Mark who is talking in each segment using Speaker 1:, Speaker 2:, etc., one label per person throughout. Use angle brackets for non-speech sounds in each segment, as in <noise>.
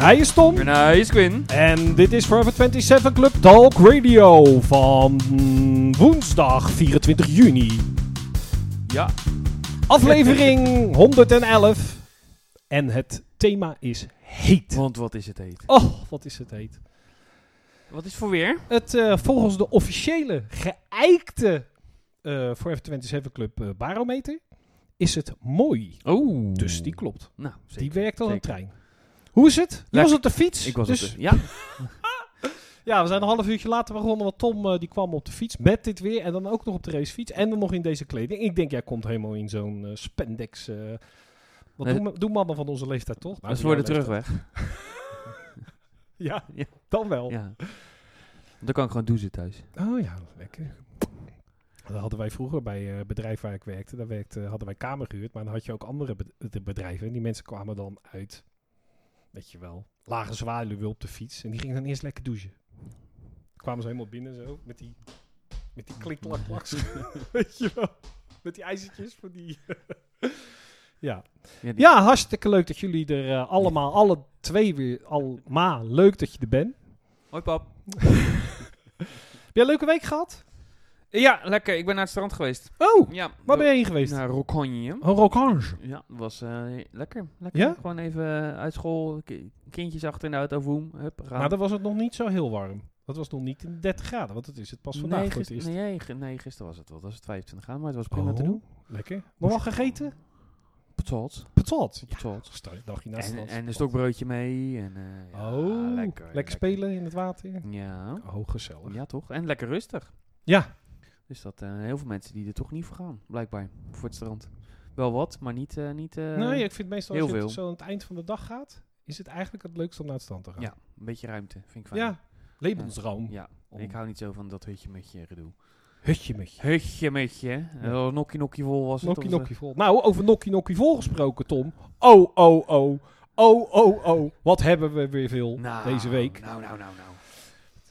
Speaker 1: Hij is Tom.
Speaker 2: René is Quinn.
Speaker 1: En dit is Forever 27 Club Talk Radio van woensdag 24 juni.
Speaker 2: Ja.
Speaker 1: Aflevering 111. En het thema is heet.
Speaker 2: Want wat is het heet?
Speaker 1: Oh, wat is het heet.
Speaker 2: Wat is voor weer?
Speaker 1: Het eh, volgens de officiële geëikte eh Forever 27 Club eh, barometer is het mooi.
Speaker 2: Oh.
Speaker 1: Dus die klopt.
Speaker 2: Nou,
Speaker 1: Die
Speaker 2: zeker.
Speaker 1: werkt al in de
Speaker 2: zeker.
Speaker 1: trein. Hoe is het? Je
Speaker 2: Lekker.
Speaker 1: was op de fiets.
Speaker 2: Ik was
Speaker 1: dus
Speaker 2: op de... Ja.
Speaker 1: Ja, we zijn een half uurtje later begonnen, want Tom eh, die kwam op de fiets met dit weer en dan ook nog op de racefiets en dan nog in deze kleding. Ik denk, jij komt helemaal in zo'n eh, spandex. eh, wat
Speaker 2: Nee.
Speaker 1: doen, ma- doen mannen van onze leeftijd toch? Nou,
Speaker 2: <laughs> Dat is
Speaker 1: van
Speaker 2: voor de
Speaker 1: jouw leeftijd.
Speaker 2: terugweg.
Speaker 1: Ja,
Speaker 2: Ja.
Speaker 1: dan wel.
Speaker 2: Ja. Dan kan ik gewoon douchen thuis.
Speaker 1: Oh ja, lekker. Dat hadden wij vroeger bij eh, het bedrijf waar ik werkte. Daar werkte, hadden wij kamer gehuurd, maar dan had je ook andere be- de bedrijven. En die mensen kwamen dan uit, weet je wel, lage zwaluwen op de fiets. En die gingen dan eerst lekker douchen. Kwamen ze helemaal binnen zo, met die, met die <laughs> klikklaklaks. weet je wel, met die ijzertjes van die... <laughs> ja.
Speaker 2: Ja, die-
Speaker 1: ja, hartstikke leuk dat jullie er eh, allemaal, alle twee weer, allemaal leuk dat je er bent.
Speaker 2: Hoi pap.
Speaker 1: Heb jij een leuke week gehad?
Speaker 2: Ja, lekker. Ik ben naar het strand geweest.
Speaker 1: Oh,
Speaker 2: Ja.
Speaker 1: waar ben je heen geweest?
Speaker 2: Naar Rokonje.
Speaker 1: Een rokange.
Speaker 2: Ja, dat was eh, lekker. lekker.
Speaker 1: Ja?
Speaker 2: Gewoon even eh, uit school, ki- kindjes achter in de auto, woem, hup, gaan.
Speaker 1: Maar dan was het nog niet zo heel warm. Dat was nog niet in 30 graden, want het is het pas vandaag
Speaker 2: nee,
Speaker 1: voor het
Speaker 2: gis-
Speaker 1: eerst.
Speaker 2: nee, ge- nee, gisteren was het wel. Dat was het 25 graden, maar het was prima te
Speaker 1: Oh,
Speaker 2: doen.
Speaker 1: Lekker. Nog wat gegeten?
Speaker 2: Patat.
Speaker 1: Patat. Ja,
Speaker 2: Patat.
Speaker 1: stel je dagje naast
Speaker 2: En,
Speaker 1: het
Speaker 2: en een stokbroodje mee. En, eh, ja,
Speaker 1: Oh,
Speaker 2: lekker,
Speaker 1: lekker, spelen in het water.
Speaker 2: Ja.
Speaker 1: Oh, gezellig.
Speaker 2: ja, toch? En lekker rustig.
Speaker 1: Ja,
Speaker 2: Dus dat eh, heel veel mensen die er toch niet voor gaan, blijkbaar, voor het strand. Wel wat, maar niet... eh, niet eh,
Speaker 1: nee, Nou, ik vind meestal als
Speaker 2: heel
Speaker 1: je het
Speaker 2: veel.
Speaker 1: zo aan het eind van de dag gaat, is het eigenlijk het leukst om naar het strand te gaan.
Speaker 2: ja, een beetje ruimte, vind ik fijn.
Speaker 1: ja. levensraam.
Speaker 2: Ja,
Speaker 1: Om-
Speaker 2: ik hou niet zo van dat hutje-mutje gedoe.
Speaker 1: Hutje met je.
Speaker 2: Hutje-mutje. Ja. Oh, nokkie nokkie vol was het. eh,
Speaker 1: Nokkie
Speaker 2: onze-
Speaker 1: nokkie vol. Nou, over nokkie nokkie vol gesproken, Tom. Oh, oh, oh. Oh, oh, oh. Wat hebben we weer veel
Speaker 2: Nou,
Speaker 1: deze week.
Speaker 2: Nou, nou, nou, nou.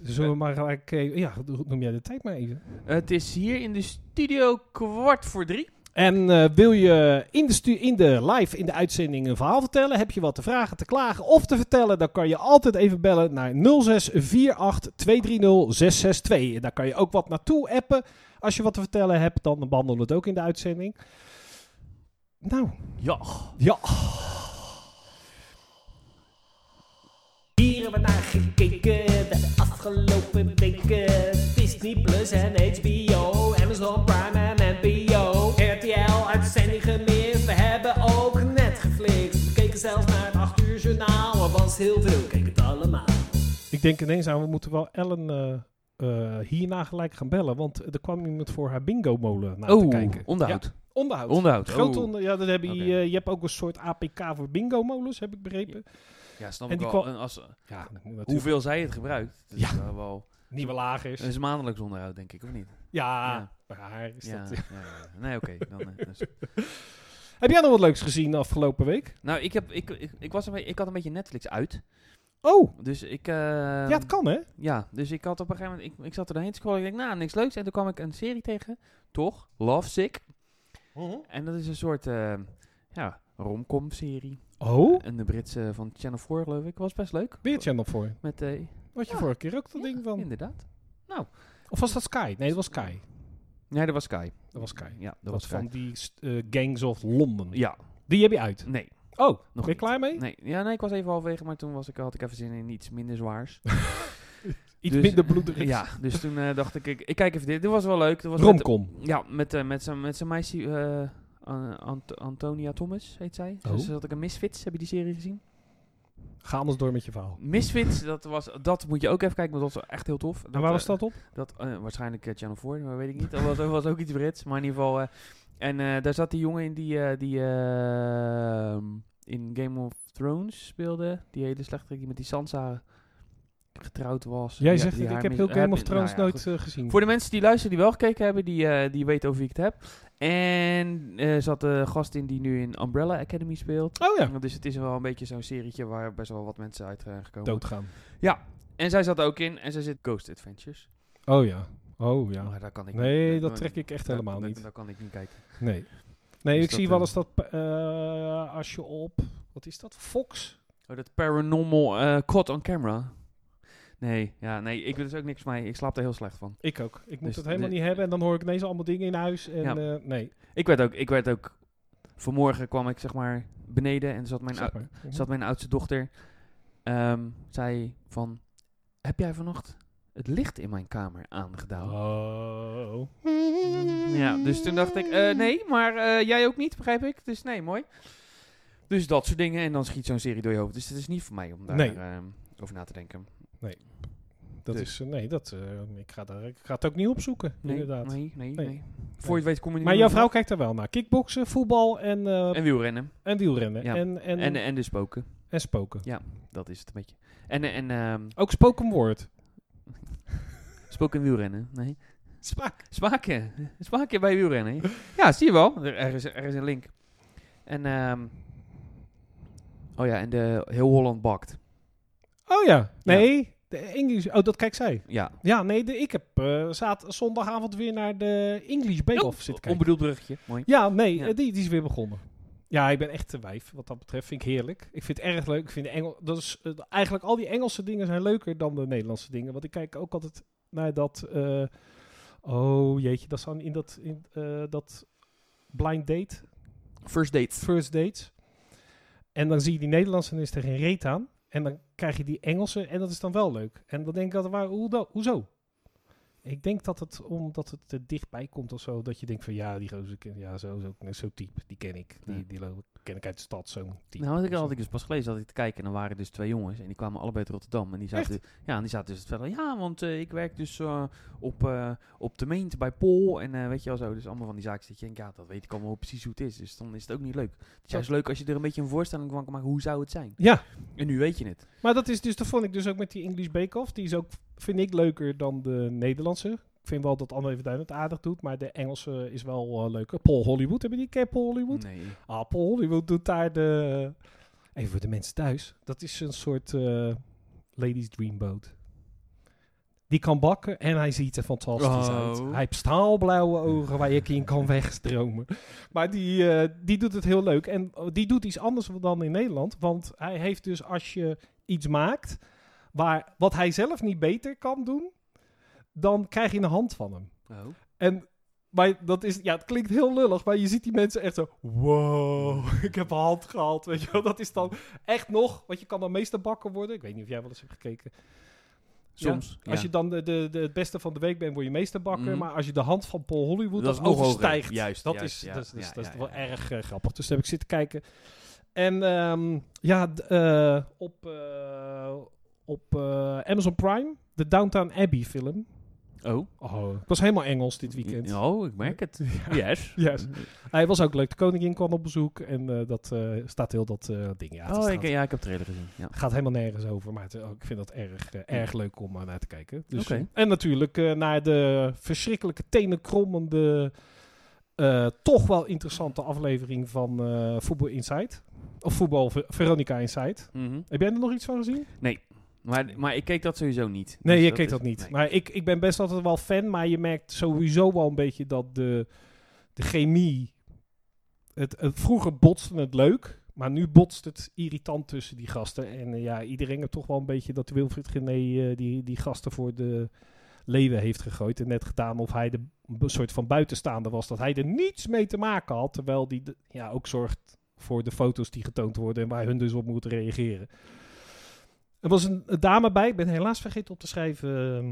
Speaker 1: Zullen we maar gelijk... eh, ja, noem jij de tijd maar even.
Speaker 2: Het is hier in de studio kwart voor drie.
Speaker 1: En eh, wil je in de, stu- in de live, in de uitzending een verhaal vertellen? Heb je wat te vragen, te klagen of te vertellen? Dan kan je altijd even bellen naar 0648-230-662. En daar kan je ook wat naartoe appen. Als je wat te vertellen hebt, dan behandelen we het ook in de uitzending. Nou,
Speaker 2: Ja.
Speaker 1: ja.
Speaker 3: Hier hebben we naar gekeken de afgelopen weken. Disney Plus en HBO, Amazon Prime en NPO. RTL uitzending gemist, we hebben ook net geflikt. We keken zelfs naar het 8 uur journaal, er was heel veel, we keken het allemaal.
Speaker 1: Ik denk ineens aan, we moeten wel Ellen eh, eh, hierna gelijk gaan bellen. Want er kwam iemand voor haar bingo-molen naar te
Speaker 2: Oh,
Speaker 1: kijken.
Speaker 2: onderhoud.
Speaker 1: Ja, onderhoud.
Speaker 2: Onderhoud.
Speaker 1: Groot
Speaker 2: oh.
Speaker 1: onder, ja, dat hebben je,
Speaker 2: Oké.
Speaker 1: eh, je hebt ook een soort APK voor bingo-molens, heb ik begrepen.
Speaker 2: Ja, snap
Speaker 1: En
Speaker 2: ik
Speaker 1: die
Speaker 2: wel.
Speaker 1: kwam-
Speaker 2: En als, eh,
Speaker 1: Ja, hoeveel
Speaker 2: hoeveel zij het gebruikt. Dat is wel- wel...
Speaker 1: nieuwe lagers.
Speaker 2: Dat is maandelijks onderhoud, denk ik, of niet?
Speaker 1: ja,
Speaker 2: ja.
Speaker 1: maar haar is
Speaker 2: ja,
Speaker 1: dat.
Speaker 2: ja, ja. Nee, oké. dan, eh, dus.
Speaker 1: Heb jij nog wat leuks gezien de afgelopen week?
Speaker 2: Nou, ik, heb, ik, ik, ik was een beetje, ik had een beetje Netflix uit.
Speaker 1: Oh,
Speaker 2: Dus ik... eh,
Speaker 1: ja, het kan hè?
Speaker 2: Ja, dus ik had op een gegeven moment... Ik, ik zat er doorheen te scrollen. Ik dacht, nou, niks leuks. En toen kwam ik een serie tegen. Toch? Love Sick. En dat is een soort... eh ja, romcom serie.
Speaker 1: Oh,
Speaker 2: En de Britse van Channel 4, geloof ik. Was best leuk.
Speaker 1: weer Channel voor.
Speaker 2: Met... eh
Speaker 1: Wat je
Speaker 2: Ja.
Speaker 1: vorige keer ook dat ding van.
Speaker 2: Inderdaad.
Speaker 1: Of was dat Sky? Nee, dat was Sky.
Speaker 2: Nee, dat was Sky.
Speaker 1: Dat was Sky.
Speaker 2: Ja, dat,
Speaker 1: Dat
Speaker 2: was
Speaker 1: was
Speaker 2: Sky.
Speaker 1: van die st- eh, Gangs of London.
Speaker 2: Ja,
Speaker 1: Die heb je uit.
Speaker 2: nee.
Speaker 1: Oh,
Speaker 2: Nog
Speaker 1: nog ben je
Speaker 2: niet.
Speaker 1: klaar mee?
Speaker 2: Nee, ja, nee, ik was even halverwege, maar toen was ik, had ik even zin in iets minder
Speaker 1: <laughs>
Speaker 2: zwaars.
Speaker 1: Iets
Speaker 2: Dus-
Speaker 1: minder bloederig.
Speaker 2: ja, dus toen eh, dacht ik, ik, ik kijk even dit. Dit was wel leuk. Dit was met-
Speaker 1: Romcom.
Speaker 2: ja, met, eh, met zijn met zijn meisje, eh, An- Ant- Antonia Thomas heet zij.
Speaker 1: Oh.
Speaker 2: Dus had ik een Misfits, heb je die serie gezien?
Speaker 1: Ga anders door met je verhaal.
Speaker 2: Misfits, dat, was, dat moet je ook even kijken, want dat was echt heel tof.
Speaker 1: En waar
Speaker 2: eh,
Speaker 1: was dat op?
Speaker 2: Dat, eh, waarschijnlijk eh, Channel 4, maar weet ik niet. Dat was, ook- was ook iets Brits, maar in ieder geval... eh, en eh, daar zat die jongen in die, eh, die eh, in Game of Thrones speelde. Die hele slechterik die met die Sansa getrouwd was.
Speaker 1: Jij
Speaker 2: Die-
Speaker 1: zegt dit,
Speaker 2: die
Speaker 1: ik
Speaker 2: haar
Speaker 1: heb
Speaker 2: mis-
Speaker 1: heel Game
Speaker 2: heb-
Speaker 1: of Thrones
Speaker 2: nou ja,
Speaker 1: nooit eh, gezien.
Speaker 2: voor de mensen die luisteren, die wel gekeken hebben, die, eh, die weten over wie ik het heb. En er zat de gast in die nu in Umbrella Academy speelt.
Speaker 1: Oh ja.
Speaker 2: Dus het is wel een beetje zo'n serietje waar best wel wat mensen uit zijn gekomen.
Speaker 1: Doodgaan.
Speaker 2: En zij zat er ook in en zij zit Ghost Adventures.
Speaker 1: Oh ja. Oh ja.
Speaker 2: Maar daar kan ik
Speaker 1: Nee,
Speaker 2: niet-
Speaker 1: dat trek ik echt
Speaker 2: daar-
Speaker 1: helemaal
Speaker 2: daar-
Speaker 1: niet.
Speaker 2: Daar kan ik niet kijken.
Speaker 1: Nee. Nee,
Speaker 2: Dus
Speaker 1: ik
Speaker 2: dat,
Speaker 1: zie wel
Speaker 2: eh,
Speaker 1: eens dat eh, als je op, wat is dat? Fox?
Speaker 2: Oh, dat paranormal eh caught on camera. Nee, ja, nee, ik wil dus ook niks van mij. Ik slaap er heel slecht van.
Speaker 1: Ik ook. Ik moet
Speaker 2: Dus
Speaker 1: het helemaal
Speaker 2: de-
Speaker 1: niet hebben. En dan hoor ik ineens allemaal dingen in huis. En
Speaker 2: Ja.
Speaker 1: eh, nee,
Speaker 2: Ik werd ook, ik werd ook, vanmorgen kwam ik zeg maar beneden en zat mijn,
Speaker 1: zeg
Speaker 2: ou-
Speaker 1: maar. Mhm.
Speaker 2: zat mijn oudste dochter, ehm, zei van, heb jij vannacht het licht in mijn kamer aangedaan?
Speaker 1: Oh.
Speaker 2: Ja, dus toen dacht ik, eh, nee, maar eh, jij ook niet, begrijp ik. Dus nee, mooi. Dus dat soort dingen. En dan schiet zo'n serie door je hoofd. Dus het is niet voor mij om daar
Speaker 1: Nee.
Speaker 2: ehm, over na te denken.
Speaker 1: Dat
Speaker 2: Dus.
Speaker 1: is, eh, nee, dat, eh, ik, ga daar, ik ga het ook niet opzoeken,
Speaker 2: Nee,
Speaker 1: inderdaad.
Speaker 2: Nee, nee,
Speaker 1: Nee.
Speaker 2: nee, Voor je het weet kom je
Speaker 1: Maar
Speaker 2: niet meer
Speaker 1: jouw
Speaker 2: op-
Speaker 1: vrouw kijkt er wel naar. Kickboksen, voetbal en, eh, en,
Speaker 2: En wielrennen.
Speaker 1: wielrennen.
Speaker 2: Ja.
Speaker 1: En, en,
Speaker 2: En,
Speaker 1: en,
Speaker 2: en, de spoken.
Speaker 1: spoken.
Speaker 2: Dat is het een beetje. En, en ehm
Speaker 1: Ook spoken word.
Speaker 2: spoken en wielrennen. Nee.
Speaker 1: Smaak.
Speaker 2: Spaken. Spaken bij wielrennen. Ja, zie je wel. Er, er is, er is een link. En, ehm oh ja, en de Heel Holland bakt.
Speaker 1: Oh ja. Nee, de English. Oh, dat kijkt zij.
Speaker 2: Ja.
Speaker 1: Ja, nee, de, ik heb eh, zaad- zondagavond weer naar de English Bake Off zitten kijken.
Speaker 2: Onbedoeld bruggetje. Mooi.
Speaker 1: Ja, nee,
Speaker 2: Ja.
Speaker 1: eh, Die, die is weer begonnen. Ja, ik ben echt te wijf. Wat dat betreft vind ik heerlijk. Ik vind het erg leuk. Ik vind de Engel, dat is, eh, eigenlijk al die Engelse dingen zijn leuker dan de Nederlandse dingen. Want ik kijk ook altijd naar dat... eh, oh jeetje, dat is dan in dat, in, eh, dat blind date,
Speaker 2: First dates.
Speaker 1: first dates. En dan zie je die Nederlandse en dan is er geen reet aan. En dan krijg je die Engelse en dat is dan wel leuk. En dan denk ik altijd, waar, hoe dan- hoezo? Ik denk dat het omdat het er dichtbij komt of zo, dat je denkt van ja, die gozer, ken- ja, zo, zo, zo type, die ken ik. Die,
Speaker 2: Ja.
Speaker 1: die lo- ken ik uit de stad, zo'n type.
Speaker 2: Nou, wat ik
Speaker 1: Zo.
Speaker 2: had ik dus pas gelezen, zat ik te kijken en dan waren dus twee jongens en die kwamen allebei uit Rotterdam. En die zaten, ja, en die zaten dus verder. Ja, want eh, ik werk dus eh, op, eh, op de meent bij Pol en eh, weet je wel zo. Dus allemaal van die zaken zit je denkt, ja, dat weet ik allemaal precies hoe het is. Dus dan is het ook niet leuk. Het is juist leuk als je er een beetje een voorstelling van kan maken, hoe zou het zijn?
Speaker 1: Ja,
Speaker 2: En nu weet je het.
Speaker 1: maar dat is dus, dat vond ik dus ook met die English Bake Off. Die is ook, vind ik, leuker dan de Nederlandse. Ik vind wel dat Anne even het aardig doet, maar de Engelse is wel eh, leuker. Paul Hollywood, hebben die? Ken je Paul Hollywood?
Speaker 2: Nee.
Speaker 1: Apple Hollywood doet daar de... eh, Even voor de mensen thuis. Dat is een soort eh, ladies dreamboat. Die kan bakken en hij ziet er fantastisch
Speaker 2: Oh.
Speaker 1: uit. Hij heeft staalblauwe ogen waar je in kan wegstromen. Maar die, eh, die doet het heel leuk. En eh, die doet iets anders dan in Nederland. Want hij heeft dus als je iets maakt... Waar, wat hij zelf niet beter kan doen... dan krijg je een hand van hem.
Speaker 2: Oh.
Speaker 1: En maar dat is, ja, het klinkt heel lullig, maar je ziet die mensen echt zo, wow, <laughs> ik heb een hand gehaald, weet je wel. Dat is dan echt nog, want je kan dan meester bakker worden. Ik weet niet of jij wel eens hebt gekeken.
Speaker 2: Soms.
Speaker 1: Ja, als je dan de, de, de, het beste van de week bent, word je meester bakker.
Speaker 2: Mhm.
Speaker 1: Maar als je de hand van Paul Hollywood
Speaker 2: Dat
Speaker 1: dat
Speaker 2: is nog
Speaker 1: overstijgt,
Speaker 2: hoger. Juist,
Speaker 1: dat
Speaker 2: juist,
Speaker 1: is,
Speaker 2: ja,
Speaker 1: dat is, dat is,
Speaker 2: ja,
Speaker 1: dat is
Speaker 2: ja,
Speaker 1: wel
Speaker 2: ja.
Speaker 1: erg eh, grappig. Dus toen heb ik zitten kijken. En ehm, ja, d- eh, op, eh, op eh, Amazon Prime, de Downtown Abbey film.
Speaker 2: Oh.
Speaker 1: Oh, ik was helemaal Engels dit weekend.
Speaker 2: Oh, ik merk het. Oh, Yes.
Speaker 1: Yes. Hij was ook leuk. De koningin kwam op bezoek en eh, dat eh, staat heel dat eh, ding. Ja, het
Speaker 2: oh,
Speaker 1: is-
Speaker 2: ik,
Speaker 1: gaat,
Speaker 2: ja, ik heb trailer gezien. Ja.
Speaker 1: gaat helemaal nergens over, maar het, oh, ik vind dat erg, eh, erg leuk om eh, naar te kijken. Dus,
Speaker 2: Oké.
Speaker 1: En natuurlijk eh, naar de verschrikkelijke tenenkrommende, eh, toch wel interessante aflevering van eh Voetbal Inside. Of Voetbal Ver- Veronica Inside.
Speaker 2: Mhm.
Speaker 1: Heb jij er nog iets van gezien?
Speaker 2: maar, maar ik keek dat sowieso niet.
Speaker 1: Nee,
Speaker 2: Dus
Speaker 1: je keek
Speaker 2: is-
Speaker 1: dat niet.
Speaker 2: nee.
Speaker 1: Maar ik, ik ben best altijd wel fan, maar je merkt sowieso wel een beetje dat de, de chemie. Het, het, vroeger botste het leuk, maar nu botst het irritant tussen die gasten. En eh, ja, iedereen heeft toch wel een beetje dat Wilfried Gené eh, die, die gasten voor de leeuwen heeft gegooid. En net gedaan of hij de b- soort van buitenstaander was, dat hij er niets mee te maken had. Terwijl die de- ja, ook zorgt voor de foto's die getoond worden en waar hun dus op moeten reageren. Er was een, een dame bij, ik ben helaas vergeten op te schrijven ehm,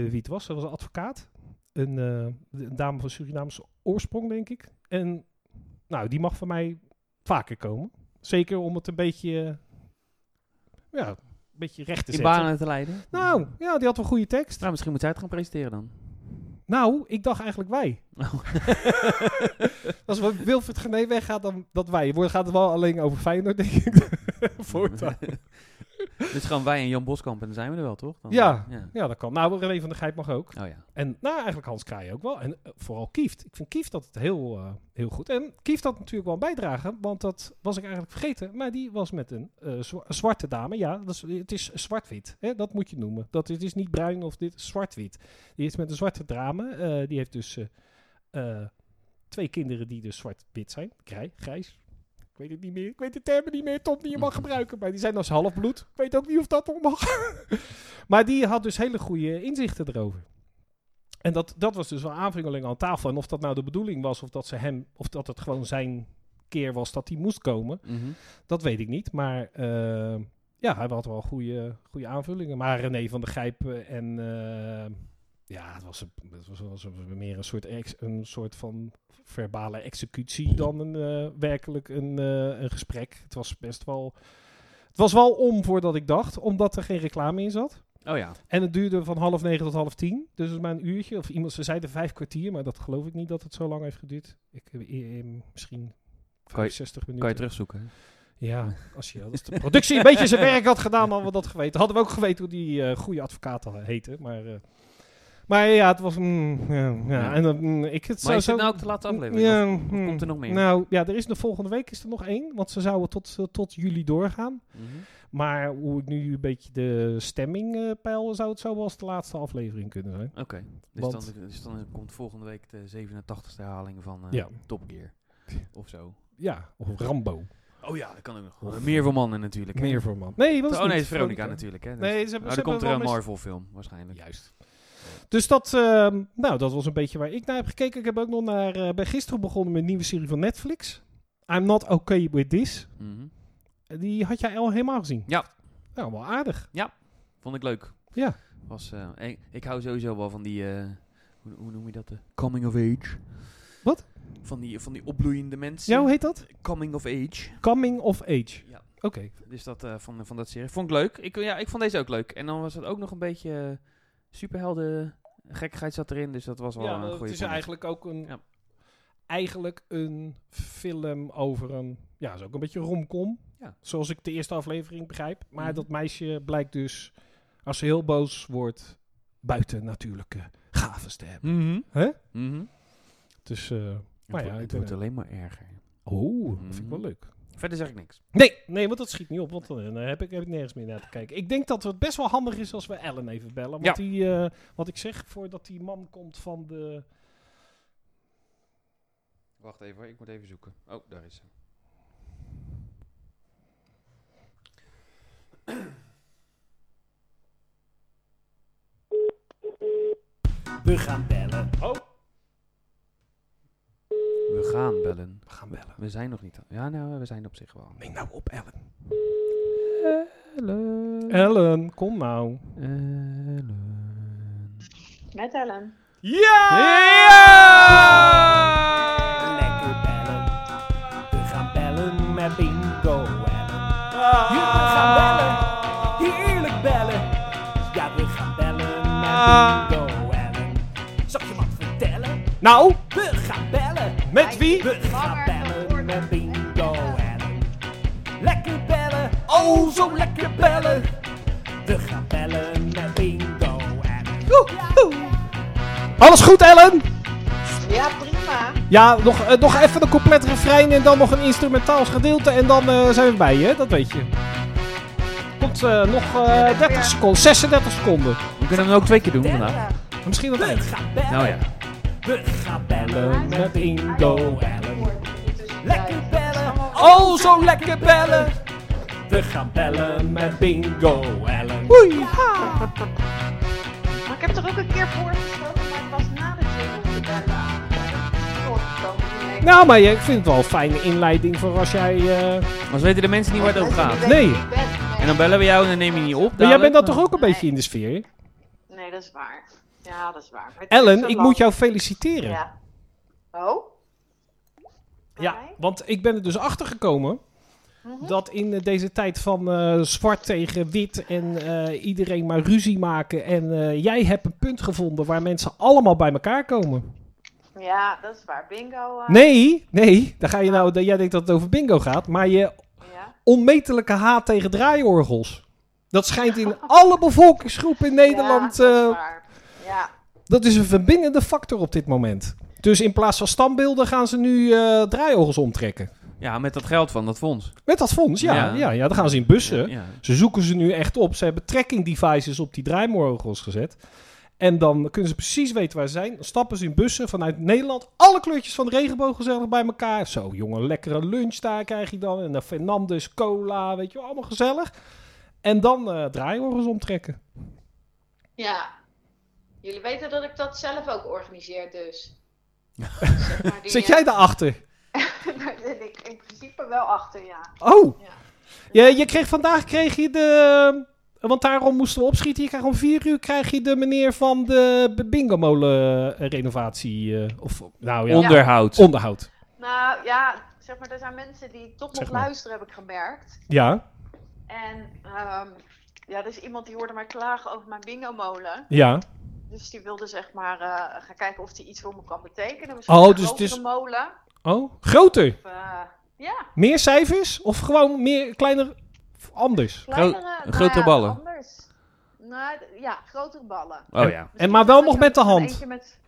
Speaker 1: eh, wie het was. Dat was een advocaat. Een, eh, een dame van Surinaamse oorsprong, denk ik. En nou, die mag van mij vaker komen. Zeker om het een beetje, eh, ja, een beetje recht te
Speaker 2: In
Speaker 1: zetten.
Speaker 2: banen te leiden.
Speaker 1: Nou, ja, die had wel goede tekst.
Speaker 2: Nou, misschien moet zij het gaan presenteren
Speaker 1: <laughs>
Speaker 2: dan.
Speaker 1: Nou, ik dacht eigenlijk wij.
Speaker 2: Oh.
Speaker 1: <laughs> Als we Wilfried Gené weggaat, dan dat wij. Het gaat wel alleen over Feyenoord, denk ik. <laughs>
Speaker 2: <laughs>
Speaker 1: Voortaan.
Speaker 2: Dus gewoon wij en Jan Boskamp en dan zijn we er wel, toch? Dan,
Speaker 1: Ja.
Speaker 2: ja.
Speaker 1: Ja, dat kan. Nou, René van der Gijp mag ook.
Speaker 2: Oh ja.
Speaker 1: En nou, eigenlijk Hans Kraai ook wel. En eh, vooral Kieft. Ik vind Kieft dat het heel, eh, heel goed. En Kieft had natuurlijk wel een bijdrage, want dat was ik eigenlijk vergeten. Maar die was met een eh, zwa- een zwarte dame. Ja, dat is, het is zwart-wit. Hè? Dat moet je noemen. Dat, het is niet bruin of dit, zwart-wit. Die is met een zwarte dame. eh, die heeft dus eh, eh, twee kinderen die dus zwart-wit zijn. Krij, grijs. Ik weet het niet meer. Ik weet de termen niet meer, Tom, die je mag gebruiken. Maar die zijn als halfbloed. Ik weet ook niet of dat nog mag. <laughs> maar die had dus hele goede inzichten erover. En dat, dat was dus wel aanvringeling aan tafel. En of dat nou de bedoeling was, of dat, ze hem, of dat het gewoon zijn keer was dat hij moest komen,
Speaker 2: Mhm.
Speaker 1: dat weet ik niet. Maar eh, ja, hij had wel goede, goede aanvullingen. Maar René van der Gijpen en... eh, ja, het was, een, het was, was een- meer een soort, ex- een soort van verbale executie dan een, eh, werkelijk een, eh, een gesprek. Het was best wel... Het was wel om voordat ik dacht, omdat er geen reclame in zat.
Speaker 2: Oh ja.
Speaker 1: En het duurde van half negen tot half tien. Dus het was maar een uurtje. Of iemand, ze zeiden vijf kwartier, maar dat geloof ik niet dat het zo lang heeft geduurd. Ik, heb eh, eh, misschien
Speaker 2: Kan je,
Speaker 1: 60 minuten.
Speaker 2: kan je terugzoeken.
Speaker 1: Ja, als, je, als de productie een beetje zijn werk had gedaan, hadden we dat geweten. Hadden we ook geweten hoe die eh, goede advocaat al heette. Maar, eh, maar ja, het was... mm, ja, ja.
Speaker 2: Ja.
Speaker 1: En, dan, mm, ik, het
Speaker 2: Maar
Speaker 1: zou
Speaker 2: is
Speaker 1: zo,
Speaker 2: dit nou ook de laatste aflevering?
Speaker 1: ja,
Speaker 2: Of-
Speaker 1: mm.
Speaker 2: komt er nog meer?
Speaker 1: Nou ja, er is de volgende week is er nog één. Want ze zouden tot, eh, tot juli doorgaan.
Speaker 2: Mhm.
Speaker 1: Maar hoe ik nu een beetje de stemming eh, peil, zou het zo wel als de laatste aflevering kunnen zijn.
Speaker 2: Oké. Dus,
Speaker 1: Want-
Speaker 2: dan, dus dan komt volgende week de 87ste herhaling van eh
Speaker 1: Ja.
Speaker 2: Top Gear. Of zo.
Speaker 1: Ja, of Rambo.
Speaker 2: Oh ja, dat kan ook nog.
Speaker 1: Of-
Speaker 2: meer voor mannen natuurlijk. hè.
Speaker 1: Meer voor man. Nee, dat is
Speaker 2: Oh nee,
Speaker 1: niet.
Speaker 2: het is Veronica natuurlijk. Hè. Dus-
Speaker 1: Nee, ze hebben,
Speaker 2: Maar
Speaker 1: ze
Speaker 2: er komt er
Speaker 1: hebben
Speaker 2: een
Speaker 1: wel mis-
Speaker 2: Marvel film waarschijnlijk.
Speaker 1: Juist. Dus dat, ehm, nou, dat was een beetje waar ik naar heb gekeken. Ik heb ook nog naar, eh, ben gisteren begonnen met een nieuwe serie van Netflix. I'm Not Okay With This. Eh,
Speaker 2: Mhm.
Speaker 1: Die had jij al helemaal gezien.
Speaker 2: Ja.
Speaker 1: Nou, wel aardig.
Speaker 2: Vond ik leuk.
Speaker 1: Ja.
Speaker 2: Was, eh, en ik hou sowieso wel van die, eh, hoe, hoe noem je dat? De coming of age.
Speaker 1: Wat?
Speaker 2: Van die, van die opbloeiende mensen.
Speaker 1: Ja, hoe heet dat?
Speaker 2: Coming of age.
Speaker 1: Coming of Age.
Speaker 2: Ja.
Speaker 1: Oké.
Speaker 2: Dus dat eh, van, van dat serie. Vond ik leuk. Ik, ja, ik vond deze ook leuk. En dan was het ook nog een beetje eh, superhelden eh, gekkigheid zat erin. Dus dat was wel een
Speaker 1: Ja,
Speaker 2: goede
Speaker 1: eh, het is
Speaker 2: combinatie.
Speaker 1: eigenlijk ook een...
Speaker 2: Ja.
Speaker 1: Eigenlijk een film over een... Ja, is ook een beetje romcom.
Speaker 2: Ja.
Speaker 1: Zoals ik de eerste aflevering begrijp. Maar
Speaker 2: Mhm.
Speaker 1: dat meisje blijkt dus, als ze heel boos wordt, buiten natuurlijke gaven te hebben.
Speaker 2: Mhm.
Speaker 1: Hè?
Speaker 2: Mhm.
Speaker 1: Dus, eh
Speaker 2: Het
Speaker 1: ja,
Speaker 2: wordt-
Speaker 1: ik
Speaker 2: het
Speaker 1: ben
Speaker 2: wordt
Speaker 1: er-
Speaker 2: alleen maar erger.
Speaker 1: oh, dat vind ik wel
Speaker 2: Mhm.
Speaker 1: leuk.
Speaker 2: Verder zeg ik niks.
Speaker 1: Nee, nee, want dat schiet niet op, want dan eh, heb ik, heb ik nergens meer naar te kijken. Ik denk dat het best wel handig is als we Ellen even bellen. Want die, eh, wat ik zeg, voordat die man komt van de...
Speaker 2: Wacht even, hoor, ik moet even zoeken. Oh, daar is ze.
Speaker 3: We gaan bellen.
Speaker 2: We gaan bellen.
Speaker 1: We gaan bellen.
Speaker 2: We zijn nog niet. aan- Ja, nou, we zijn op zich wel.
Speaker 1: Neem nou op, Ellen.
Speaker 2: Hallo.
Speaker 1: Ellen, kom nou.
Speaker 2: Ellen.
Speaker 4: Met Ellen.
Speaker 1: Ja!
Speaker 3: Lekker bellen. We gaan bellen met bingo Ellen. Ja, we gaan bellen. Heerlijk bellen. Ja, we gaan bellen
Speaker 1: Ah.
Speaker 3: met bingo Ellen. Zal ik je wat vertellen?
Speaker 1: Nou,
Speaker 3: We gaan bellen.
Speaker 1: met wie?
Speaker 3: We gaan bellen met bingo Ellen. Lekker bellen. Oh, zo lekker bellen. We gaan bellen met bingo Ellen.
Speaker 1: Alles goed, Ellen?
Speaker 4: Ja, prima.
Speaker 1: Ja, nog, eh, nog even een compleet refrein en dan nog een instrumentaals gedeelte en dan eh, zijn we bij je, hè? dat weet je. Komt eh, nog eh, 30 seconden, 36 seconden.
Speaker 2: We kunnen hem ook twee keer doen vandaag.
Speaker 1: Misschien dat
Speaker 3: We
Speaker 1: eind.
Speaker 3: gaan bellen.
Speaker 2: Nou ja.
Speaker 3: We gaan bellen met bingo Ellen. Lekker bellen,
Speaker 1: Oh, zo lekker bellen.
Speaker 3: we gaan bellen met bingo Ellen.
Speaker 1: Oei.
Speaker 4: Maar ik heb er ook een keer voor gesloten, maar het was na de jingle te bellen. Nou,
Speaker 1: Nou, maar ja, ik vind het wel een fijne inleiding voor als jij... eh,
Speaker 2: Anders weten de mensen niet waar het over gaat.
Speaker 1: Nee.
Speaker 2: En dan bellen we jou en dan neem je niet op.
Speaker 1: Maar jij bent dan
Speaker 2: dadelijk.
Speaker 1: toch ook een
Speaker 4: Nee.
Speaker 1: beetje in de sfeer? hè?
Speaker 4: Nee, dat is waar. Ja, dat is waar. Maar het is zo
Speaker 1: Ellen, ik
Speaker 4: lang.
Speaker 1: moet jou feliciteren.
Speaker 4: Ja. Oh?
Speaker 1: Ja,
Speaker 4: Oké.
Speaker 1: want ik ben er dus achter gekomen
Speaker 4: Mhm.
Speaker 1: dat in eh, deze tijd van eh, zwart tegen wit en eh, iedereen maar ruzie maken. En eh, jij hebt een punt gevonden waar mensen allemaal bij elkaar komen.
Speaker 4: Ja, dat is waar. Bingo. eh,
Speaker 1: Nee, nee, daar ga je nou, jij denkt dat het over bingo gaat, maar je
Speaker 4: Ja.
Speaker 1: onmetelijke haat tegen draaiorgels. Dat
Speaker 4: <laughs>
Speaker 1: schijnt in alle bevolkingsgroepen in Nederland.
Speaker 4: Ja, dat
Speaker 1: eh,
Speaker 4: is waar. Ja.
Speaker 1: dat is een verbindende factor op dit moment. Dus in plaats van standbeelden gaan ze nu eh, draaiorgels omtrekken.
Speaker 2: Ja, met dat geld van dat fonds.
Speaker 1: Met dat fonds, ja. Ja,
Speaker 2: Ja.
Speaker 1: ja, dan gaan ze in bussen.
Speaker 2: Ja.
Speaker 1: Ze zoeken ze nu echt op. Ze hebben tracking devices op die draaimorgels gezet. En dan kunnen ze precies weten waar ze zijn. Dan stappen ze in bussen vanuit Nederland. Alle kleurtjes van de regenboog gezellig bij elkaar. Zo, jongen, lekkere lunch daar krijg je dan. En dan Fernandes, cola, weet je wel, allemaal gezellig. En dan eh draaiorgels omtrekken.
Speaker 5: Ja. Jullie weten dat ik dat zelf ook organiseer,
Speaker 1: <laughs>
Speaker 5: dus. Zeg maar die,
Speaker 1: Zit
Speaker 5: eh,
Speaker 1: jij daarachter?
Speaker 5: <laughs> Daar zit ik in principe wel achter, ja.
Speaker 1: Oh!
Speaker 5: Ja.
Speaker 1: Je, je kreeg vandaag kreeg je de... Want daarom moesten we opschieten. Je krijgt om vier uur krijg je de meneer van de b- bingomolen eh, renovatie. eh, of nou ja,
Speaker 2: Onderhoud.
Speaker 1: onderhoud.
Speaker 5: Nou ja, zeg maar, er zijn mensen die toch
Speaker 1: Zeg
Speaker 5: nog
Speaker 1: maar.
Speaker 5: luisteren, heb ik gemerkt.
Speaker 1: Ja,
Speaker 5: En ehm, ja, er is iemand die hoorde mij klagen over mijn bingo-molen.
Speaker 1: ja.
Speaker 5: Dus die wilde zeg maar eh, gaan kijken of die iets voor me kan betekenen. Misschien
Speaker 1: Oh,
Speaker 5: een
Speaker 1: dus het
Speaker 5: grotere
Speaker 1: is-
Speaker 5: molen.
Speaker 1: Oh, groter.
Speaker 5: Of, eh, ja,
Speaker 1: Meer cijfers of gewoon meer kleiner of anders?
Speaker 5: kleinere. nou
Speaker 2: grotere
Speaker 5: ja,
Speaker 2: ballen.
Speaker 5: Anders. Nou, d- ja, grotere ballen.
Speaker 2: Oh ja.
Speaker 1: En maar wel nog
Speaker 5: Misschien
Speaker 1: met de
Speaker 5: dat ik
Speaker 1: hand.
Speaker 5: er eentje met-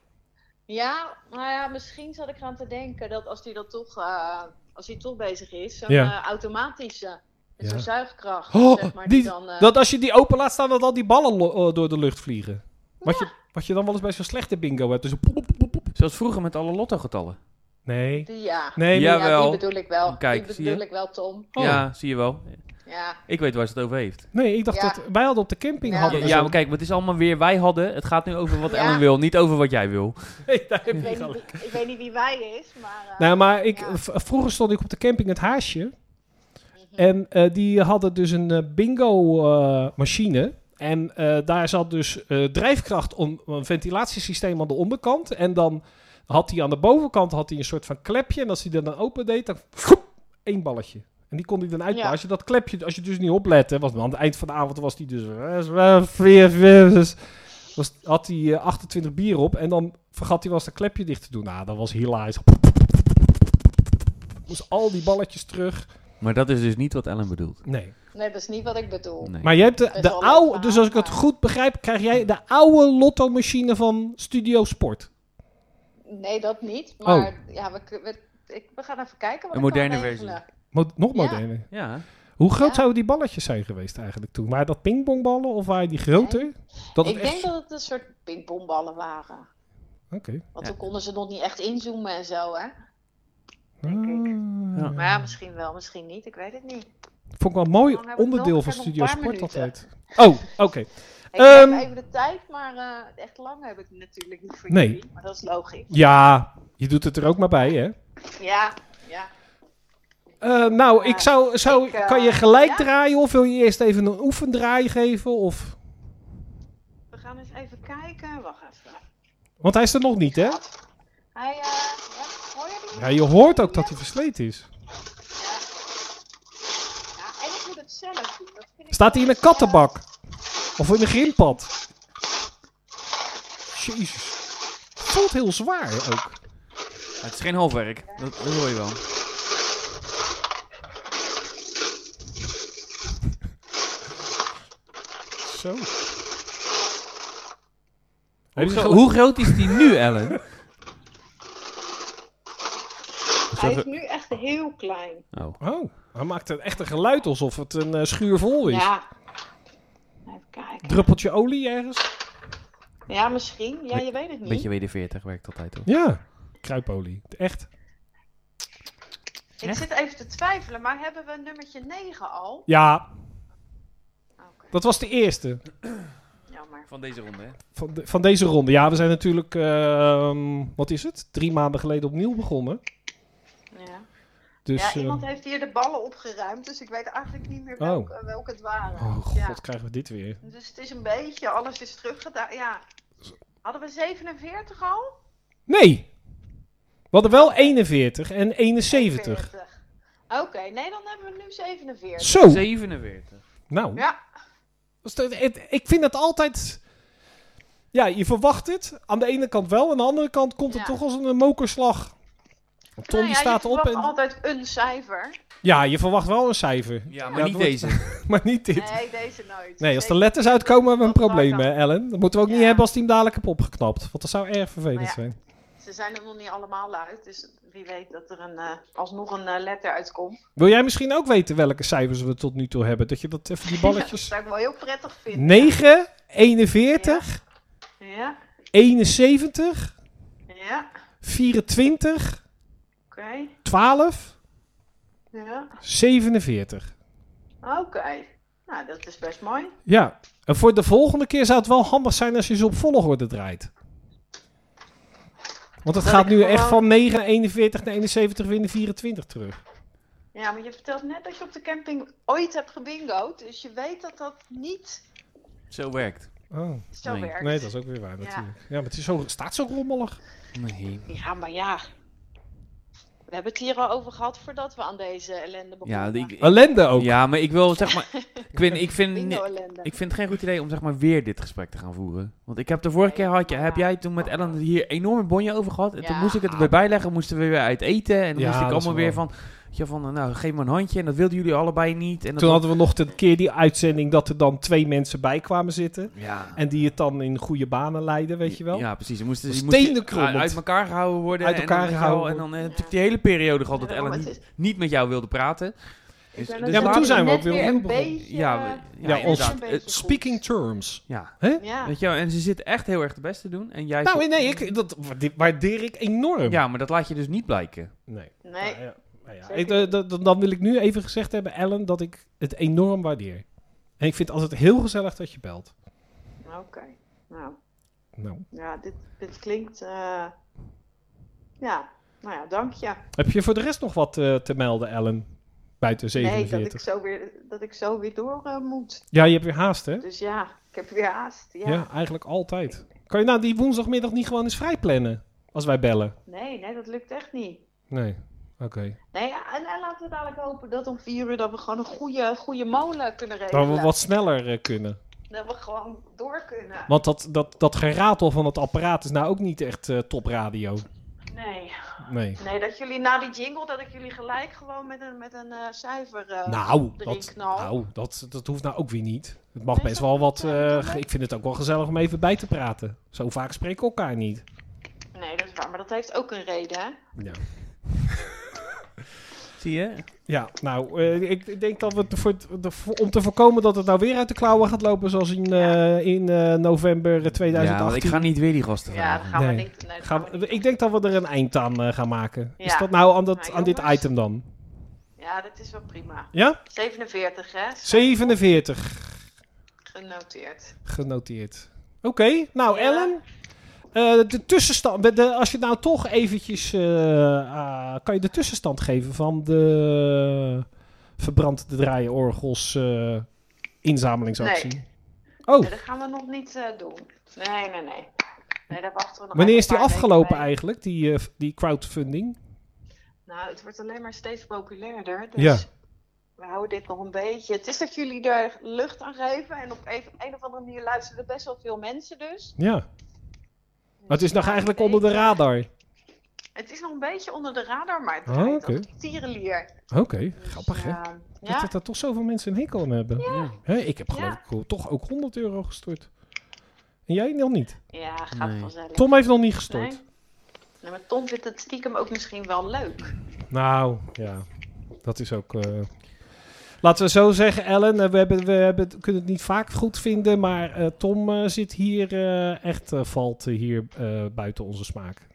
Speaker 5: Ja, nou ja, misschien zat ik eraan te denken dat als die dat toch, eh, als die toch bezig is, zo'n
Speaker 1: Ja.
Speaker 5: eh, automatische, met
Speaker 1: Ja.
Speaker 5: zo'n zuigkracht,
Speaker 1: Oh,
Speaker 5: zeg maar,
Speaker 1: die-
Speaker 5: die, dan... eh,
Speaker 1: Dat als je die open laat staan, dat al die ballen lo- eh, door de lucht vliegen. Wat, je, wat je dan wel eens bij zo'n slechte bingo hebt. Dus een poep, poep, poep, poep.
Speaker 2: Zoals vroeger met alle lottogetallen.
Speaker 1: Nee.
Speaker 5: die- ja.
Speaker 1: Nee,
Speaker 2: Ja.
Speaker 1: maar-
Speaker 5: ja,
Speaker 2: Jawel.
Speaker 5: die bedoel ik wel.
Speaker 2: Kijk,
Speaker 5: die
Speaker 2: zie je?
Speaker 5: bedoel ik wel, Tom.
Speaker 1: Oh.
Speaker 2: Ja, zie je wel.
Speaker 5: Ja.
Speaker 2: Ik weet waar ze het over heeft.
Speaker 1: nee ik dacht
Speaker 5: Ja.
Speaker 1: dat wij hadden op de camping.
Speaker 2: Ja,
Speaker 5: Ja.
Speaker 1: Hadden we
Speaker 2: ja,
Speaker 1: zo'n-
Speaker 2: maar kijk, maar het is allemaal weer wij hadden. Het gaat nu over wat
Speaker 5: Ja.
Speaker 2: Ellen wil, niet over wat jij wil.
Speaker 1: <laughs> Nee, daar heb
Speaker 5: Ik
Speaker 1: je
Speaker 5: weet, niet,
Speaker 1: gelijk.
Speaker 5: wie- ik weet niet wie wij is, maar... eh,
Speaker 1: Nou, maar ik,
Speaker 5: Ja.
Speaker 1: v- vroeger stond ik op de camping het haasje.
Speaker 5: mhm.
Speaker 1: En eh, die hadden dus een bingo-machine. en eh, daar zat dus eh, drijfkracht, om, een ventilatiesysteem aan de onderkant. En dan had hij aan de bovenkant had hij een soort van klepje. En als hij dat dan open deed, dan voep, één balletje. En die kon hij dan uitpakken.
Speaker 5: Ja.
Speaker 1: Als je dat klepje, als je dus niet oplette, was aan het eind van de avond was hij dus... eh, Was, had hij eh, 28 bier op en dan vergat hij wel eens dat klepje dicht te doen. Nou, dat was hilarisch. Moest al die balletjes terug.
Speaker 2: Maar dat is dus niet wat Ellen bedoelt.
Speaker 1: Nee.
Speaker 5: <laughs> Nee, dat is niet wat ik bedoel.
Speaker 2: Nee.
Speaker 1: Maar jij hebt de,
Speaker 5: Best
Speaker 1: de
Speaker 5: wel leuk
Speaker 1: oude,
Speaker 5: verhaal,
Speaker 1: dus als ik het
Speaker 5: maar-
Speaker 1: goed begrijp, krijg jij de oude lotto-machine van Studio Sport.
Speaker 5: Nee, dat niet.
Speaker 1: Oh.
Speaker 5: Maar ja, we, kun- we, ik, we gaan even kijken wat
Speaker 2: Een
Speaker 5: ik kan
Speaker 2: moderne versie.
Speaker 5: regelen.
Speaker 1: Mo- nog
Speaker 5: Ja.
Speaker 1: moderner.
Speaker 2: Ja.
Speaker 1: Hoe groot
Speaker 5: Ja.
Speaker 1: zouden die balletjes zijn geweest eigenlijk toen? Waren dat pingbongballen of waren die groter? Dat het
Speaker 5: ik
Speaker 1: echt-
Speaker 5: denk dat het een soort pingpongballen waren.
Speaker 1: Oké.
Speaker 5: Want
Speaker 2: Ja.
Speaker 5: toen konden ze nog niet echt inzoomen en zo, hè?
Speaker 1: Ah.
Speaker 2: Ja.
Speaker 5: Maar ja, misschien wel, misschien niet. Ik weet het niet.
Speaker 1: Vond ik wel een mooi
Speaker 5: Dan hebben we
Speaker 1: onderdeel
Speaker 5: nog-
Speaker 1: van
Speaker 5: ik heb nog
Speaker 1: Studio
Speaker 5: een
Speaker 1: Sport
Speaker 5: paar
Speaker 1: altijd. Oh, oké.
Speaker 5: Ik heb
Speaker 1: Ehm.
Speaker 5: even de tijd, maar eh, echt lang heb ik natuurlijk niet voor
Speaker 1: Nee.
Speaker 5: jullie. Maar dat is logisch.
Speaker 1: Ja, je doet het er ook maar bij, hè?
Speaker 5: Ja, ja.
Speaker 1: Eh, nou,
Speaker 5: Ja.
Speaker 1: ik zou, zou
Speaker 5: Ik, eh,
Speaker 1: kan je gelijk
Speaker 5: ja.
Speaker 1: draaien of wil je eerst even een oefendraai geven? Of...
Speaker 5: We gaan eens even kijken. Wacht even.
Speaker 1: Want hij is er nog niet, hè?
Speaker 5: Hij, eh, ja, hoor je die?
Speaker 1: Ja, je hoort ook dat hij versleten is.
Speaker 5: Ja, en ik moet het zelf doen. Dat vind ik eh,
Speaker 1: Staat hij
Speaker 5: wel
Speaker 1: in een
Speaker 5: gezellig.
Speaker 1: kattenbak? Of in een grimpad? Jezus. Het voelt heel zwaar ook.
Speaker 2: Het is geen halfwerk. Dat, dat hoor je wel.
Speaker 1: Zo.
Speaker 2: Hoe,
Speaker 1: Heb je
Speaker 2: gro-
Speaker 1: gel-
Speaker 2: hoe groot is die nu, <laughs> Ellen?
Speaker 5: Hij is nu echt heel klein.
Speaker 2: Oh.
Speaker 1: Oh, hij maakt een echt een geluid alsof het een eh, schuur vol is.
Speaker 5: Ja. Even kijken.
Speaker 1: Druppeltje olie ergens?
Speaker 5: Ja, misschien. Ja, je weet het niet.
Speaker 2: Beetje WD-40 werkt altijd hoor.
Speaker 1: Ja. Kruipolie. Echt?
Speaker 5: Ik zit even te twijfelen, maar hebben we nummertje 9 al?
Speaker 1: Ja,
Speaker 5: Oké,
Speaker 1: dat was de eerste
Speaker 5: jammer.
Speaker 2: Van deze ronde, hè?
Speaker 1: van, de- van deze ronde. Ja, we zijn natuurlijk, ehm, wat is het? Drie maanden geleden opnieuw begonnen.
Speaker 5: Ja.
Speaker 1: Dus,
Speaker 5: ja,
Speaker 1: eh,
Speaker 5: iemand heeft hier de ballen opgeruimd, dus ik weet eigenlijk niet meer
Speaker 1: Oh.
Speaker 5: welke, welke het waren.
Speaker 1: Oh god,
Speaker 5: Ja.
Speaker 1: krijgen we dit weer.
Speaker 5: Dus het is een beetje, alles is teruggedaan. Ja. Hadden we 47 al?
Speaker 1: Nee. We hadden wel 41 en 71.
Speaker 5: 40. Oké, nee, dan hebben we nu 47.
Speaker 2: Oh.
Speaker 1: Zo.
Speaker 2: 47.
Speaker 1: Nou,
Speaker 5: Ja,
Speaker 1: dat is de- het- ik vind het altijd... Ja, je verwacht het. Aan de ene kant wel. Aan de andere kant komt het
Speaker 5: Ja.
Speaker 1: toch als een mokerslag. Want Tom
Speaker 5: Nou
Speaker 1: die
Speaker 5: ja,
Speaker 1: staat
Speaker 5: je
Speaker 1: op en...
Speaker 5: verwacht altijd een cijfer.
Speaker 1: <laughs> Ja, je verwacht wel een cijfer. <laughs>
Speaker 2: Ja, maar
Speaker 1: dat
Speaker 2: niet
Speaker 1: wordt-
Speaker 2: deze.
Speaker 1: Maar niet dit. Nee,
Speaker 5: Nee, deze nooit.
Speaker 1: als de
Speaker 5: Zeker
Speaker 1: letters uitkomen hebben we een
Speaker 5: Dat maakt
Speaker 1: probleem, hè,
Speaker 5: dan-
Speaker 1: Ellen. Dat moeten we ook niet
Speaker 5: Ja.
Speaker 1: hebben als die hem dadelijk heb opgeknapt. Want dat zou erg vervelend
Speaker 5: Maar ja.
Speaker 1: zijn.
Speaker 5: niet. Ze zijn er nog niet allemaal uit, dus wie weet dat er een, eh, alsnog een eh, letter uitkomt. <laughs>
Speaker 1: Wil jij misschien ook weten welke cijfers we tot nu
Speaker 5: <laughs>
Speaker 1: toe hebben? Dat je dat even die
Speaker 5: dat
Speaker 1: balletjes...
Speaker 5: zou ik wel heel prettig vinden.
Speaker 1: 9, 41,
Speaker 5: Ja,
Speaker 1: 71,
Speaker 5: ja,
Speaker 1: 24,
Speaker 5: oké.
Speaker 1: 12,
Speaker 5: Ja,
Speaker 1: 47.
Speaker 5: oké. Nou, dat is best mooi.
Speaker 1: Ja, en voor de volgende keer zou het wel handig zijn als je ze op volgorde draait. Want het
Speaker 5: Dat
Speaker 1: gaat
Speaker 5: ik
Speaker 1: nu echt
Speaker 5: gewoon-
Speaker 1: van 9 naar 41 naar 71 weer naar 24 terug.
Speaker 5: Ja, maar je vertelt net dat je op de camping ooit hebt gebingo'd. Dus je weet dat dat niet
Speaker 2: Zo werkt.
Speaker 1: Oh,
Speaker 5: zo
Speaker 2: Nee.
Speaker 5: werkt.
Speaker 1: nee, dat is ook weer waar
Speaker 5: Ja.
Speaker 1: natuurlijk. Ja, maar het is zo, staat zo rommelig.
Speaker 2: Nee.
Speaker 5: Ja, maar ja. We hebben het hier al over gehad voordat we aan deze ellende
Speaker 2: Ja,
Speaker 5: begonnen.
Speaker 2: ik, ik-
Speaker 1: Ellende ook.
Speaker 2: ja, maar ik wil zeg maar. ik, vind, ik, vind,
Speaker 5: Bingo-ellende.
Speaker 2: ik vind het geen goed idee om zeg maar weer dit gesprek te gaan voeren. Want ik heb de vorige keer had je, heb jij toen met Ellen hier enorme bonje over gehad. En toen
Speaker 5: Ja.
Speaker 2: moest ik het erbij bijleggen, moesten we weer uit eten. En dan
Speaker 1: Ja,
Speaker 2: moest
Speaker 1: dat
Speaker 2: ik
Speaker 1: is
Speaker 2: allemaal weer
Speaker 1: wel-
Speaker 2: van. Ja, van nou, geef me een handje. En dat wilden jullie allebei niet. En dat
Speaker 1: Toen hadden we nog de keer die uitzending dat er dan twee mensen bij kwamen zitten.
Speaker 2: Ja.
Speaker 1: En die het dan in goede banen leiden, weet je wel.
Speaker 2: Ja, precies. Ze moesten,
Speaker 1: Was
Speaker 2: die moesten
Speaker 1: steenkrommend.
Speaker 2: uit elkaar gehouden worden.
Speaker 1: Uit
Speaker 2: en
Speaker 1: elkaar
Speaker 2: dan, weet je
Speaker 1: gehouden
Speaker 2: wel, En
Speaker 1: worden.
Speaker 2: dan eh, heb ik die hele periode gehad dat
Speaker 5: Ja, maar
Speaker 2: Ellen
Speaker 5: het
Speaker 2: niet,
Speaker 5: is-
Speaker 2: niet met jou wilde praten. Dus- dus
Speaker 1: maar
Speaker 2: laten
Speaker 1: toen zijn we
Speaker 5: net
Speaker 1: ook weer
Speaker 5: een
Speaker 1: opnieuw begonnen.
Speaker 5: beetje...
Speaker 2: Ja,
Speaker 5: eh,
Speaker 1: Ja,
Speaker 2: we- ja,
Speaker 5: net
Speaker 1: ons-
Speaker 5: een
Speaker 2: inderdaad.
Speaker 5: beetje goed.
Speaker 1: Speaking terms.
Speaker 2: Ja.
Speaker 5: Ja.
Speaker 2: Weet je wel, en ze zit echt heel erg de beste te doen. En jij
Speaker 1: Nou,
Speaker 2: zit-
Speaker 1: nee, ik, dat waarde- waardeer ik enorm.
Speaker 2: Ja, maar dat laat je dus niet blijken.
Speaker 1: Nee.
Speaker 5: Nee.
Speaker 1: Nou ja, nou ja.
Speaker 5: Zeker.
Speaker 1: Ik, eh, dat- dat- dan wil ik nu even gezegd hebben, Ellen, dat ik het enorm waardeer. En ik vind het altijd heel gezellig dat je belt.
Speaker 5: Oké. Nou,
Speaker 1: Nou.
Speaker 5: ja, dit, dit klinkt... eh, Ja, nou ja, dank je.
Speaker 1: Heb je voor de rest nog wat eh, te melden, Ellen? Buiten
Speaker 5: Nee,
Speaker 1: 47.
Speaker 5: dat ik zo weer, dat ik zo weer door eh, moet.
Speaker 1: Ja, je hebt weer haast, hè?
Speaker 5: Dus ja, ik heb weer haast. Ja.
Speaker 1: Ja. eigenlijk altijd. Kan je nou die woensdagmiddag niet gewoon eens vrij plannen? Als wij bellen?
Speaker 5: Nee, nee, dat lukt echt niet.
Speaker 1: Nee. Oké.
Speaker 5: Nee, ja, en, en laten we dadelijk hopen dat om vier uur dat we gewoon een goede, goede molen kunnen regelen.
Speaker 1: Dan we wat sneller eh, kunnen.
Speaker 5: Dat we gewoon door kunnen.
Speaker 1: Want dat, dat, dat geratel van het apparaat is nou ook niet echt eh, topradio.
Speaker 5: Nee.
Speaker 1: Nee.
Speaker 5: nee, dat jullie na die jingle, dat ik jullie gelijk gewoon met een, met een eh, cijfer... eh,
Speaker 1: Nou,
Speaker 5: erin
Speaker 1: dat,
Speaker 5: knal.
Speaker 1: nou dat, dat hoeft nou ook weer niet. Het mag
Speaker 5: Nee,
Speaker 1: best
Speaker 5: dat-
Speaker 1: wel wat.
Speaker 5: nee,
Speaker 1: eh,
Speaker 5: dat
Speaker 1: ge-
Speaker 5: mag.
Speaker 1: ik vind het ook wel gezellig om even bij te praten. Zo vaak spreken we elkaar niet.
Speaker 5: Nee, dat is waar. Maar dat heeft ook een reden, hè?
Speaker 1: Ja,
Speaker 2: Zie je?
Speaker 1: ja nou, eh, ik, ik denk dat we het voor, de- voor- om te voorkomen dat het nou weer uit de klauwen gaat lopen. Zoals in, eh, in eh, november
Speaker 2: Ja, want
Speaker 1: 2018.
Speaker 2: ik ga niet weer die gasten
Speaker 5: Ja,
Speaker 2: vragen.
Speaker 5: dat gaan we
Speaker 1: Nee.
Speaker 5: niet... Nee, dat
Speaker 1: Gaan
Speaker 5: gaan we
Speaker 1: we-
Speaker 5: niet
Speaker 1: ik denk dat we er een eind aan eh, gaan maken. Is
Speaker 5: Ja.
Speaker 1: dat nou aan, dat,
Speaker 5: Nou,
Speaker 1: aan dit
Speaker 5: jongens.
Speaker 1: item dan?
Speaker 5: doen. Ja, dat is wel prima.
Speaker 1: Ja?
Speaker 5: 47, hè?
Speaker 1: 47
Speaker 5: Genoteerd.
Speaker 1: genoteerd. Oké, nou
Speaker 5: Ja.
Speaker 1: Ellen. eh, de tussenstand, de- de- als je nou toch eventjes, eh, ah, kan je de tussenstand geven van de verbrand te draaien orgels eh, inzamelingsactie? Oh,
Speaker 5: Nee, dat gaan we nog niet eh, doen. Nee, nee, nee. Nee, daar wachten we nog
Speaker 1: wanneer
Speaker 5: even
Speaker 1: is die
Speaker 5: een paar weken
Speaker 1: afgelopen
Speaker 5: mee.
Speaker 1: eigenlijk, die, eh, die crowdfunding?
Speaker 5: Nou, het wordt alleen maar steeds populairder. Dus
Speaker 1: Ja.
Speaker 5: we houden dit nog een beetje. Het is dat jullie er lucht aan geven. En op een, een of andere manier luisteren er best wel veel mensen dus.
Speaker 1: Ja, maar het is
Speaker 5: Dus
Speaker 1: nog
Speaker 5: ja,
Speaker 1: eigenlijk
Speaker 5: een
Speaker 1: onder de
Speaker 5: beetje-
Speaker 1: radar.
Speaker 5: Het is nog een beetje onder de radar, maar het
Speaker 1: Ah,
Speaker 5: draait
Speaker 1: oké.
Speaker 5: als een tierenlier.
Speaker 1: Oké,
Speaker 5: Dus,
Speaker 1: grappig hè?
Speaker 5: eh,
Speaker 1: Dat,
Speaker 5: ja,
Speaker 1: dat daar toch zoveel mensen een hekel aan hebben.
Speaker 2: Ja.
Speaker 1: Hè, ik heb geloof
Speaker 5: Ja.
Speaker 1: ik wel toch ook 100 euro gestort. En jij nog niet?
Speaker 5: ja, gaat
Speaker 2: Nee.
Speaker 5: vanzelf.
Speaker 1: Tom heeft nog niet gestort.
Speaker 5: Nee. Nee, maar Tom vindt het stiekem ook misschien wel leuk.
Speaker 1: Nou, ja. Dat is ook... eh, Laten we zo zeggen, Ellen, eh, we, hebben, we hebben, het- kunnen het niet vaak goed vinden, maar eh, Tom eh, zit hier eh, echt, eh, valt eh, hier eh, buiten onze smaak.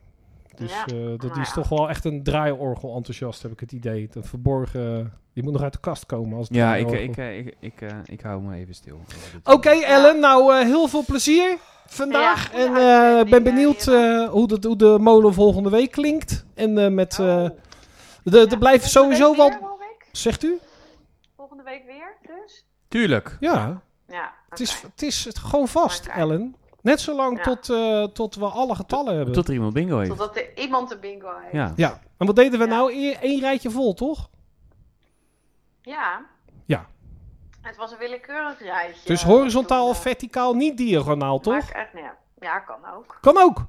Speaker 1: Dus
Speaker 5: Ja,
Speaker 1: eh, dat
Speaker 5: nou
Speaker 1: is
Speaker 5: ja.
Speaker 1: toch wel echt een draaiorgel enthousiast, heb ik het idee. Dat verborgen, die moet nog uit de kast komen. Als
Speaker 2: Ja, ik,
Speaker 1: draaiorgel.
Speaker 2: ik, eh, ik, ik, eh, ik hou me even stil.
Speaker 1: Oh. Oké, Ellen, nou eh, heel veel plezier vandaag.
Speaker 5: Ja,
Speaker 1: en
Speaker 5: goeie
Speaker 1: eh,
Speaker 5: uitzending,
Speaker 1: ben benieuwd
Speaker 5: eh,
Speaker 1: eh, hoe, de, hoe de molen volgende week klinkt. En eh, met. eh
Speaker 5: Oh.
Speaker 1: de,
Speaker 5: Ja,
Speaker 1: er blijven
Speaker 5: volgende
Speaker 1: sowieso
Speaker 5: week
Speaker 1: wel.
Speaker 5: weer, hoor ik.
Speaker 1: Zegt u?
Speaker 5: Volgende week weer, dus?
Speaker 2: Tuurlijk.
Speaker 1: Ja,
Speaker 5: Ja,
Speaker 1: het
Speaker 5: oké.
Speaker 1: is, het is het gewoon vast,
Speaker 5: Oké.
Speaker 1: Ellen. Net zolang
Speaker 5: Ja.
Speaker 1: tot, eh, tot we alle getallen hebben.
Speaker 2: Tot er iemand bingo heeft.
Speaker 5: Totdat er iemand een bingo heeft.
Speaker 2: Ja.
Speaker 1: Ja, en wat deden we
Speaker 5: Ja.
Speaker 1: nou? Eén één rijtje vol, toch?
Speaker 5: Ja.
Speaker 1: Ja.
Speaker 5: Het was een willekeurig rijtje.
Speaker 1: Dus horizontaal
Speaker 5: Toen,
Speaker 1: of
Speaker 5: eh,
Speaker 1: verticaal, niet diagonaal, toch?
Speaker 5: maakt echt niet uit. Ja, kan ook.
Speaker 1: Kan ook.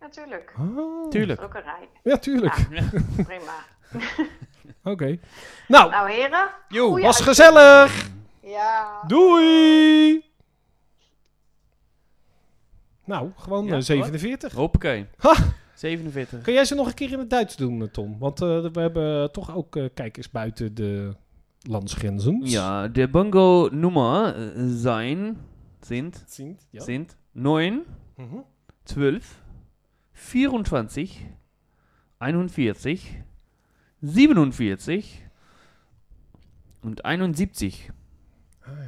Speaker 5: Natuurlijk.
Speaker 1: Ah.
Speaker 5: Dat is
Speaker 2: Tuurlijk.
Speaker 5: ook een rij.
Speaker 1: Ja, tuurlijk.
Speaker 5: Prima.
Speaker 1: Oké. Nou,
Speaker 5: Nou, heren.
Speaker 2: Jo.
Speaker 5: goeie
Speaker 1: was
Speaker 5: uitzending.
Speaker 1: gezellig.
Speaker 5: Ja.
Speaker 1: Doei! Nou, gewoon
Speaker 2: Ja,
Speaker 1: eh, 47.
Speaker 2: Hoppakee.
Speaker 1: Ha!
Speaker 2: 47.
Speaker 1: Kun jij ze nog een keer in het Duits doen, eh, Tom? Want eh, we hebben toch ook eh, kijkers buiten de landsgrenzen.
Speaker 2: Ja, de bingo nummer eh, zijn, sind,
Speaker 1: Zien? Ja.
Speaker 2: sind 9,
Speaker 1: Mhm.
Speaker 2: 12, 24, 41, 47 und 71.
Speaker 1: Ah, ja.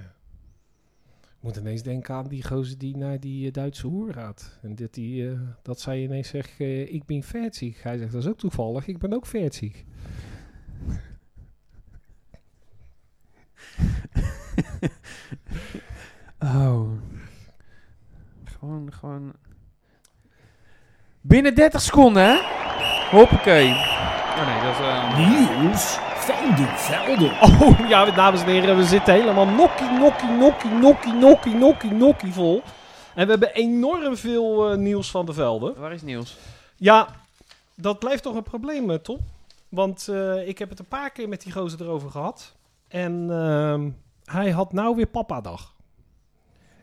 Speaker 1: Ik moet ineens denken aan die gozer die naar die eh, Duitse hoer gaat. En dat, die, eh, dat zij ineens zegt, eh, ik ben 40. Hij zegt, dat is ook toevallig, ik ben ook 40.
Speaker 2: Oh. Gewoon, gewoon. Binnen 30 seconden, hè? Hoppakee. Oh nee, dat is. eh,
Speaker 1: Niels van de Velden. Oh ja, dames en heren, we zitten helemaal nokkie, nokkie, nokkie, nokkie, nokkie, nokkie, nokkie vol. En we hebben enorm veel eh, Niels van de Velden.
Speaker 2: Waar is Niels?
Speaker 1: Ja, dat blijft toch een probleem, eh, Tom. Want eh, ik heb het een paar keer met die gozer erover gehad. En ehm, hij had nou weer papa-dag.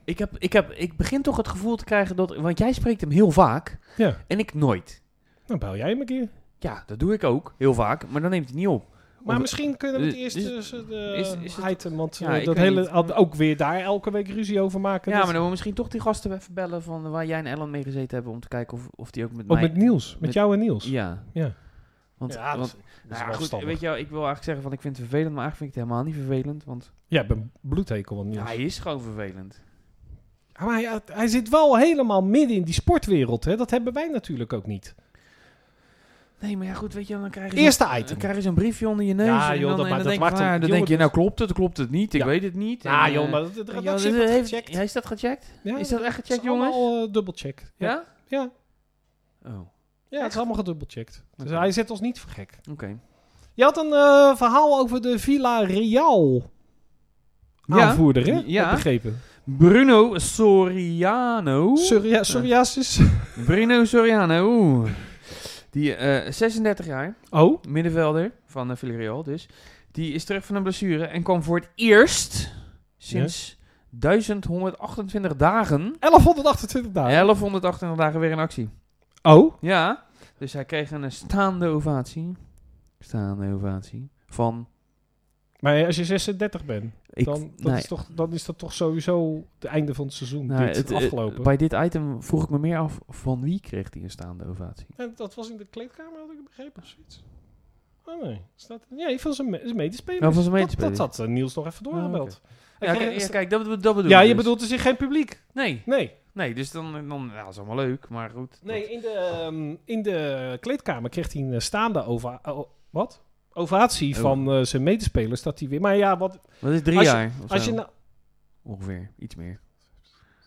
Speaker 2: Ik, heb, ik, heb, ik begin toch het gevoel te krijgen dat. Want jij spreekt hem heel vaak
Speaker 1: Ja,
Speaker 2: en ik nooit.
Speaker 1: nou bel jij hem een keer.
Speaker 2: Ja, dat doe ik ook heel vaak, maar dan neemt hij niet op.
Speaker 1: Maar
Speaker 2: Of-
Speaker 1: misschien kunnen we het
Speaker 2: eh,
Speaker 1: eerst
Speaker 2: is-
Speaker 1: dus, eh, de
Speaker 2: is- is het-
Speaker 1: heiten, want
Speaker 2: Ja,
Speaker 1: eh,
Speaker 2: ik
Speaker 1: dat
Speaker 2: weet
Speaker 1: hele,
Speaker 2: niet.
Speaker 1: had ook weer daar elke week ruzie over maken. Dus
Speaker 2: Ja,
Speaker 1: dat-
Speaker 2: maar dan moet misschien toch die gasten even bellen van waar jij en Ellen mee gezeten hebben om te kijken of, of die ook met
Speaker 1: Ook
Speaker 2: mij.
Speaker 1: met Niels, met,
Speaker 2: met-
Speaker 1: jou en Niels.
Speaker 2: Ja.
Speaker 1: Ja.
Speaker 2: Want,
Speaker 1: Ja, dat
Speaker 2: want
Speaker 1: is- dat is
Speaker 2: Nou ja,
Speaker 1: wel
Speaker 2: goed,
Speaker 1: verstandig.
Speaker 2: weet je wel, ik wil eigenlijk zeggen van ik vind het vervelend, maar eigenlijk vind ik het helemaal niet vervelend, want
Speaker 1: Ja, ik ben bloedhekel aan Niels.
Speaker 2: hij is gewoon vervelend.
Speaker 1: Ah, Maar hij, hij zit wel helemaal midden in die sportwereld. Hè? Dat hebben wij natuurlijk ook niet.
Speaker 2: Nee, maar ja, goed, weet je wel, dan krijg je
Speaker 1: Eerste
Speaker 2: zo'n-
Speaker 1: item.
Speaker 2: Dan krijg je zo'n briefje onder je neus
Speaker 1: Ja,
Speaker 2: en
Speaker 1: joh,
Speaker 2: dan,
Speaker 1: dat
Speaker 2: en
Speaker 1: ma-
Speaker 2: dan
Speaker 1: dat
Speaker 2: denk,
Speaker 1: maakt
Speaker 2: je, van,
Speaker 1: hem-
Speaker 2: ja, dan
Speaker 1: joh,
Speaker 2: denk je, nou klopt het, klopt het niet, ik
Speaker 1: Ja.
Speaker 2: weet het niet.
Speaker 1: Ja,
Speaker 2: en,
Speaker 1: Nou, joh,
Speaker 2: eh,
Speaker 1: maar dat, dat,
Speaker 2: weet je
Speaker 1: dat
Speaker 2: wel,
Speaker 1: heeft
Speaker 2: dit heeft-
Speaker 1: gecheckt.
Speaker 2: Hij is dat gecheckt?
Speaker 1: Ja,
Speaker 2: is dat echt
Speaker 1: Het
Speaker 2: gecheckt,
Speaker 1: is allemaal
Speaker 2: jongens?
Speaker 1: dubbelcheck. dubbelcheckt. Ja, ja?
Speaker 2: Ja?
Speaker 1: ja.
Speaker 2: Oh, oké.
Speaker 1: het is allemaal gedubbelcheckt. Dus
Speaker 2: Oké.
Speaker 1: hij zet ons niet voor gek.
Speaker 2: Oh,
Speaker 1: Je had een eh, verhaal over de Villarreal
Speaker 2: Ja.
Speaker 1: aanvoerder, hè?
Speaker 2: Ja.
Speaker 1: Heb begrepen.
Speaker 2: Bruno Soriano.
Speaker 1: Surya- psoriasis.
Speaker 2: Bruno Soriano, oeh. Die eh 36 jaar.
Speaker 1: Oh,
Speaker 2: middenvelder van eh, Villarreal dus. Die is terug van een blessure en kwam voor het eerst sinds 1128 dagen,
Speaker 1: 1128 dagen.
Speaker 2: 1128 dagen weer in actie.
Speaker 1: Oh,
Speaker 2: Ja, dus hij kreeg een eh, staande ovatie. Staande ovatie van...
Speaker 1: maar als je 36 bent,
Speaker 2: Ik,
Speaker 1: dan, dat
Speaker 2: nou,
Speaker 1: is toch, dan is dat toch sowieso het einde van het seizoen.
Speaker 2: nou,
Speaker 1: dit,
Speaker 2: het, eh,
Speaker 1: afgelopen.
Speaker 2: bij dit item vroeg ik me meer af van wie kreeg hij een staande ovatie.
Speaker 1: En dat was in de kleedkamer, had ik begrepen of zoiets. Oh nee, staat, nee van zijn, me, zijn medespelers.
Speaker 2: Ja, van zijn
Speaker 1: Dat,
Speaker 2: medespelers.
Speaker 1: dat had eh, Niels nog even doorgebeld. Hij
Speaker 2: Ja,
Speaker 1: kreeg-
Speaker 2: kijk, ja, kijk, dat, dat bedoel
Speaker 1: ja,
Speaker 2: ik
Speaker 1: je
Speaker 2: dus.
Speaker 1: bedoelt er zich geen publiek.
Speaker 2: Nee,
Speaker 1: Nee,
Speaker 2: nee, dus dan, dan ja, is allemaal leuk, maar goed.
Speaker 1: nee in, de, ehm, in de kleedkamer kreeg hij een eh, staande ova o- wat? ovatie
Speaker 2: Oh.
Speaker 1: van eh, zijn medespelers. Dat hij weer. Maar ja, wat,
Speaker 2: Wat is drie
Speaker 1: Als je-
Speaker 2: jaar? of
Speaker 1: als
Speaker 2: zo?
Speaker 1: je nou.
Speaker 2: Ongeveer, iets meer.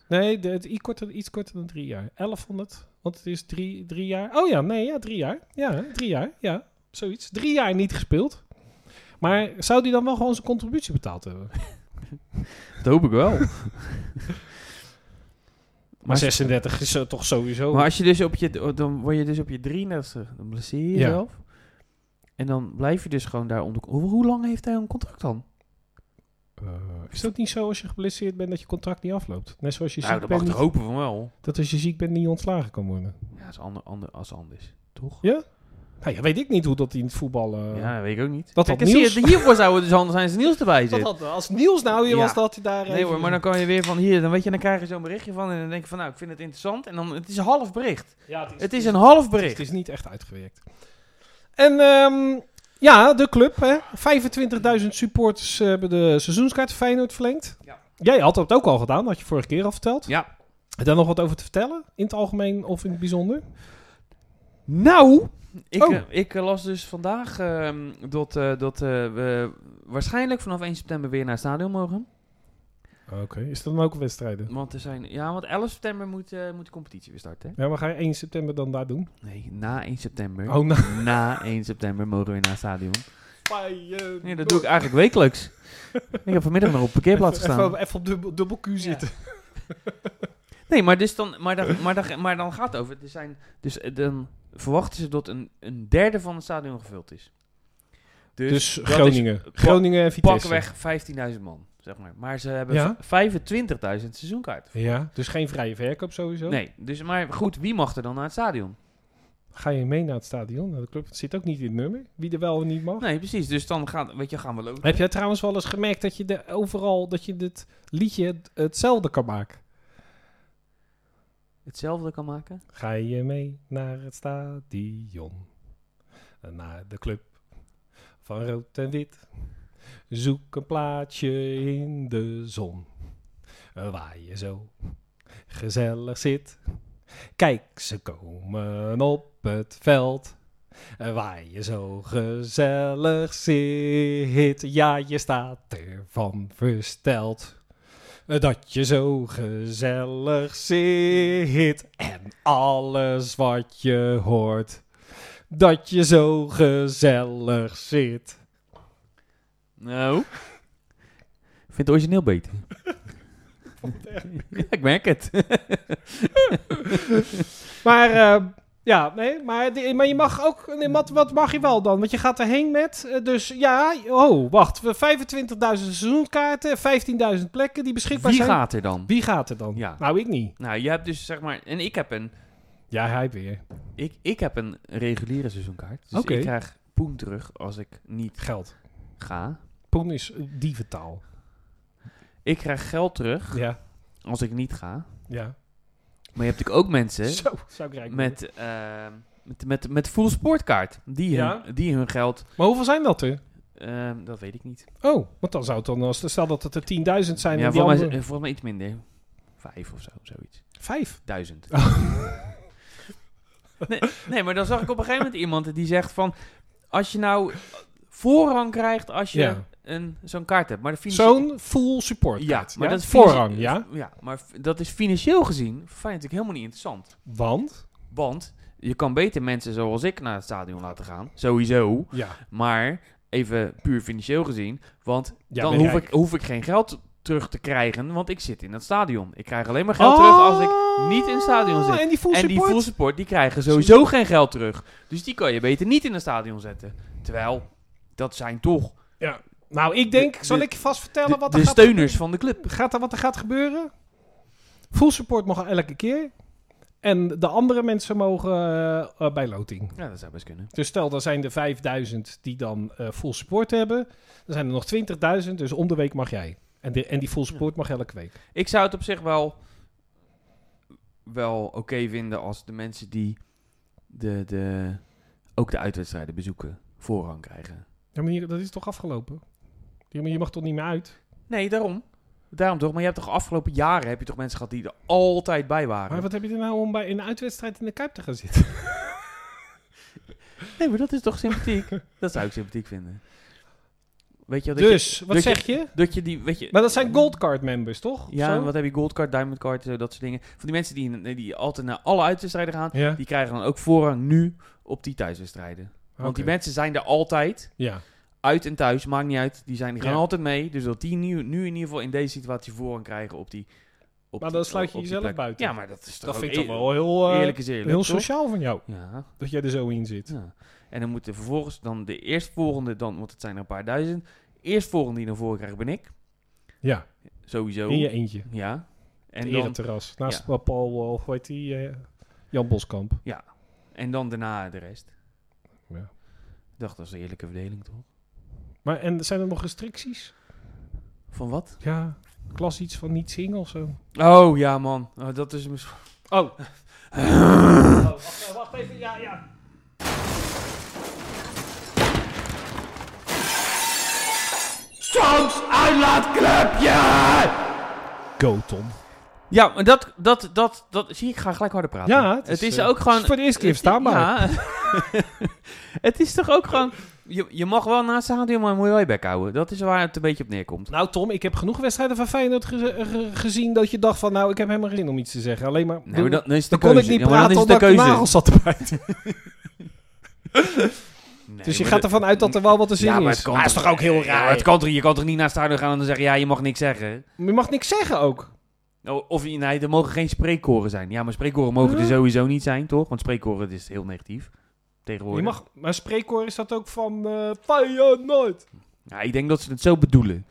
Speaker 1: Nee, de, het, iets, korter, iets korter dan drie jaar. 1100, want het is drie, drie jaar. Oh ja, nee, ja, drie jaar. Ja, hè, drie jaar, ja, zoiets. Drie jaar niet gespeeld. Maar zou die dan wel gewoon zijn contributie betaald hebben?
Speaker 2: Dat hoop ik <laughs> wel.
Speaker 1: Maar
Speaker 2: maar,
Speaker 1: 36 is eh, toch sowieso.
Speaker 2: maar als je dus op je, dan word je dus op je 33 dan blesseer je
Speaker 1: Ja.
Speaker 2: jezelf. En dan blijf je dus gewoon daar onder. Hoe, hoe lang heeft hij een contract dan?
Speaker 1: Eh, is dat niet zo als je geblesseerd bent dat je contract niet afloopt? Net zoals je
Speaker 2: Nou,
Speaker 1: ziek
Speaker 2: dat mag
Speaker 1: bent,
Speaker 2: ik toch
Speaker 1: niet-
Speaker 2: hopen van wel.
Speaker 1: dat als je ziek bent niet ontslagen kan worden.
Speaker 2: Ja, dat is ander, ander, als anders. Toch?
Speaker 1: Nou ja, weet ik niet hoe dat in het voetbal... eh,
Speaker 2: ja, dat weet ik ook niet.
Speaker 1: dat
Speaker 2: Kijk,
Speaker 1: had
Speaker 2: en zie
Speaker 1: Niels-
Speaker 2: je, hiervoor zou het dus anders zijn als Niels erbij
Speaker 1: dat
Speaker 2: zit.
Speaker 1: had, als Niels nou hier
Speaker 2: Ja.
Speaker 1: was, dat hij daar...
Speaker 2: Nee
Speaker 1: even-
Speaker 2: hoor, maar dan kan je weer van hier, dan weet je, dan krijg je zo'n berichtje van en dan denk je van nou, ik vind het interessant. En dan, het is een half bericht.
Speaker 1: Ja,
Speaker 2: Het is een half
Speaker 1: Dus het
Speaker 2: bericht.
Speaker 1: is niet echt uitgewerkt. En ehm, ja, de club. Hè? 25.000 supporters hebben de seizoenskaart van Feyenoord verlengd.
Speaker 2: Ja.
Speaker 1: Jij had dat ook al gedaan, had je vorige keer al verteld.
Speaker 2: Ja,
Speaker 1: Heb je daar nog wat over te vertellen? In het algemeen of in het bijzonder?
Speaker 2: Nou, ik,
Speaker 1: Oh.
Speaker 2: eh, ik eh, las dus vandaag ehm, dat, eh, dat eh, we waarschijnlijk vanaf 1 september weer naar het stadion mogen.
Speaker 1: Oké, is dat dan ook wedstrijden?
Speaker 2: Want er zijn, ja, want 11 september moet, eh, moet de competitie weer starten.
Speaker 1: Ja, maar ga je 1 september dan daar doen?
Speaker 2: hè? Nee, na 1 september.
Speaker 1: Oh, nou.
Speaker 2: Na 1 september mogen we weer naar het stadion. Nee, dat
Speaker 1: Oh.
Speaker 2: doe ik eigenlijk wekelijks. ik heb vanmiddag nog op
Speaker 1: <laughs>
Speaker 2: parkeerplaats
Speaker 1: Even,
Speaker 2: gestaan.
Speaker 1: even, op dubbel, dubbel Q zitten.
Speaker 2: Nee, maar, dus dan, maar,
Speaker 1: <laughs>
Speaker 2: dan, maar, dan, maar dan gaat het over. Er zijn, dus eh, dan verwachten ze dat een, een derde van het stadion gevuld is.
Speaker 1: Dus,
Speaker 2: dat is
Speaker 1: Groningen. Groningen en Vitesse.
Speaker 2: pakweg 15.000 man, zeg maar. Maar ze hebben
Speaker 1: Ja?
Speaker 2: v- 25.000 seizoenkaarten.
Speaker 1: Ja, dus geen vrije verkoop sowieso.
Speaker 2: Nee, dus, maar goed, wie mag er dan naar het stadion?
Speaker 1: Ga je mee naar het stadion, naar de club? Het zit ook niet in het nummer. Wie er wel en niet mag.
Speaker 2: Nee, precies. Dus dan gaan, weet je, gaan we lopen.
Speaker 1: Heb jij trouwens wel eens gemerkt dat je de, overal dat je dit liedje het- hetzelfde kan maken?
Speaker 2: hetzelfde kan maken?
Speaker 1: Ga je mee naar het stadion? Eh, Naar de club van rood en wit. Zoek een plaatsje in de zon. eh, Waar je zo gezellig zit. Kijk, ze komen op het veld. eh, Waar je zo gezellig zit. Ja, je staat ervan versteld. eh, Dat je zo gezellig zit en alles wat je hoort. Dat je zo gezellig zit.
Speaker 2: Nou. Ik vind het origineel
Speaker 1: <laughs>
Speaker 2: beter. ja, ik merk het.
Speaker 1: Maar eh, ja, nee, maar, die- maar je mag ook. nee, wat, wat mag je wel dan? Want je gaat erheen met. eh, Dus ja, oh, wacht. we 25.000 seizoenskaarten, 15.000 plekken die beschikbaar
Speaker 2: Wie
Speaker 1: zijn.
Speaker 2: gaat er dan?
Speaker 1: Wie gaat er dan?
Speaker 2: Ja.
Speaker 1: Nou, ik niet.
Speaker 2: Nou, je hebt dus zeg maar... En ik heb een,
Speaker 1: Ja, hij weer.
Speaker 2: ik, ik heb een reguliere seizoenkaart. Dus
Speaker 1: Oké.
Speaker 2: ik krijg poen terug als ik niet
Speaker 1: Geld.
Speaker 2: ga.
Speaker 1: Poen is eh, dieventaal.
Speaker 2: Ik krijg geld terug
Speaker 1: Ja,
Speaker 2: als ik niet ga.
Speaker 1: ja.
Speaker 2: Maar je hebt natuurlijk ook <laughs> mensen...
Speaker 1: Zo, zou ik rijk worden.
Speaker 2: met, eh, met, met, met full sportkaart. Die hun,
Speaker 1: Ja.
Speaker 2: die hun geld,
Speaker 1: Maar hoeveel zijn dat er?
Speaker 2: ehm, dat weet ik niet.
Speaker 1: Oh, want dan zou het dan, als, stel dat het er 10.000 zijn
Speaker 2: ja,
Speaker 1: en die
Speaker 2: volgens,
Speaker 1: andere...
Speaker 2: mij, volgens mij iets minder. Vijf of zo, zoiets.
Speaker 1: Vijf.
Speaker 2: Duizend.
Speaker 1: <laughs>
Speaker 2: nee, nee, maar dan zag ik op een gegeven moment iemand die zegt van... Als je nou voorrang krijgt als je
Speaker 1: Ja.
Speaker 2: een, zo'n kaart hebt. Maar de financi-
Speaker 1: Zo'n full support.
Speaker 2: ja, maar dat is financi-
Speaker 1: voorrang, ja.
Speaker 2: Ja, maar f- dat is financieel gezien vind ik natuurlijk helemaal niet interessant.
Speaker 1: Want?
Speaker 2: Want je kan beter mensen zoals ik naar het stadion laten gaan. Sowieso.
Speaker 1: Ja.
Speaker 2: Maar even puur financieel gezien. Want
Speaker 1: Ja,
Speaker 2: dan
Speaker 1: ben
Speaker 2: hoef
Speaker 1: jij-
Speaker 2: ik, hoef ik geen geld terug te krijgen. Want ik zit in het stadion. Ik krijg alleen maar geld terug als ik. niet in het stadion zit.
Speaker 1: En die Oh, full
Speaker 2: en die
Speaker 1: support?
Speaker 2: full support, die krijgen sowieso geen geld terug. Dus die kan je beter niet in het stadion zetten. Terwijl, dat zijn toch
Speaker 1: Nou, ik denk,
Speaker 2: De-
Speaker 1: zal
Speaker 2: de-
Speaker 1: ik je vast vertellen
Speaker 2: de,
Speaker 1: wat er
Speaker 2: de
Speaker 1: gaat
Speaker 2: steuners van de club.
Speaker 1: gaat er wat er gaat gebeuren. Full support mag elke keer. En de andere mensen mogen eh, eh, bij loting.
Speaker 2: Ja, dat zou best kunnen.
Speaker 1: Dus stel, er zijn er 5000 die dan eh, full support hebben. Dan zijn er nog 20.000, dus om de week mag jij. En, de, en die full support mag elke week.
Speaker 2: Ik zou het op zich wel, wel oké vinden als de mensen die de, de, ook de uitwedstrijden bezoeken voorrang krijgen.
Speaker 1: Ja, maar hier- dat is toch afgelopen? Je, je mag toch niet meer uit?
Speaker 2: Nee, daarom. Daarom toch. Maar je hebt toch afgelopen jaren heb je toch mensen gehad die er altijd bij waren.
Speaker 1: Maar wat heb je er nou om bij een uitwedstrijd in de Kuip te gaan zitten?
Speaker 2: Nee, maar dat is toch sympathiek. <laughs> dat zou ik sympathiek vinden. Weet je, wel, dat
Speaker 1: Dus, wat
Speaker 2: dat
Speaker 1: zeg je?
Speaker 2: je, dat je die, weet je,
Speaker 1: Maar dat zijn goldcard members, toch? Of
Speaker 2: ja,
Speaker 1: zo?
Speaker 2: wat heb je goldcard, diamondcard, eh, dat soort dingen. Van die mensen die, eh, die altijd naar alle uitwedstrijden gaan,
Speaker 1: Ja.
Speaker 2: die krijgen dan ook voorrang nu op die thuiswedstrijden. Want die
Speaker 1: Oké.
Speaker 2: mensen zijn er altijd,
Speaker 1: Ja.
Speaker 2: uit en thuis, maakt niet uit. Die, zijn, die gaan
Speaker 1: Ja.
Speaker 2: altijd mee. Dus dat die nu, nu in ieder geval in deze situatie voorrang krijgen op die. Op
Speaker 1: Maar
Speaker 2: die-
Speaker 1: dan sluit je
Speaker 2: op die
Speaker 1: jezelf
Speaker 2: plek.
Speaker 1: buiten.
Speaker 2: Ja, maar dat is toch
Speaker 1: Dat
Speaker 2: ook
Speaker 1: vind ik
Speaker 2: eer-
Speaker 1: toch wel heel, eh,
Speaker 2: Eerlijk is eerlijk.
Speaker 1: heel
Speaker 2: toch?
Speaker 1: sociaal van jou.
Speaker 2: Ja.
Speaker 1: Dat jij er zo in zit.
Speaker 2: Ja. En dan moeten vervolgens dan de eerstvolgende, dan, want het zijn er een paar duizend. Eerstvolgende die naar voren krijgt ben ik.
Speaker 1: Ja,
Speaker 2: Sowieso.
Speaker 1: in je eentje.
Speaker 2: Ja. En
Speaker 1: En
Speaker 2: dan,
Speaker 1: terras. Naast
Speaker 2: ja.
Speaker 1: waar Paul, eh, of hoe heet die? eh, Jan Boskamp.
Speaker 2: en dan daarna de rest.
Speaker 1: Ja.
Speaker 2: Ik dacht, dat is een eerlijke verdeling toch?
Speaker 1: Maar en zijn er nog restricties?
Speaker 2: Van wat?
Speaker 1: Ja, klas iets van niet zingen of zo.
Speaker 2: Oh ja, man. Oh, dat is misschien.
Speaker 1: Oh. wacht, Oh, wacht even. Ja, ja.
Speaker 2: Soms uitlaatklapje!
Speaker 1: Go, Tom.
Speaker 2: Ja, maar dat, dat, dat, dat, zie ik, ga gelijk harder praten.
Speaker 1: Ja,
Speaker 2: het is,
Speaker 1: eh,
Speaker 2: ook gewoon...
Speaker 1: Voor de eerste keer
Speaker 2: staan
Speaker 1: staan maar.
Speaker 2: <laughs> het is toch ook gewoon... Je, je mag wel naast de stadion, maar moet je wel je bek houden. Dat is waar het een beetje op neerkomt.
Speaker 1: Nou, Tom, ik heb genoeg wedstrijden van Feyenoord ge- ge- gezien dat je dacht van, nou, ik heb helemaal geen zin om iets te zeggen. Alleen maar.
Speaker 2: Nee, Nou, maar dan, dan is het de
Speaker 1: dan kon ik
Speaker 2: keuze.
Speaker 1: niet
Speaker 2: Ja, maar dan
Speaker 1: praten
Speaker 2: is het de
Speaker 1: omdat ik de
Speaker 2: keuze.
Speaker 1: nagels zat te bijten.
Speaker 2: Nee,
Speaker 1: dus je
Speaker 2: maar
Speaker 1: gaat
Speaker 2: dat-
Speaker 1: ervan uit dat er wel wat te zien
Speaker 2: Ja, maar
Speaker 1: is.
Speaker 2: het kan
Speaker 1: Maar is
Speaker 2: toch-
Speaker 1: toch ook heel
Speaker 2: Ja,
Speaker 1: raar.
Speaker 2: maar het kan toch, je kan toch niet naast de stadion gaan en dan zeggen, ja, je mag niks zeggen.
Speaker 1: Je mag niks zeggen ook.
Speaker 2: Nou, Of je- nee, er mogen geen spreekkoren zijn. Ja, maar spreekkoren mogen er
Speaker 1: Huh?
Speaker 2: sowieso niet zijn, toch? Want spreekkoren is heel negatief. Tegenwoordig.
Speaker 1: Je mag, maar spreekkoor is dat ook van eh Feyenoord.
Speaker 2: Ja, ik denk dat ze het zo bedoelen.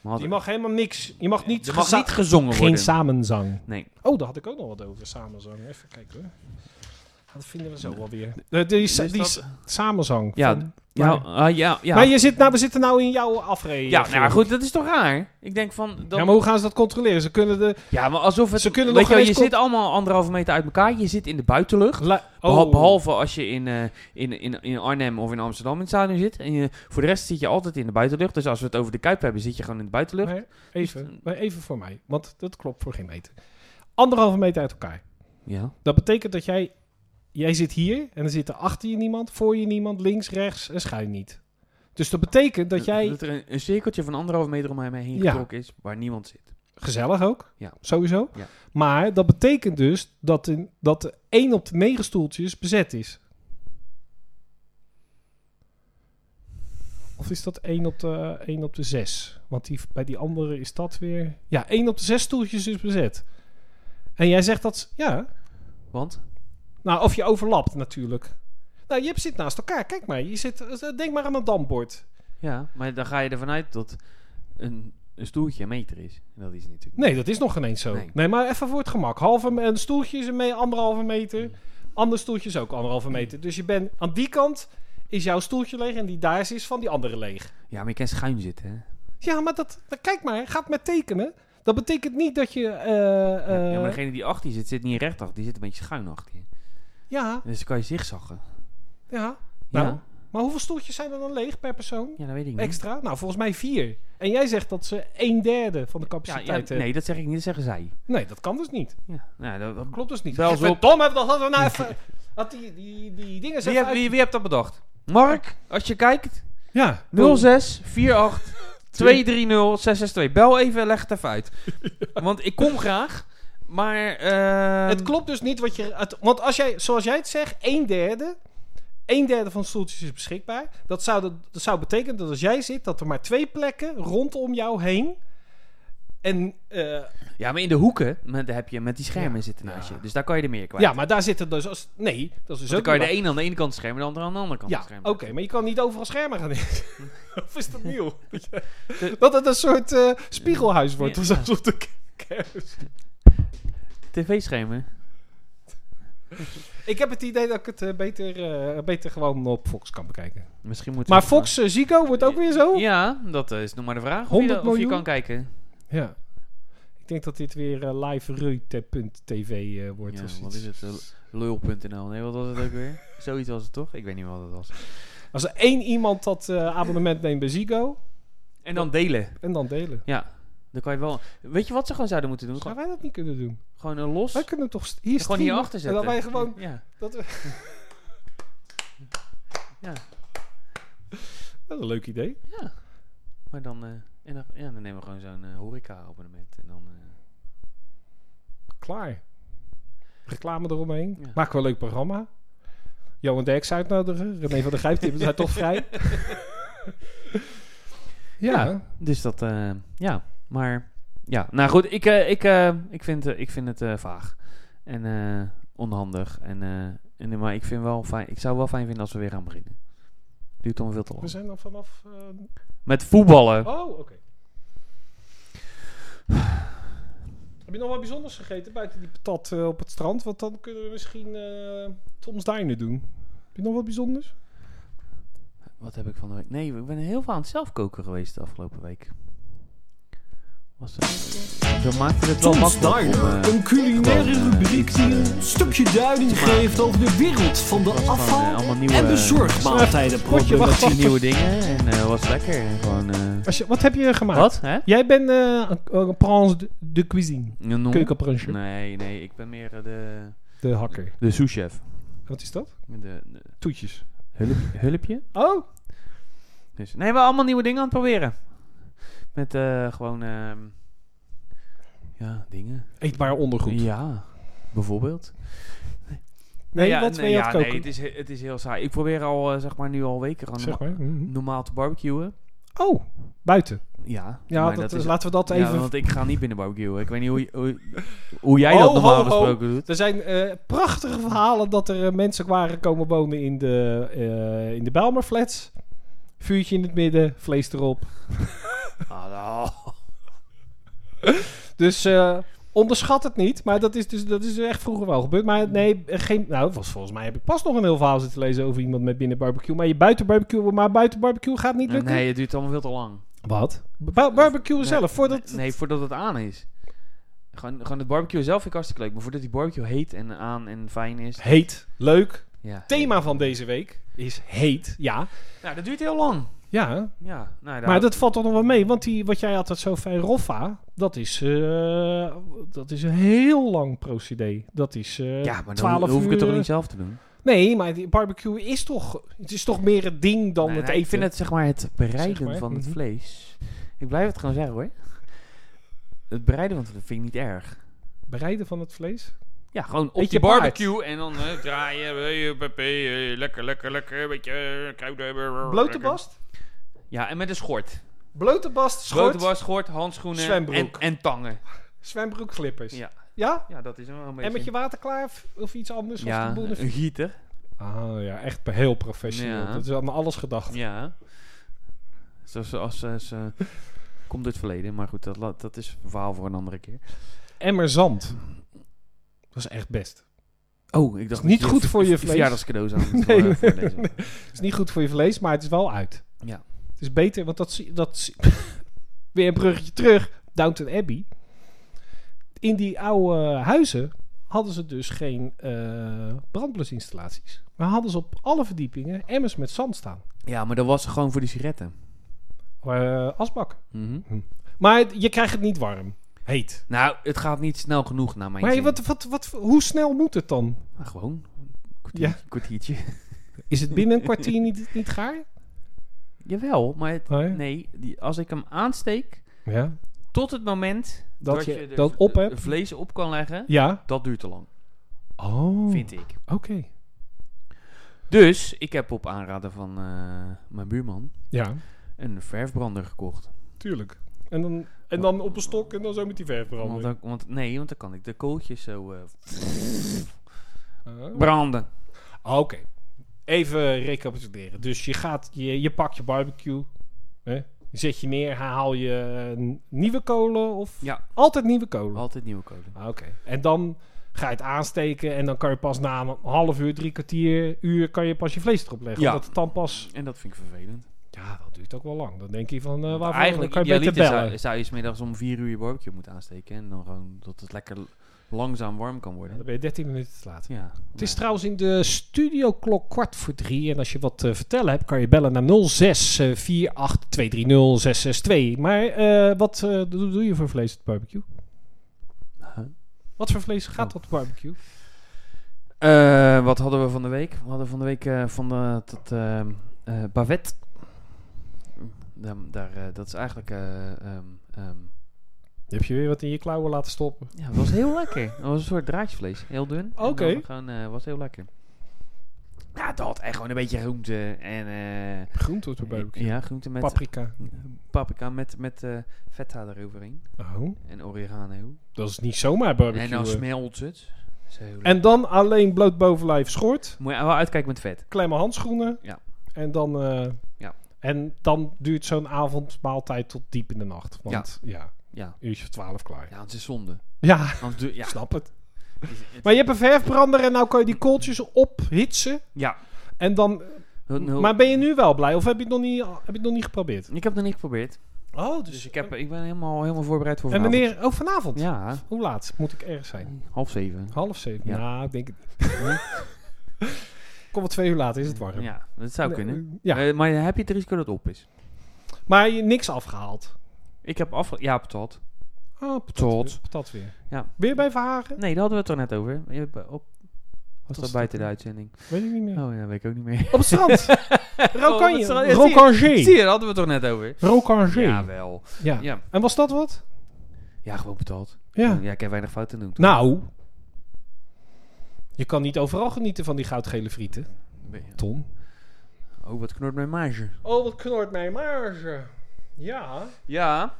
Speaker 2: Maar als-
Speaker 1: Je mag helemaal niks. Je mag niet,
Speaker 2: er mag
Speaker 1: geza-
Speaker 2: niet gezongen worden.
Speaker 1: geen samenzang.
Speaker 2: Nee.
Speaker 1: Oh, daar had ik ook nog wat over, samenzang. Even kijken hoor. dat vinden we zo wel weer. Eh, die sa-
Speaker 2: Dus
Speaker 1: die
Speaker 2: dat-
Speaker 1: s- samenzang.
Speaker 2: Ja,
Speaker 1: van-
Speaker 2: Ja,
Speaker 1: maar-
Speaker 2: ah, ja, ja.
Speaker 1: Maar je zit, nou, we zitten nou in jouw afrekening.
Speaker 2: ja, nou ja, goed, dat is toch raar? Ik denk van... Dan,
Speaker 1: Ja, maar hoe gaan ze dat controleren? Ze kunnen de...
Speaker 2: Ja, maar alsof het...
Speaker 1: Ze kunnen
Speaker 2: weet
Speaker 1: nog
Speaker 2: je, wel, je
Speaker 1: geen eens
Speaker 2: zit allemaal anderhalve meter uit elkaar. Je zit in de buitenlucht.
Speaker 1: la-
Speaker 2: Behal-
Speaker 1: oh.
Speaker 2: Behalve als je in, eh, in, in, in Arnhem of in Amsterdam in het stadion zit. En je, voor de rest zit je altijd in de buitenlucht. Dus als we het over de Kuip hebben, zit je gewoon in de buitenlucht.
Speaker 1: Nee, even, maar even voor mij, want dat klopt voor geen meter. Anderhalve meter uit elkaar.
Speaker 2: Ja.
Speaker 1: Dat betekent dat jij... Jij zit hier en er zit er achter je niemand, voor je niemand, links, rechts en schuin niet. Dus dat betekent
Speaker 2: Eh,
Speaker 1: dat jij...
Speaker 2: er een, een cirkeltje van anderhalve meter om mij heen
Speaker 1: Ja.
Speaker 2: getrokken is, waar niemand zit.
Speaker 1: Gezellig ook,
Speaker 2: Ja.
Speaker 1: sowieso.
Speaker 2: Ja.
Speaker 1: Maar dat betekent dus dat, in, dat de 1 op de 9 stoeltjes bezet is. Of is dat 1 op de, 1 op de 6? Want die, bij die andere is dat weer... Ja, 1 op de 6 stoeltjes is bezet. En jij zegt dat... s- Ja,
Speaker 2: Want?
Speaker 1: nou, of je overlapt natuurlijk. Nou, je zit naast elkaar. Kijk maar, je zit, eh, denk maar aan een dambord.
Speaker 2: Ja, maar dan ga je ervan uit dat een, een stoeltje een meter is. En dat is het natuurlijk.
Speaker 1: Nee, dat is nog geen eens zo. Nee.
Speaker 2: Nee.
Speaker 1: maar even voor het gemak. Halve, me- een stoeltje is een me- anderhalve
Speaker 2: Mm.
Speaker 1: meter. Ander stoeltje is ook anderhalve meter. Dus je bent aan die kant is jouw stoeltje leeg en die daar is, is van die andere leeg.
Speaker 2: Ja, maar je kan schuin zitten, hè?
Speaker 1: Ja, maar dat, dat- kijk maar, gaat met tekenen. Dat betekent niet dat je. eh,
Speaker 2: Ja, ja,
Speaker 1: eh,
Speaker 2: maar degene die achter je zit, zit niet recht achter. Die zit een beetje schuin achter je.
Speaker 1: ja,
Speaker 2: Dus dan kan je zigzaggen.
Speaker 1: ja. Nou,
Speaker 2: ja.
Speaker 1: maar hoeveel stoeltjes zijn er dan leeg per persoon?
Speaker 2: ja, dat weet ik niet.
Speaker 1: Extra? Nou, volgens mij vier. En jij zegt dat ze een derde van de
Speaker 2: ja,
Speaker 1: capaciteit
Speaker 2: ja,
Speaker 1: hebben.
Speaker 2: nee, dat zeg ik niet. Dat zeggen zij.
Speaker 1: Nee, dat kan dus niet.
Speaker 2: Ja. Nou, dat,
Speaker 1: Dat klopt dus niet.
Speaker 2: Bel ze op.
Speaker 1: Tom hebben dat
Speaker 2: <laughs>
Speaker 1: we nou even. Dat die, die, die dingen
Speaker 2: Wie,
Speaker 1: zijn.
Speaker 2: heeft- wie, wie hebt dat bedacht? Mark, als je kijkt,
Speaker 1: Ja.
Speaker 2: 06 48 230 662. Bel even, leg het even uit.
Speaker 1: <laughs>
Speaker 2: Want ik kom graag, maar... ehm,
Speaker 1: Het klopt dus niet wat je. het- want als jij, zoals jij het zegt, een derde. Een derde van de stoeltjes is beschikbaar. Dat zou, de- dat zou betekenen dat als jij zit, dat er maar twee plekken rondom jou heen. En eh,
Speaker 2: Ja, maar in de hoeken met, heb je met die schermen
Speaker 1: Ja.
Speaker 2: zitten naast
Speaker 1: Ja.
Speaker 2: je. Dus daar kan je er meer kwijt.
Speaker 1: ja, maar daar zitten dus als. Nee, dat is dus
Speaker 2: dan
Speaker 1: ook.
Speaker 2: kan je de
Speaker 1: niet
Speaker 2: ene aan de ene kant schermen, de andere aan de andere
Speaker 1: waar.
Speaker 2: kant
Speaker 1: ja, oké,
Speaker 2: schermen.
Speaker 1: maar je kan niet overal schermen
Speaker 2: <laughs>
Speaker 1: gaan inzetten. of is dat nieuw?
Speaker 2: De-
Speaker 1: dat het een soort eh, spiegelhuis wordt
Speaker 2: Ja.
Speaker 1: of zo. zoals <laughs> de k- kermis.
Speaker 2: TV-schermen.
Speaker 1: Ik heb het idee dat ik het eh, beter, eh, beter gewoon op Fox kan bekijken.
Speaker 2: Misschien moeten
Speaker 1: Maar
Speaker 2: we-
Speaker 1: Fox, eh, Zico wordt ook weer zo.
Speaker 2: Ja, dat eh, is nog maar de vraag.
Speaker 1: 100
Speaker 2: of, je, of je
Speaker 1: Oh. miljoen?
Speaker 2: kan kijken.
Speaker 1: Ja. Ik denk dat dit weer eh, live reute.tv eh, wordt.
Speaker 2: Ja,
Speaker 1: of zoiets.
Speaker 2: wat is het? eh, Lul.nl. Nee, wat was het ook
Speaker 1: <laughs>
Speaker 2: weer? Zoiets was het toch? Ik weet niet meer wat het was.
Speaker 1: Als er één iemand dat eh, abonnement neemt bij Ziggo
Speaker 2: En dan delen.
Speaker 1: en dan delen.
Speaker 2: Ja, dan kan je wel... Weet je wat ze gewoon zouden moeten doen?
Speaker 1: Gaan
Speaker 2: Gewoon,
Speaker 1: wij dat niet kunnen doen?
Speaker 2: gewoon een los...
Speaker 1: Wij kunnen toch st- hier
Speaker 2: Gewoon
Speaker 1: streamen
Speaker 2: hierachter
Speaker 1: En
Speaker 2: zetten.
Speaker 1: dat wij gewoon...
Speaker 2: Ja.
Speaker 1: Dat we-
Speaker 2: <laughs> Ja.
Speaker 1: dat is een leuk idee.
Speaker 2: ja. Maar dan... eh, en dan, ja, dan nemen we gewoon zo'n eh, horeca-abonnement. En dan... eh,
Speaker 1: Klaar. Reclame eromheen.
Speaker 2: Ja.
Speaker 1: Maak wel een leuk programma. Johan Derks uitnodigen. nou, René van der Grijp, die zijn toch
Speaker 2: <laughs>
Speaker 1: vrij. ja.
Speaker 2: Ja. Dus dat, eh, ja, maar ja, nou goed, ik, eh, ik, eh, ik, vind, eh, ik vind het eh, vaag en eh, onhandig. En, eh, en, maar ik, vind wel fijn, ik zou wel fijn vinden als we weer gaan beginnen. Duurt dan veel te
Speaker 1: We
Speaker 2: lang.
Speaker 1: zijn dan vanaf... eh,
Speaker 2: Met voetballen.
Speaker 1: Oh, oké. Heb je nog wat bijzonders gegeten buiten die patat eh, op het strand? Want dan kunnen we misschien eh Tom's Diner doen. Heb je nog wat bijzonders?
Speaker 2: Wat heb ik van de week? Nee, ik ben heel veel aan het zelf koken geweest de afgelopen week. Was het... Dat maakte het wel
Speaker 6: Tom's
Speaker 2: makkelijk om...
Speaker 6: Diner,
Speaker 2: eh,
Speaker 6: een culinaire
Speaker 2: gewoon, eh,
Speaker 6: rubriek
Speaker 2: iets,
Speaker 6: die
Speaker 2: eh,
Speaker 6: een stukje duiding geeft over de wereld van de
Speaker 2: gewoon, eh,
Speaker 6: afval-
Speaker 2: allemaal nieuwe-
Speaker 6: en bezorgmaaltijdenproblematiek.
Speaker 1: Potje, wacht,
Speaker 2: zie nieuwe dingen en eh, was lekker. En gewoon... eh,
Speaker 1: Als je, wat heb je gemaakt?
Speaker 2: wat? Hè?
Speaker 1: Jij bent eh, een, een prince de, de cuisine.
Speaker 2: Non.
Speaker 1: Keukenprinse.
Speaker 2: Mm. Nee, nee, ik ben meer eh, de...
Speaker 1: De hakker.
Speaker 2: De souschef.
Speaker 1: Wat is dat?
Speaker 2: De, de
Speaker 1: Toetjes.
Speaker 2: hulp, hulpje.
Speaker 1: Oh,
Speaker 2: Dus, nee, we allemaal nieuwe dingen aan het proberen. Met eh, gewoon... ehm, ja, dingen.
Speaker 1: eetbaar ondergoed.
Speaker 2: Ja, bijvoorbeeld.
Speaker 1: Nee,
Speaker 2: ja,
Speaker 1: wat ben je aan
Speaker 2: ja,
Speaker 1: het koken?
Speaker 2: nee, het is, he- het is heel saai. Ik probeer al, eh, zeg maar, nu al weken gewoon
Speaker 1: zeg
Speaker 2: norma-
Speaker 1: maar. mhm.
Speaker 2: normaal te barbecuen.
Speaker 1: Oh, buiten.
Speaker 2: Ja,
Speaker 1: Ja,
Speaker 2: maar
Speaker 1: dat, is- laten we dat
Speaker 2: ja,
Speaker 1: even...
Speaker 2: want ik ga niet binnen barbecuen. Ik weet niet hoe, je- hoe, hoe jij dat
Speaker 1: Ho,
Speaker 2: normaal
Speaker 1: ho, ho.
Speaker 2: gesproken doet.
Speaker 1: Er zijn eh, prachtige verhalen dat er eh, mensen waren komen wonen in de, eh in de Bijlmerflats. Vuurtje in het midden, vlees erop.
Speaker 2: Ah, nou.
Speaker 1: Dus eh, onderschat het niet, maar dat is, dus, dat is echt vroeger wel gebeurd. Maar nee, eh, geen, nou, was, volgens mij heb ik pas nog een heel verhaal zitten lezen over iemand met binnen barbecue. Maar je buiten barbecue, maar buiten barbecue gaat niet lukken.
Speaker 2: Eh, Nee, het duurt allemaal veel te lang.
Speaker 1: Wat? Ba- barbecue
Speaker 2: Nee,
Speaker 1: zelf, voordat...
Speaker 2: Nee, nee, voordat het aan is. Gewoon, gewoon het barbecue zelf vind ik hartstikke leuk. Maar voordat die barbecue heet en aan en fijn is.
Speaker 1: Heet, leuk.
Speaker 2: Ja.
Speaker 1: Thema van deze week is heet, ja.
Speaker 2: Nou, dat duurt heel lang.
Speaker 1: Ja, hè?
Speaker 2: Ja, nou, daar-
Speaker 1: maar dat valt toch nog wel mee, want die, wat jij altijd zo fijn roffa, dat is, eh, dat is een heel lang procedé. Dat is eh
Speaker 2: ja, maar dan
Speaker 1: 12
Speaker 2: hoef ik het toch
Speaker 1: uur,
Speaker 2: niet zelf te doen.
Speaker 1: Nee, maar die barbecue is toch, het is toch meer het ding dan
Speaker 2: Nee,
Speaker 1: het
Speaker 2: nee,
Speaker 1: eten.
Speaker 2: ik vind het zeg maar het bereiden
Speaker 1: Zeg maar,
Speaker 2: van het
Speaker 1: mhm.
Speaker 2: vlees. Ik blijf het gewoon zeggen hoor. Het bereiden van het vlees vind ik niet erg.
Speaker 1: bereiden van het
Speaker 2: Oh,
Speaker 1: vlees.
Speaker 2: Ja, gewoon op
Speaker 1: Beetje
Speaker 2: je
Speaker 1: paard.
Speaker 2: barbecue en dan eh, draaien. eh, eh, eh, eh, Lekker, lekker, lekker. Een beetje eh, kruiden. eh,
Speaker 1: Blote
Speaker 2: lekker.
Speaker 1: bast,
Speaker 2: Ja, en met een schort.
Speaker 1: blote bast, schort,
Speaker 2: Grote was, schort, handschoenen en,
Speaker 1: Zwembroek.
Speaker 2: en tangen.
Speaker 1: zwembroek, glippers.
Speaker 2: Ja.
Speaker 1: Ja?
Speaker 2: Ja, dat is wel een beetje...
Speaker 1: En met je waterklaar of iets anders?
Speaker 2: ja,
Speaker 1: Of de boel-
Speaker 2: een gieter.
Speaker 1: Ah ja, echt heel professioneel.
Speaker 2: Ja.
Speaker 1: Dat is aan alles gedacht.
Speaker 2: Ja. Zoals als, als, eh, komt uit het verleden. Maar goed, dat, la- dat is een verhaal voor een andere keer.
Speaker 1: Emmer zand. Dat is echt best.
Speaker 2: Oh, ik dacht...
Speaker 1: Niet
Speaker 2: dat
Speaker 1: goed
Speaker 2: ver-
Speaker 1: voor je
Speaker 2: ver-
Speaker 1: vlees. <laughs>
Speaker 2: Verjaardagscadeaus aan het
Speaker 1: Nee.
Speaker 2: voor- voorlezen.
Speaker 1: Het is niet goed voor je vlees, maar het is wel uit.
Speaker 2: Ja.
Speaker 1: Het is beter, want dat zie dat zie- <laughs> Weer een bruggetje terug. Downton Abbey. In die oude huizen hadden ze dus geen eh brandblusinstallaties. Maar hadden ze op alle verdiepingen emmers met zand staan.
Speaker 2: Ja, maar dat was gewoon voor die sigaretten. Mhm.
Speaker 1: Eh, asbak. Maar het- je krijgt het niet warm. Heet.
Speaker 2: Nou, het gaat niet snel genoeg naar mijn
Speaker 1: Maar
Speaker 2: zin.
Speaker 1: wat, wat, wat, hoe snel moet het dan?
Speaker 2: Maar gewoon. een Kwartier,
Speaker 1: Ja.
Speaker 2: kwartiertje. <laughs>
Speaker 1: Is het binnen een kwartier niet, niet gaar?
Speaker 2: Jawel, maar het-
Speaker 1: Oh ja.
Speaker 2: nee, die, als ik hem aansteek,
Speaker 1: Ja.
Speaker 2: tot het moment
Speaker 1: Dat
Speaker 2: dat,
Speaker 1: je
Speaker 2: er
Speaker 1: dat
Speaker 2: v-
Speaker 1: op
Speaker 2: eh,
Speaker 1: hebt.
Speaker 2: vlees op kan leggen,
Speaker 1: Ja.
Speaker 2: dat duurt te lang,
Speaker 1: Oh.
Speaker 2: vind ik.
Speaker 1: Oké.
Speaker 2: Dus ik heb op aanraden van eh, mijn buurman
Speaker 1: Ja.
Speaker 2: een verfbrander
Speaker 1: Oh,
Speaker 2: gekocht.
Speaker 1: Tuurlijk. En dan, en dan op een stok en dan zo met die verf
Speaker 2: Want,
Speaker 1: branden.
Speaker 2: dan, want nee, want dan kan ik de kooltjes zo eh,
Speaker 1: Ah.
Speaker 2: branden.
Speaker 1: Oké. Even recapituleren. Dus je, gaat, je, je pakt je barbecue. Hè? Je zet je neer. Haal je eh, nieuwe kolen of...
Speaker 2: Ja.
Speaker 1: Altijd nieuwe kolen.
Speaker 2: Altijd nieuwe kolen.
Speaker 1: Ah, Oké. En dan ga je het aansteken. En dan kan je pas na een half uur, drie kwartier, uur... kan je pas je vlees erop leggen.
Speaker 2: Ja.
Speaker 1: Omdat het dan pas...
Speaker 2: En dat vind ik vervelend.
Speaker 1: Ja, dat duurt ook wel lang. Dan denk je van... eh waarvoor
Speaker 2: Eigenlijk
Speaker 1: kan je beter
Speaker 2: idealiter
Speaker 1: bellen?
Speaker 2: Zou, zou je 's middags om vier uur je barbecue moeten aansteken. En dan gewoon dat het lekker langzaam warm kan
Speaker 1: Dan
Speaker 2: worden.
Speaker 1: ben je 13 minuten te laat.
Speaker 2: Ja.
Speaker 1: Het is
Speaker 2: Ja.
Speaker 1: trouwens in de studioklok kwart voor drie. En als je wat te vertellen hebt, kan je bellen naar 06 eh, 48230 662. Maar eh, wat eh, doe, doe je voor vlees op de barbecue?
Speaker 2: Huh?
Speaker 1: Wat voor vlees gaat
Speaker 2: Oh.
Speaker 1: op de barbecue?
Speaker 2: Eh, wat hadden we van de week? We hadden van de week eh, van de, dat eh, eh, bavet. Daar, daar, eh, dat is eigenlijk... eh, ehm, ehm,
Speaker 1: Heb je weer wat in je klauwen laten stoppen?
Speaker 2: ja, het was heel lekker. Het was een soort draadjesvlees. Heel dun. En dan
Speaker 1: Oké.
Speaker 2: Gewoon eh, was heel lekker. Ja, dat had echt gewoon een beetje groente en... eh,
Speaker 1: Groente op de barbecue.
Speaker 2: ja, groente met
Speaker 1: Paprika.
Speaker 2: paprika met, met eh feta eroverheen.
Speaker 1: Oh,
Speaker 2: En oregano.
Speaker 1: dat is niet zomaar barbecue. eh.
Speaker 2: En dan smelt het. Zo lekker.
Speaker 1: En dan alleen bloot bovenlijf schort.
Speaker 2: Moet je wel uitkijken met vet.
Speaker 1: Klemme handschoenen.
Speaker 2: Ja.
Speaker 1: En dan... eh,
Speaker 2: Ja.
Speaker 1: En dan duurt zo'n avondmaaltijd tot diep in de nacht. Want ja,
Speaker 2: Ja.
Speaker 1: uurtje of twaalf klaar.
Speaker 2: Ja, want het is zonde.
Speaker 1: ja.
Speaker 2: Want doe-
Speaker 1: <laughs>
Speaker 2: ja.
Speaker 1: Snap het.
Speaker 2: het is- het-
Speaker 1: Maar je hebt een verfbrander en nou kan je die kooltjes ophitsen.
Speaker 2: ja.
Speaker 1: En dan,
Speaker 2: Heel- heel-
Speaker 1: maar ben je nu wel blij of heb je het nog niet, heb je het nog niet geprobeerd?
Speaker 2: ik heb het nog niet geprobeerd.
Speaker 1: Oh,
Speaker 2: Dus ik, heb, ik ben helemaal, helemaal voorbereid voor
Speaker 1: En
Speaker 2: vanavond.
Speaker 1: wanneer? Oh, vanavond.
Speaker 2: Ja,
Speaker 1: Hoe laat moet ik erg zijn?
Speaker 2: half zeven.
Speaker 1: Half zeven?
Speaker 2: Ja.
Speaker 1: Ja, ik denk het niet. <laughs> Kom wat twee uur later, is het warm.
Speaker 2: Ja, dat zou kunnen.
Speaker 1: Ja,
Speaker 2: Eh, maar heb je het risico dat het op is?
Speaker 1: maar je niks afgehaald.
Speaker 2: Ik heb af... Ja, patat.
Speaker 1: Oh, patat
Speaker 2: Tot.
Speaker 1: weer, patat weer.
Speaker 2: Ja.
Speaker 1: Weer bij Verhagen?
Speaker 2: Nee, daar hadden we het toch net over. Je hebt, eh, Op, was dat
Speaker 1: was
Speaker 2: buiten de
Speaker 1: dat?
Speaker 2: uitzending?
Speaker 1: Weet ik niet meer.
Speaker 2: Oh ja, weet ik ook niet meer.
Speaker 1: Op het
Speaker 2: <laughs>
Speaker 1: strand.
Speaker 2: Oh, wat
Speaker 1: Rokanje.
Speaker 2: zal- ja, zie je- Zie je,
Speaker 1: Rokanje.
Speaker 2: daar hadden we het toch net over. Ja,
Speaker 1: Rokanje.
Speaker 2: wel.
Speaker 1: Ja.
Speaker 2: Ja,
Speaker 1: En was dat wat?
Speaker 2: ja gewoon patat.
Speaker 1: Ja.
Speaker 2: Ja, ik heb weinig fouten doen.
Speaker 1: Nou, je kan niet overal genieten van die goudgele frieten, Tom.
Speaker 2: Oh, wat knort mijn marge.
Speaker 1: Oh, wat knort mijn marge. Ja.
Speaker 2: Ja.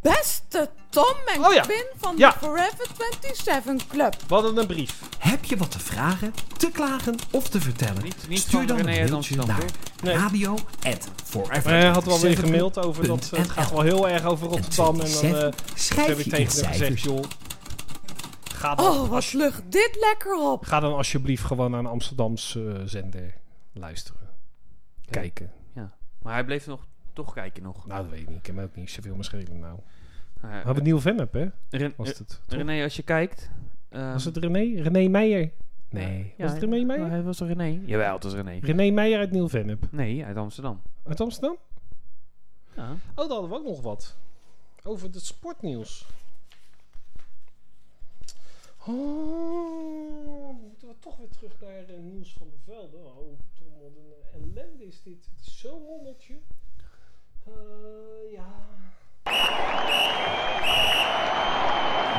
Speaker 7: Beste Tom en
Speaker 1: Oh ja.
Speaker 7: Quinn van
Speaker 1: Ja.
Speaker 7: de Forever 27 Club.
Speaker 1: Wat een brief.
Speaker 6: Heb je wat te vragen, te klagen of te vertellen?
Speaker 2: Niet- niet
Speaker 6: Stuur
Speaker 2: van
Speaker 6: dan een
Speaker 2: René uit
Speaker 6: mailtje
Speaker 2: Amsterdam,
Speaker 6: naar
Speaker 2: hoor.
Speaker 1: Nee.
Speaker 6: radio at
Speaker 1: Hij had wel weer
Speaker 6: 7.
Speaker 1: gemaild over dat. eh, het gaat wel heel erg over Rotterdam. En dan eh, toen heb
Speaker 6: Schrijf
Speaker 1: ik
Speaker 6: je in
Speaker 1: tegen hem gezegd,
Speaker 6: cijfers.
Speaker 1: joh. Ga dan,
Speaker 7: Oh, wat lucht dit lekker op.
Speaker 1: ga dan alsjeblieft gewoon naar een Amsterdamse eh, zender luisteren. Kijken.
Speaker 2: Maar hij bleef nog, toch kijken nog.
Speaker 1: Nou, dat weet ik niet. Ik heb me ook niet zoveel meer schelen. Nou.
Speaker 2: Eh,
Speaker 1: We hadden Neil Vennep, hè?
Speaker 2: Ren-
Speaker 1: Was het, toch?
Speaker 2: René, als je kijkt... ehm,
Speaker 1: was het René? René Meijer? Nee.
Speaker 2: ja, Nou,
Speaker 1: was het René Meijer?
Speaker 2: Hij was toch René? Jawel, het was René.
Speaker 1: René Meijer uit Neil Vennep.
Speaker 2: Nee, uit Amsterdam.
Speaker 1: Uit Amsterdam?
Speaker 2: Ja.
Speaker 1: Oh, daar hadden we ook nog wat. Over het sportnieuws. Oh, moeten we toch weer terug naar eh, nieuws van de velden. Oh, Tom, wat een ellende is dit. Het is zo'n rommeltje. Eh, ja.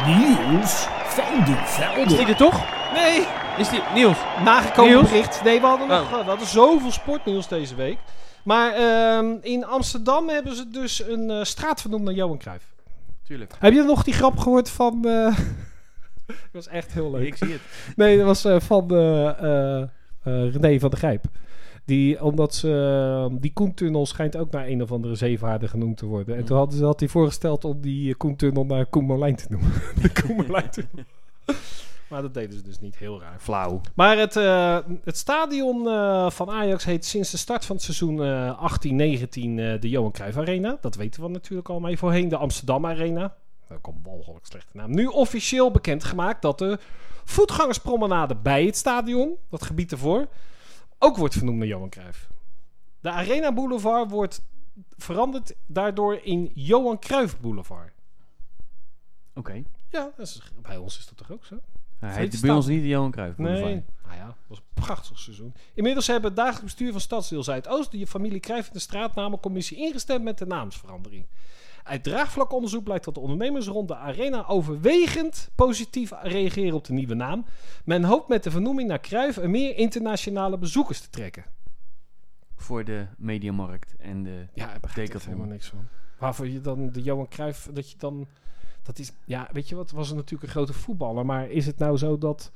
Speaker 6: Nieuws van de
Speaker 2: Is die
Speaker 6: velden.
Speaker 2: er toch?
Speaker 1: Nee,
Speaker 2: Is die... Niels!
Speaker 1: nagekomen
Speaker 2: Nieuws?
Speaker 1: bericht. Nee, we hadden, nog, eh,
Speaker 2: Oh.
Speaker 1: we hadden zoveel sportnieuws deze week. Maar ehm, in Amsterdam hebben ze dus een eh, straat vernoemd naar Johan Cruijff.
Speaker 2: Tuurlijk.
Speaker 1: Heb je nog die grap gehoord van... eh <laughs> dat was echt heel leuk.
Speaker 2: Ik zie het.
Speaker 1: Nee, dat was eh, van eh, eh, eh, René van der Grijp. Die, omdat ze, eh, die Koentunnel schijnt ook naar een of andere zeevaarder genoemd te worden. En
Speaker 2: Mm.
Speaker 1: toen hadden ze, had hij voorgesteld om die eh, Koentunnel naar Koenmerlijn te noemen. <laughs> De Koenmerlijntunnel. <laughs> Maar dat deden ze dus niet. Heel raar.
Speaker 2: Flauw.
Speaker 1: Maar het, eh, het stadion eh, van Ajax heet sinds de start van het seizoen eh 18-19 eh, de Johan Cruijff Arena. Dat weten we natuurlijk al mee. Voorheen de Amsterdam Arena. Dat komt walgelijk slechte naam. Nu officieel bekendgemaakt dat de voetgangerspromenade bij het stadion, dat gebied ervoor, ook wordt vernoemd naar Johan Cruijff. De Arena Boulevard wordt veranderd daardoor in Johan Cruijff Boulevard.
Speaker 2: <laughs> Oké.
Speaker 1: Ja, dat is, bij ons is dat toch ook zo?
Speaker 2: Hij
Speaker 1: Heet
Speaker 2: heet bij
Speaker 1: staan.
Speaker 2: ons niet de Johan Cruijff.
Speaker 1: Nee.
Speaker 2: Boulevard.
Speaker 1: Nou ja, het was een prachtig seizoen. Inmiddels hebben het dagelijks bestuur van Stadsdeel Zuidoost... de familie Cruijff en de straatnamencommissie ingestemd met de naamsverandering. Uit draagvlakonderzoek blijkt dat de ondernemers rond de arena overwegend positief reageren op de nieuwe naam. Men hoopt met de vernoeming naar Cruijff er meer internationale bezoekers te trekken.
Speaker 2: Voor de mediamarkt en de...
Speaker 1: Ja, ik begrijp er
Speaker 2: Decathlon.
Speaker 1: helemaal niks van. Waarvoor je dan de Johan Cruijff, dat je dan... Dat is, ja, weet je wat, was het natuurlijk een grote voetballer. Maar is het nou zo dat...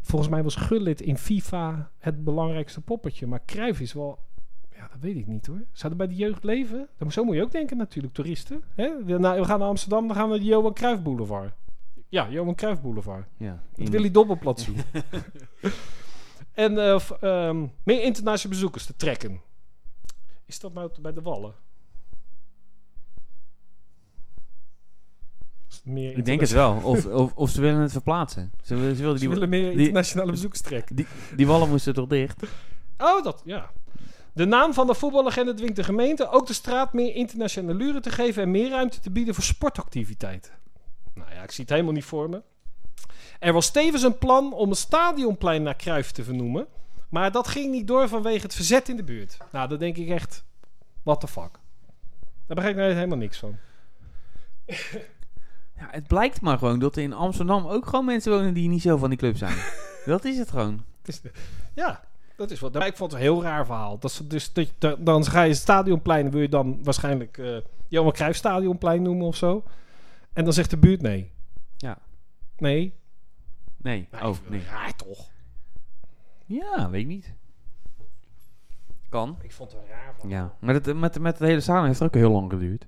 Speaker 1: Volgens mij was Gullit in FIFA het belangrijkste poppetje. Maar Cruijff is wel... Ja, dat weet ik niet hoor. Zou er bij de jeugd leven? Dan, zo moet je ook denken natuurlijk, toeristen. Hè? De- nou, we gaan naar Amsterdam, dan gaan we de Johan Cruijff Boulevard. Ja, Johan Cruijff Boulevard.
Speaker 2: Ja.
Speaker 1: Het
Speaker 2: in-
Speaker 1: Willy Dobbelplat
Speaker 2: <laughs>
Speaker 1: zoeken. en eh, v- ehm, meer internationale bezoekers te trekken. Is dat nou t- bij de Wallen? Is het Meer
Speaker 2: Ik denk het wel. Of, of, of ze willen het verplaatsen. Ze, willen- ze wilden
Speaker 1: Ze
Speaker 2: die,
Speaker 1: willen meer
Speaker 2: die-
Speaker 1: internationale bezoekers trekken.
Speaker 2: die, die wallen moesten toch dicht?
Speaker 1: Oh, dat, ja. De naam van de voetballegende dwingt de gemeente ook de straat meer internationale luren te geven en meer ruimte te bieden voor sportactiviteiten. Nou ja, ik zie het helemaal niet voor me. Er was tevens een plan om het stadionplein naar Kruif te vernoemen, maar dat ging niet door vanwege het verzet in de buurt. Nou, dan denk ik echt, what the fuck. Daar begrijp ik nou helemaal niks van.
Speaker 2: Ja, het blijkt maar gewoon dat er in Amsterdam ook gewoon mensen wonen die niet zo van die club zijn. dat is het gewoon.
Speaker 1: Ja, dat is wat. Maar ik vond het een heel raar verhaal. Dat ze dus, dat, je- dan ga je het stadionplein, wil je dan waarschijnlijk eh Johan Cruijff Stadionplein noemen of zo. En dan zegt de buurt nee.
Speaker 2: Ja.
Speaker 1: Nee.
Speaker 2: Nee.
Speaker 1: Nou,
Speaker 2: Oh, nee.
Speaker 1: Raar toch?
Speaker 2: Ja, weet ik niet. Kan.
Speaker 1: Ik vond het een raar verhaal.
Speaker 2: Ja. Maar dat, met, met het hele samen heeft het ook heel lang geduurd.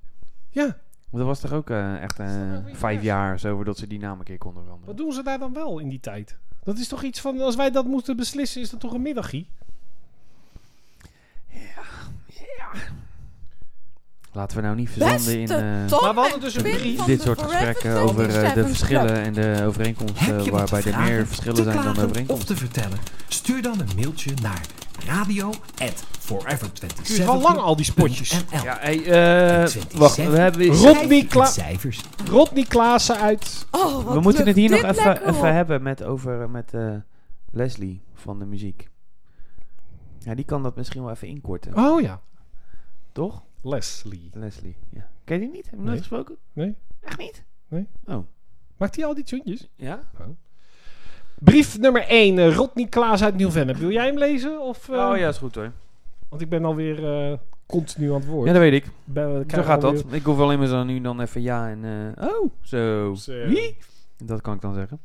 Speaker 1: Ja,
Speaker 2: Want dat was toch ook eh, echt
Speaker 1: is toch
Speaker 2: eh,
Speaker 1: ook weer
Speaker 2: vijf
Speaker 1: juist.
Speaker 2: jaar zo voordat ze die naam een keer konden veranderen.
Speaker 1: wat doen ze daar dan wel in die tijd? Dat is toch iets van, als wij dat moeten beslissen, is dat toch een middagie?
Speaker 2: Laten we nou niet verzanden in
Speaker 7: Beste
Speaker 2: eh,
Speaker 7: Tom
Speaker 1: Maar we hadden
Speaker 7: en
Speaker 1: dus een
Speaker 7: Quinn
Speaker 1: brief.
Speaker 7: van
Speaker 2: dit
Speaker 7: de
Speaker 2: soort
Speaker 7: Forever
Speaker 2: gesprekken over eh,
Speaker 7: 27
Speaker 2: de
Speaker 7: Club.
Speaker 2: verschillen en de overeenkomsten
Speaker 6: Heb je wat te
Speaker 2: waarbij er meer
Speaker 6: vragen,
Speaker 2: verschillen
Speaker 6: te
Speaker 2: zijn dan
Speaker 6: klagen of
Speaker 2: overeenkomsten.
Speaker 6: te vertellen? Stuur dan een mailtje naar radio at
Speaker 1: Het is wel lang al die spotjes.
Speaker 2: Ja, hey, eh, wacht, we hebben
Speaker 1: Ro- Rodney Kla-
Speaker 6: cijfers.
Speaker 1: Rodney Klaassen uit...
Speaker 7: Oh, wat
Speaker 2: We moeten het
Speaker 7: lucht
Speaker 2: hier nog
Speaker 7: dit
Speaker 2: even,
Speaker 7: lekker op.
Speaker 2: even hebben met, over, met eh, Leslie van de muziek. Ja, die kan dat misschien wel even inkorten.
Speaker 1: Oh ja,
Speaker 2: Toch?
Speaker 1: Leslie.
Speaker 2: Leslie, ja. Ken je die niet? Heb je nooit
Speaker 1: Nee.
Speaker 2: gesproken?
Speaker 1: Nee.
Speaker 2: Echt niet?
Speaker 1: Nee.
Speaker 2: Oh.
Speaker 1: Maakt hij al die tunes?
Speaker 2: Ja?
Speaker 1: Brief nummer 1, Rodney Klaas uit Nieuw-Vennep. Wil jij hem lezen? Of, eh,
Speaker 2: Oh ja, is goed hoor.
Speaker 1: Want ik ben alweer eh continu aan het woord.
Speaker 2: Ja, dat weet ik.
Speaker 1: Bij- we
Speaker 2: Zo
Speaker 1: krijgen
Speaker 2: gaat
Speaker 1: alweer-
Speaker 2: dat. Ik hoef alleen maar zo nu dan even ja en... eh, oh, zo.
Speaker 1: Zo.
Speaker 2: Wie? Dat kan ik dan zeggen.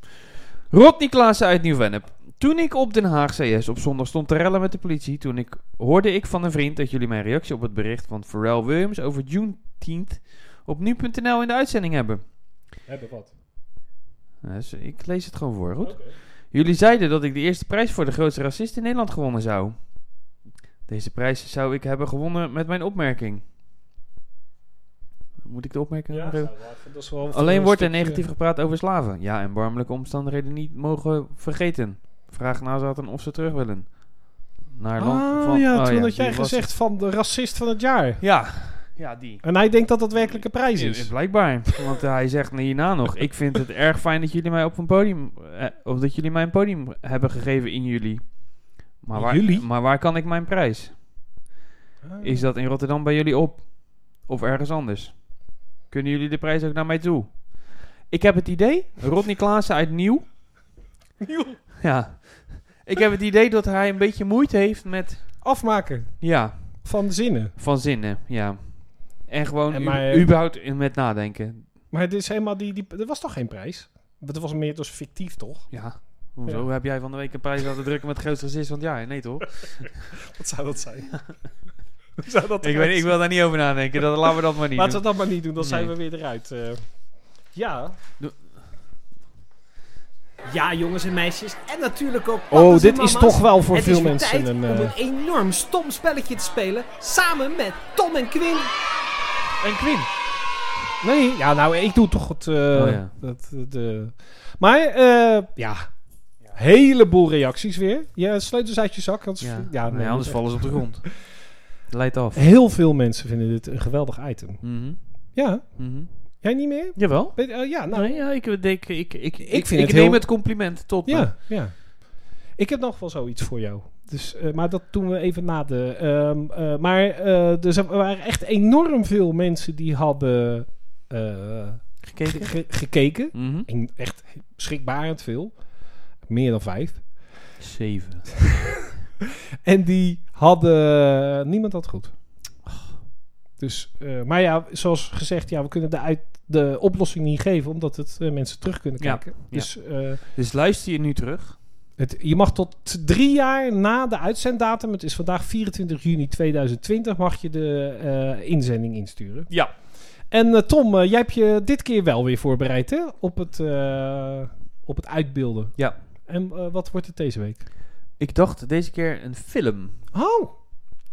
Speaker 2: Rodney Klaassen uit Nieuw-Vennep. Toen ik op Den Haag CS op zondag stond te rellen met de politie... toen ik, hoorde ik van een vriend dat jullie mijn reactie op het bericht van Pharrell Williams... over Juneteenth op nu.nl in de uitzending hebben.
Speaker 1: Hebben wat?
Speaker 2: Ja, Dus ik lees het gewoon voor, goed?
Speaker 1: Oké.
Speaker 2: Jullie zeiden dat ik de eerste prijs voor de grootste racist in Nederland gewonnen zou. Deze prijs zou ik hebben gewonnen met mijn opmerking. Moet ik de opmerking
Speaker 1: Ja,
Speaker 2: nog
Speaker 1: nou,
Speaker 2: even-
Speaker 1: laten we- dat is wel
Speaker 2: Alleen
Speaker 1: een
Speaker 2: wordt er
Speaker 1: stukje-
Speaker 2: negatief gepraat over slaven. Ja, en barmelijke omstandigheden niet mogen vergeten. Vraag nazaten of ze terug willen. Naar land
Speaker 1: Ah
Speaker 2: van...
Speaker 1: ja,
Speaker 2: oh
Speaker 1: toen had
Speaker 2: die
Speaker 1: jij
Speaker 2: was-
Speaker 1: gezegd van de racist van het jaar.
Speaker 2: Ja, ja die.
Speaker 1: En hij denkt dat dat werkelijk een prijs
Speaker 2: Ja,
Speaker 1: is.
Speaker 2: Blijkbaar. Want hij zegt hierna nog: Ik vind het erg fijn dat jullie mij op een podium. eh, of dat jullie mij een podium hebben gegeven in juli. Maar
Speaker 1: In
Speaker 2: waar,
Speaker 1: juli?
Speaker 2: Maar waar kan ik mijn prijs?
Speaker 1: Ah.
Speaker 2: Is dat in Rotterdam bij jullie op? Of ergens anders? Kunnen jullie de prijs ook naar mij toe? Ik heb het idee, Rodney Klaassen uit Nieuw.
Speaker 1: Nieuw?
Speaker 2: Ja. Ik heb het idee dat hij een beetje moeite heeft met.
Speaker 1: Afmaken
Speaker 2: Ja,
Speaker 1: van zinnen.
Speaker 2: van zinnen, ja. En gewoon
Speaker 1: En
Speaker 2: u-
Speaker 1: maar, eh,
Speaker 2: überhaupt in- met nadenken.
Speaker 1: Maar het is helemaal die, die... Er was toch geen prijs? Het was meer dus fictief, toch?
Speaker 2: Ja. Hoezo heb jij van de week een prijs laten drukken met het grootste gezicht? Want ja, nee
Speaker 1: <laughs>
Speaker 2: toch?
Speaker 1: Wat zou dat
Speaker 2: <laughs>
Speaker 1: zijn? Hoe zou dat
Speaker 2: ik,
Speaker 1: eruit
Speaker 2: weet, ik wil daar niet over nadenken. Dat, laten we dat maar niet
Speaker 1: Laten
Speaker 2: doen.
Speaker 1: we dat maar niet doen, dan zijn
Speaker 2: Nee. Oh,
Speaker 1: we weer eruit. eh. ja.
Speaker 3: Ja, jongens en meisjes. En natuurlijk ook
Speaker 1: Oh,
Speaker 3: papa's en
Speaker 1: dit is
Speaker 3: mama's.
Speaker 1: toch wel voor
Speaker 3: Het
Speaker 1: veel
Speaker 3: is weer
Speaker 1: mensen
Speaker 3: tijd
Speaker 1: een...
Speaker 3: om
Speaker 1: eh,
Speaker 3: een enorm stom spelletje te spelen. Samen met Tom en Quinn.
Speaker 2: En Quinn.
Speaker 1: Nee, ja, nou, ik doe toch het... eh,
Speaker 2: Oh, ja.
Speaker 1: dat, eh, de, maar, eh, ja... Heleboel reacties weer. Ja, sleutels uit je zak. Dat is,
Speaker 2: Ja,
Speaker 1: ja,
Speaker 2: nee,
Speaker 1: nee, dat is
Speaker 2: anders
Speaker 1: echt-
Speaker 2: vallen ze op de grond. Leidt af.
Speaker 1: Heel veel mensen vinden dit een geweldig item.
Speaker 2: Mhm,
Speaker 1: Ja,
Speaker 2: mhm.
Speaker 1: jij niet meer?
Speaker 2: Jawel.
Speaker 1: Weet- eh, ja, nou,
Speaker 2: nee, ja, ik, ik, ik, ik, ik,
Speaker 1: vind
Speaker 2: ik
Speaker 1: het
Speaker 2: neem
Speaker 1: heel-
Speaker 2: het compliment tot me.
Speaker 1: ja, ja. Ik heb nog wel zoiets voor jou. Dus, eh, maar dat doen we even na de... ehm, eh, maar eh, er zijn- er waren echt enorm veel mensen die hadden eh,
Speaker 2: Gekeken.
Speaker 1: ge- gekeken.
Speaker 2: Mhm.
Speaker 1: En echt schrikbarend veel. Meer dan vijf.
Speaker 2: Zeven.
Speaker 1: En die hadden... Niemand had goed. Dus, eh, maar ja, zoals gezegd, ja, we kunnen de, uit, de oplossing niet geven, omdat het eh, mensen terug kunnen
Speaker 2: Ja,
Speaker 1: kijken.
Speaker 2: ja.
Speaker 1: Dus eh,
Speaker 2: Dus luister je nu terug.
Speaker 1: Het, je mag tot drie jaar na de uitzenddatum, het is vandaag 24 juni 2020, mag je de eh, inzending insturen.
Speaker 2: Ja.
Speaker 1: En eh, Tom, eh, jij hebt je dit keer wel weer voorbereid hè? Op, het, eh, op het uitbeelden.
Speaker 2: Ja.
Speaker 1: En eh, wat wordt het deze week?
Speaker 2: Ik dacht deze keer een film.
Speaker 1: Oh,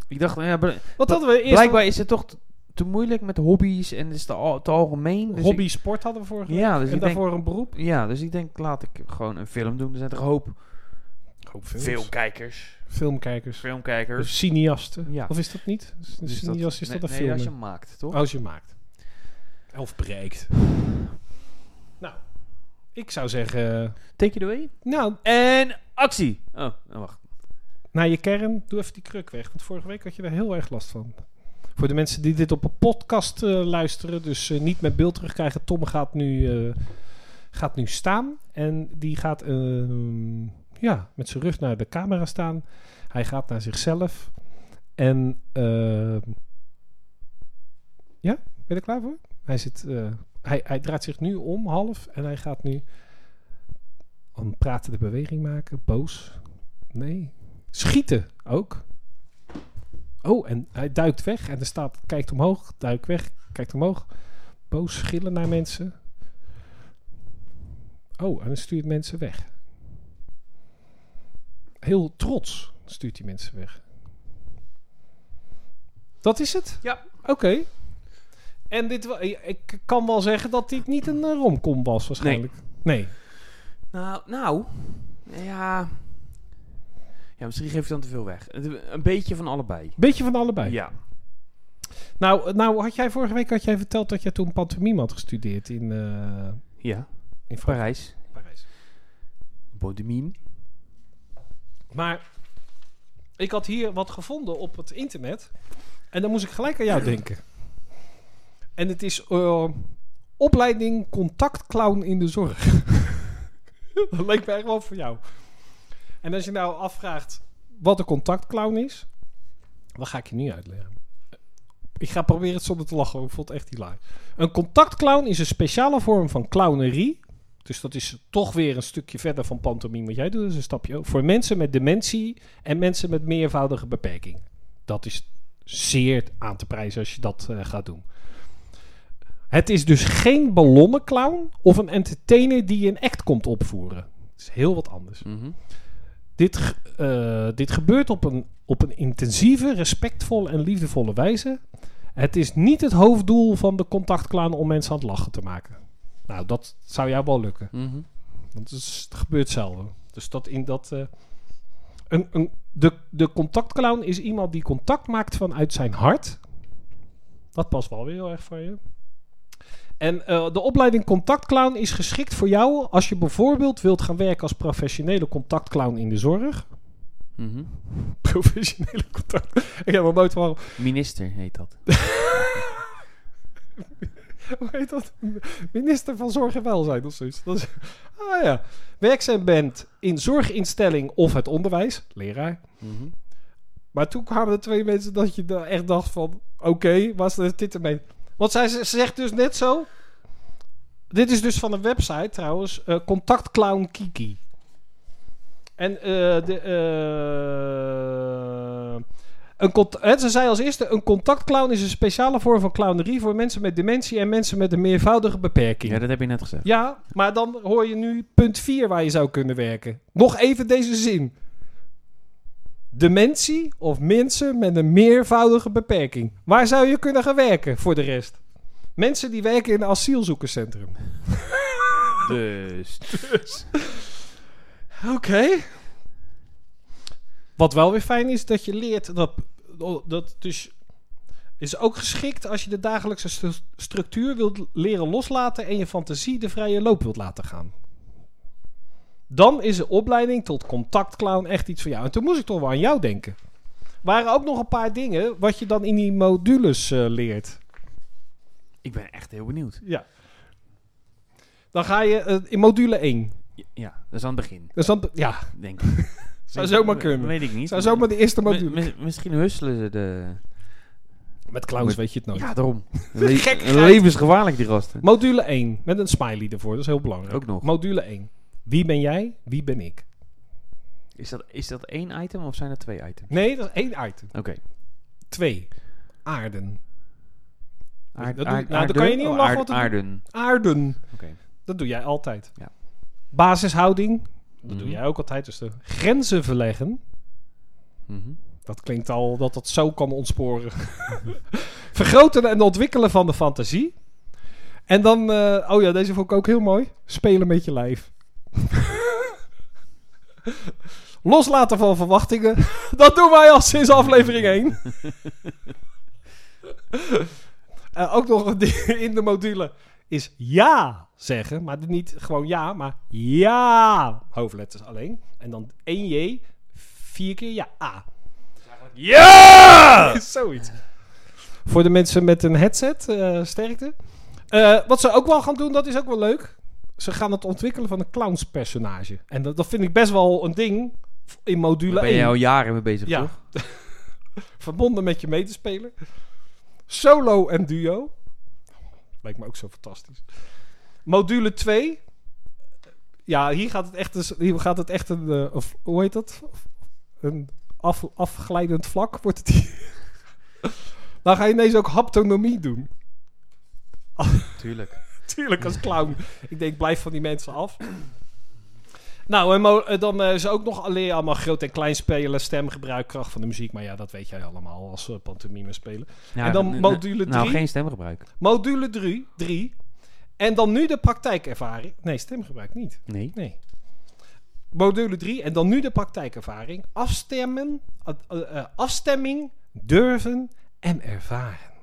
Speaker 2: Ik dacht, nou ja, bl-
Speaker 1: wat hadden we eerst?
Speaker 2: blijkbaar is het toch t- te moeilijk met hobby's en is te, al, te algemeen. Dus
Speaker 1: Hobby sport hadden we vorige
Speaker 2: ik- ja, dus
Speaker 1: week. En
Speaker 2: ik denk,
Speaker 1: daarvoor een beroep?
Speaker 2: ja, dus ik denk, laat ik gewoon een film doen. Er zijn toch een hoop Oh, filmkijkers.
Speaker 1: Filmkijkers. Of
Speaker 2: Filmkijkers.
Speaker 1: cineasten.
Speaker 2: Ja.
Speaker 1: Of is dat niet? Is- Een
Speaker 2: Dus
Speaker 1: cineast is
Speaker 2: nee,
Speaker 1: dat een
Speaker 2: nee,
Speaker 1: film?
Speaker 2: als je hem maakt, toch?
Speaker 1: Als je hem maakt. Of breekt. nou, ik zou zeggen...
Speaker 2: Take it away.
Speaker 1: Nou,
Speaker 2: En actie! Oh, nou wacht.
Speaker 1: naar je kern, doe even die kruk weg. Want vorige week had je daar heel erg last van. Voor de mensen die dit op een podcast eh, luisteren, dus eh, niet met beeld terugkrijgen. Tom gaat nu, eh, gaat nu staan en die gaat ehm, ja, met zijn rug naar de camera staan. Hij gaat naar zichzelf. En ehm, ja, ben je er klaar voor? Hij, zit, eh, hij, hij draait zich nu om, half. En hij gaat nu een pratende beweging maken. Boos. Nee, Schieten ook. Oh, en hij duikt weg en er staat: kijkt omhoog, duikt weg, kijkt omhoog. Boos schillen naar mensen. Oh, en dan stuurt mensen weg. Heel trots stuurt hij mensen weg. Dat is het?
Speaker 2: Ja.
Speaker 1: Oké. En dit, wa- ik kan wel zeggen dat dit niet een eh, romcom was, waarschijnlijk. Nee.
Speaker 2: Nou, nou. Ja. Ja, misschien geef je dan te veel weg. Het- Een beetje van allebei.
Speaker 1: Beetje van allebei.
Speaker 2: Ja.
Speaker 1: Nou, nou had jij vorige week had jij verteld dat jij toen pantomime had gestudeerd in, eh,
Speaker 2: Ja.
Speaker 1: in Frankrijk.
Speaker 2: Parijs.
Speaker 1: Parijs.
Speaker 2: Bodemien.
Speaker 1: Maar ik had hier wat gevonden op het internet. En dan moest ik gelijk aan jou denken. En het is eh, opleiding contactclown in de zorg. <laughs> dat leek mij echt wel voor jou. En als je nou afvraagt wat een contactclown is, dan ga ik je nu uitleggen. Ik ga proberen het zonder te lachen. want Ik vond het echt hilarisch. Een contactclown is een speciale vorm van clownerie. Dus dat is toch weer een stukje verder van pantomime wat jij doet. Dus een stapje ook. Voor mensen met dementie en mensen met meervoudige beperking. Dat is zeer aan te prijzen als je dat eh, gaat doen. Het is dus geen ballonnenclown of een entertainer die een act komt opvoeren. Het is heel wat anders.
Speaker 2: Mhm.
Speaker 1: Dit, ge- eh, dit gebeurt op een, op een intensieve, respectvolle en liefdevolle wijze. Het is niet het hoofddoel van de contactclown om mensen aan het lachen te maken. Nou, dat zou jou wel lukken.
Speaker 2: Mhm.
Speaker 1: Want het, is- het gebeurt zelden. Dus dat in dat. eh, een, een, de, de contactclown is iemand die contact maakt vanuit zijn hart. Dat past wel weer heel erg van je. En eh, de opleiding contactclown is geschikt voor jou als je bijvoorbeeld wilt gaan werken als professionele contactclown in de zorg.
Speaker 2: Mhm.
Speaker 1: <laughs> Professionele contact. Ik heb nog nooit van.
Speaker 2: Minister heet dat.
Speaker 1: Hoe heet dat? Minister van Zorg en Welzijn of zoiets. Dat is, ah ja. Werkzaam bent in zorginstelling of het onderwijs. Leraar.
Speaker 2: Mhm.
Speaker 1: Maar toen kwamen er twee mensen dat je da- echt dacht van... Oké, was er dit ermee? Want zij ze zegt dus net zo... Dit is dus van een website trouwens. eh, Contact Clown Kiki. En eh, de... eh, een cont- en ze zei als eerste... Een contactclown is een speciale vorm van clownerie... voor mensen met dementie en mensen met een meervoudige beperking.
Speaker 2: Ja, dat heb je net gezegd.
Speaker 1: Ja, maar dan hoor je nu punt 4 waar je zou kunnen werken. Nog even deze zin. Dementie of mensen met een meervoudige beperking. Waar zou je kunnen gaan werken voor de rest? Mensen die werken in een asielzoekerscentrum.
Speaker 2: Dus.
Speaker 1: Oké. Wat wel weer fijn is, dat je leert dat. Dat dus. Is ook geschikt als je de dagelijkse stru- structuur wilt leren loslaten. en je fantasie de vrije loop wilt laten gaan. Dan is de opleiding tot contactclown echt iets voor jou. En toen moest ik toch wel aan jou denken. Waren ook nog een paar dingen wat je dan in die modules eh, leert.
Speaker 2: Ik ben echt heel benieuwd.
Speaker 1: Ja. Dan ga je eh, in module 1.
Speaker 2: Ja, Ja, dat is aan het begin,
Speaker 1: Dus dan, ja,
Speaker 2: denk <laughs> ik.
Speaker 1: zou
Speaker 2: Weet-
Speaker 1: zomaar
Speaker 2: we-
Speaker 1: kunnen.
Speaker 2: Weet ik niet.
Speaker 1: zou zomaar de eerste
Speaker 2: <laughs> Mi-
Speaker 1: module.
Speaker 2: mi- misschien husselen ze de...
Speaker 1: Met clowns weet je het nooit.
Speaker 2: Ja,
Speaker 1: <laughs>
Speaker 2: daarom. Le-
Speaker 1: Gekkigheid.
Speaker 2: levensgevaarlijk, die gasten.
Speaker 1: Module 1, met een smiley ervoor, dat is heel belangrijk.
Speaker 2: Ook nog.
Speaker 1: Module 1. Wie ben jij? Wie ben ik?
Speaker 2: Is dat, is dat één item of zijn er twee items?
Speaker 1: Nee, dat is één item.
Speaker 2: Oké.
Speaker 1: Twee. Aarden.
Speaker 2: Aard-
Speaker 1: dat doe-
Speaker 2: aard-
Speaker 1: nou, daar kan je
Speaker 2: aarden?
Speaker 1: niet om
Speaker 2: Oh,
Speaker 1: lachen,
Speaker 2: aard-
Speaker 1: want dat-
Speaker 2: Aarden.
Speaker 1: Aarden.
Speaker 2: Oké.
Speaker 1: Dat doe jij altijd.
Speaker 2: Ja.
Speaker 1: Basishouding. Dat doe
Speaker 2: Mhm.
Speaker 1: jij ook altijd. Dus de grenzen verleggen.
Speaker 2: Mhm.
Speaker 1: Dat klinkt al dat dat zo kan ontsporen. <laughs> Vergroten en ontwikkelen van de fantasie. En dan, eh, oh ja, deze vond ik ook heel mooi. Spelen met je lijf. <laughs> Loslaten van verwachtingen. <laughs> Dat doen wij al sinds aflevering 1. <laughs> Eh, ook nog een ding in de module is ja zeggen. Maar niet gewoon ja, maar ja. Hoofdletters alleen. En dan 1J, vier keer ja. A. Ja! <laughs> Zoiets. Voor de mensen met een headset, eh, sterkte. Eh, wat ze ook wel gaan doen, dat is ook wel leuk. Ze gaan het ontwikkelen van een clownspersonage. En dat, dat vind ik best wel een ding in module
Speaker 2: Daar ben
Speaker 1: 1
Speaker 2: je al jaren mee bezig,
Speaker 1: ja.
Speaker 2: toch?
Speaker 1: <laughs> Verbonden met je medespeler. Solo en duo. Lijkt me ook zo fantastisch. Module 2. Ja, hier gaat het echt, een, hier gaat het echt een, eh, of, hoe heet dat? Een af, afglijdend vlak wordt het hier. <laughs> Dan ga je ineens ook haptonomie doen.
Speaker 2: Tuurlijk.
Speaker 1: <laughs> Tuurlijk, als clown. Ik denk, blijf van die mensen af. Nou, en mo- eh, dan eh, is ook nog alleen allemaal groot en klein spelen, stemgebruik, kracht van de muziek. Maar ja, dat weet jij allemaal als we pantomime spelen.
Speaker 2: Nou,
Speaker 1: En dan
Speaker 2: n- n-
Speaker 1: module
Speaker 2: Nou,
Speaker 1: drie.
Speaker 2: geen stemgebruik.
Speaker 1: Module 3. 3. En dan nu de praktijkervaring. Nee, stemgebruik niet.
Speaker 2: Nee.
Speaker 1: Nee. Module 3. En dan nu de praktijkervaring. Afstemmen, eh, eh, eh, afstemming, durven en ervaren.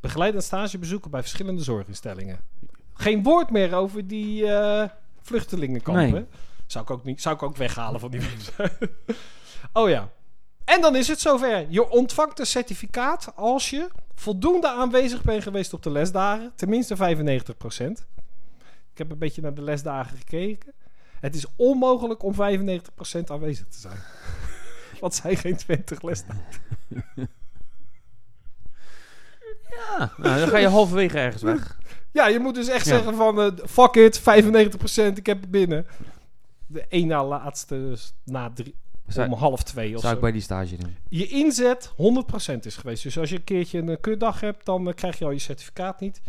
Speaker 1: Begeleidend stagebezoeken bij verschillende zorginstellingen. Geen woord meer over die eh, vluchtelingenkampen.
Speaker 2: Nee.
Speaker 1: Zou, ik ook niet, zou ik ook weghalen van die <laughs> website. oh ja. En dan is het zover. Je ontvangt een certificaat als je voldoende aanwezig bent geweest op de lesdagen. Tenminste 95%. Ik heb een beetje naar de lesdagen gekeken. Het is onmogelijk om 95% aanwezig te zijn. <laughs> Want het zijn geen 20 lesdagen.
Speaker 2: Ah, <laughs> nou, dan ga je halverwege ergens weg.
Speaker 1: Ja, je moet dus echt
Speaker 2: Ja.
Speaker 1: zeggen van... eh, fuck it, 95%, ik heb het binnen. De één na laatste, dus na drie, om
Speaker 2: Zou,
Speaker 1: half twee of
Speaker 2: zou ik
Speaker 1: zo.
Speaker 2: bij die stage doen.
Speaker 1: Je inzet 100% is geweest. Dus als je een keertje een eh, kutdag hebt, dan eh, krijg je al je certificaat niet.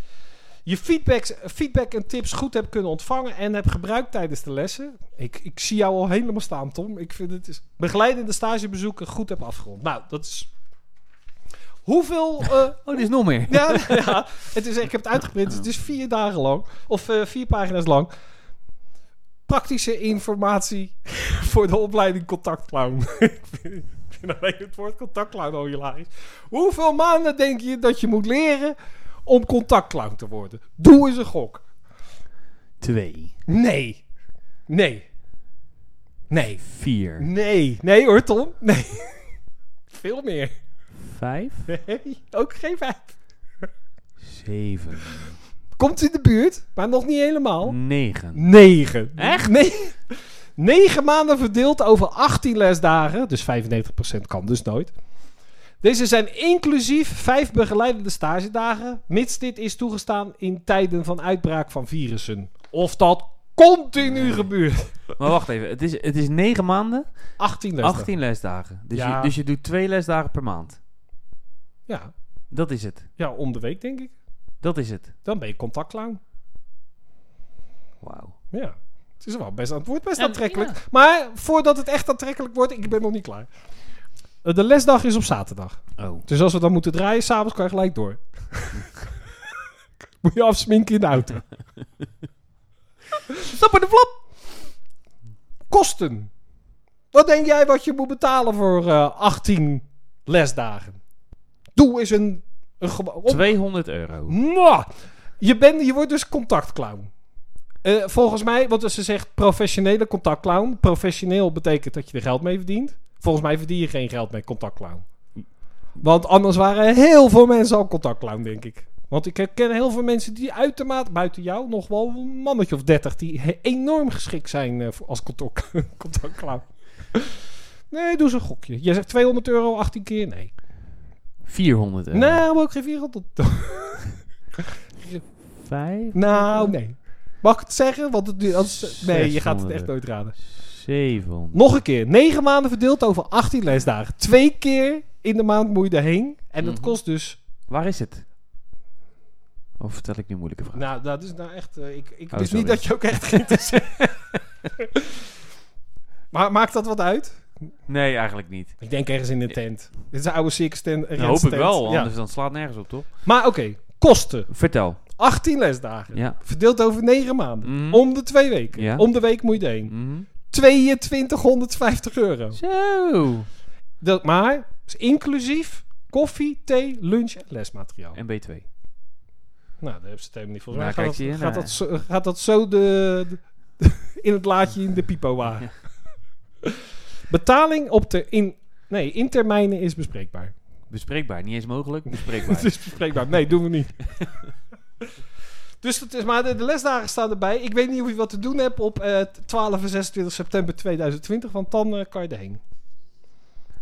Speaker 1: Je feedbacks, feedback en tips goed hebt kunnen ontvangen en hebt gebruikt tijdens de lessen. Ik, ik zie jou al helemaal staan, Tom. Ik vind het is begeleidende stagebezoeken goed heb afgerond. Nou, dat is. Hoeveel. eh,
Speaker 2: Oh, er is nog meer.
Speaker 1: ja, <laughs> ja, het is, ik heb het uitgeprint. dus Het is vier dagen lang. Of eh, vier pagina's lang. Praktische informatie <laughs> voor de opleiding contactclown. <laughs> ik vind- ik vind alleen het woord contactclown al hilarisch. Hoeveel maanden denk je dat je moet leren om contactclown te worden? Doe eens een gok.
Speaker 2: Twee.
Speaker 1: Nee. Nee. Nee.
Speaker 2: Vier.
Speaker 1: Nee. Nee hoor, Tom. Nee. <laughs> Veel meer.
Speaker 2: Vijf.
Speaker 1: Nee. Ook geen vijf.
Speaker 2: Zeven.
Speaker 1: Komt in de buurt, maar nog niet helemaal.
Speaker 2: Negen.
Speaker 1: 9.
Speaker 2: Echt?
Speaker 1: 9 maanden verdeeld over 18 lesdagen. Dus 95% kan dus nooit. Deze zijn inclusief 5 begeleidende stagedagen. Mits dit is toegestaan in tijden van uitbraak van virussen. Of dat continu gebeurt.
Speaker 2: Maar wacht even. Het is, het is negen maanden,
Speaker 1: 18 lesdagen.
Speaker 2: 18 lesdagen. Dus,
Speaker 1: Ja.
Speaker 2: je, dus je doet twee lesdagen per maand.
Speaker 1: Ja.
Speaker 2: Dat is het.
Speaker 1: ja, om de week denk ik.
Speaker 2: Dat is het.
Speaker 1: Dan ben je contactclown.
Speaker 2: Wauw.
Speaker 1: Ja. Het is wel best, het wordt best
Speaker 2: Ja,
Speaker 1: aantrekkelijk.
Speaker 2: ja.
Speaker 1: Maar voordat het echt aantrekkelijk wordt, ik ben nog niet klaar. Eh, De lesdag is op zaterdag.
Speaker 2: Oh.
Speaker 1: Dus als we dan moeten draaien, s'avonds kan je gelijk door. <laughs> Moet je afsminken in de auto. <laughs> Stap in de flap. Kosten. Wat denk jij wat je moet betalen voor eh, 18 lesdagen? Doe eens een... een gewo- op-
Speaker 2: 200 euro.
Speaker 1: Mwah! Je, bent, je wordt dus contactclown. Eh, volgens mij, want als ze zegt professionele contactclown... Professioneel betekent dat je er geld mee verdient. Volgens mij verdien je geen geld met contactclown. Want anders waren heel veel mensen al contactclown, denk ik. Want ik ken heel veel mensen die uitermate, buiten jou, nog wel een mannetje of dertig... die he- enorm geschikt zijn eh, voor- als contact, <laughs> contactclown. Nee, doe eens een gokje. Je zegt 200 euro 18 keer? Nee.
Speaker 2: 400 euro.
Speaker 1: Nou, ook geen 400
Speaker 2: Vijf.
Speaker 1: Nou, nee. Mag ik het zeggen? Want het, als, nee, je gaat het
Speaker 2: 600.
Speaker 1: echt nooit raden.
Speaker 2: 700.
Speaker 1: Nog een keer. 9 maanden verdeeld over 18 lesdagen. Twee keer in de maand moet je daarheen. En dat
Speaker 2: Mhm.
Speaker 1: kost dus...
Speaker 2: Waar is het? Of vertel ik nu moeilijke vragen?
Speaker 1: Nou, dat is nou echt... eh, ik ik
Speaker 2: Oh,
Speaker 1: wist
Speaker 2: sorry.
Speaker 1: niet dat je ook echt
Speaker 2: <laughs>
Speaker 1: geïnteresseerd Maar maakt dat wat uit?
Speaker 2: Nee, eigenlijk niet.
Speaker 1: Ik denk ergens in een tent. Dit is een oude circus tent.
Speaker 2: Dat hoop ik wel,
Speaker 1: Ja.
Speaker 2: anders dan slaat nergens op, toch?
Speaker 1: Maar oké, kosten.
Speaker 2: Vertel.
Speaker 1: 18 lesdagen.
Speaker 2: Ja.
Speaker 1: Verdeeld over 9 maanden.
Speaker 2: Mhm.
Speaker 1: Om de twee weken.
Speaker 2: Ja.
Speaker 1: Om de week moet je erheen.
Speaker 2: Mhm.
Speaker 1: 2250 euro.
Speaker 2: Zo.
Speaker 1: Dat, maar is inclusief koffie, thee, lunch en lesmateriaal.
Speaker 2: En B2.
Speaker 1: nou, daar hebben ze het helemaal niet voor.
Speaker 2: Nou,
Speaker 1: Gaat,
Speaker 2: kijk
Speaker 1: dat,
Speaker 2: je hier
Speaker 1: gaat,
Speaker 2: naar.
Speaker 1: dat zo, gaat dat zo de, de- <laughs> in het laadje in de pipo waren? Betaling op de in, nee, in termijnen is
Speaker 2: <laughs>
Speaker 1: bespreekbaar.
Speaker 2: Bespreekbaar. Niet eens mogelijk.
Speaker 1: <laughs> Het
Speaker 2: Bespreekbaar.
Speaker 1: is bespreekbaar. Nee, doen we niet. dus dat is, maar de, de lesdagen staan erbij. Ik weet niet of je wat te doen hebt op eh, 12 en 26 september 2020, want dan eh, kan je erheen.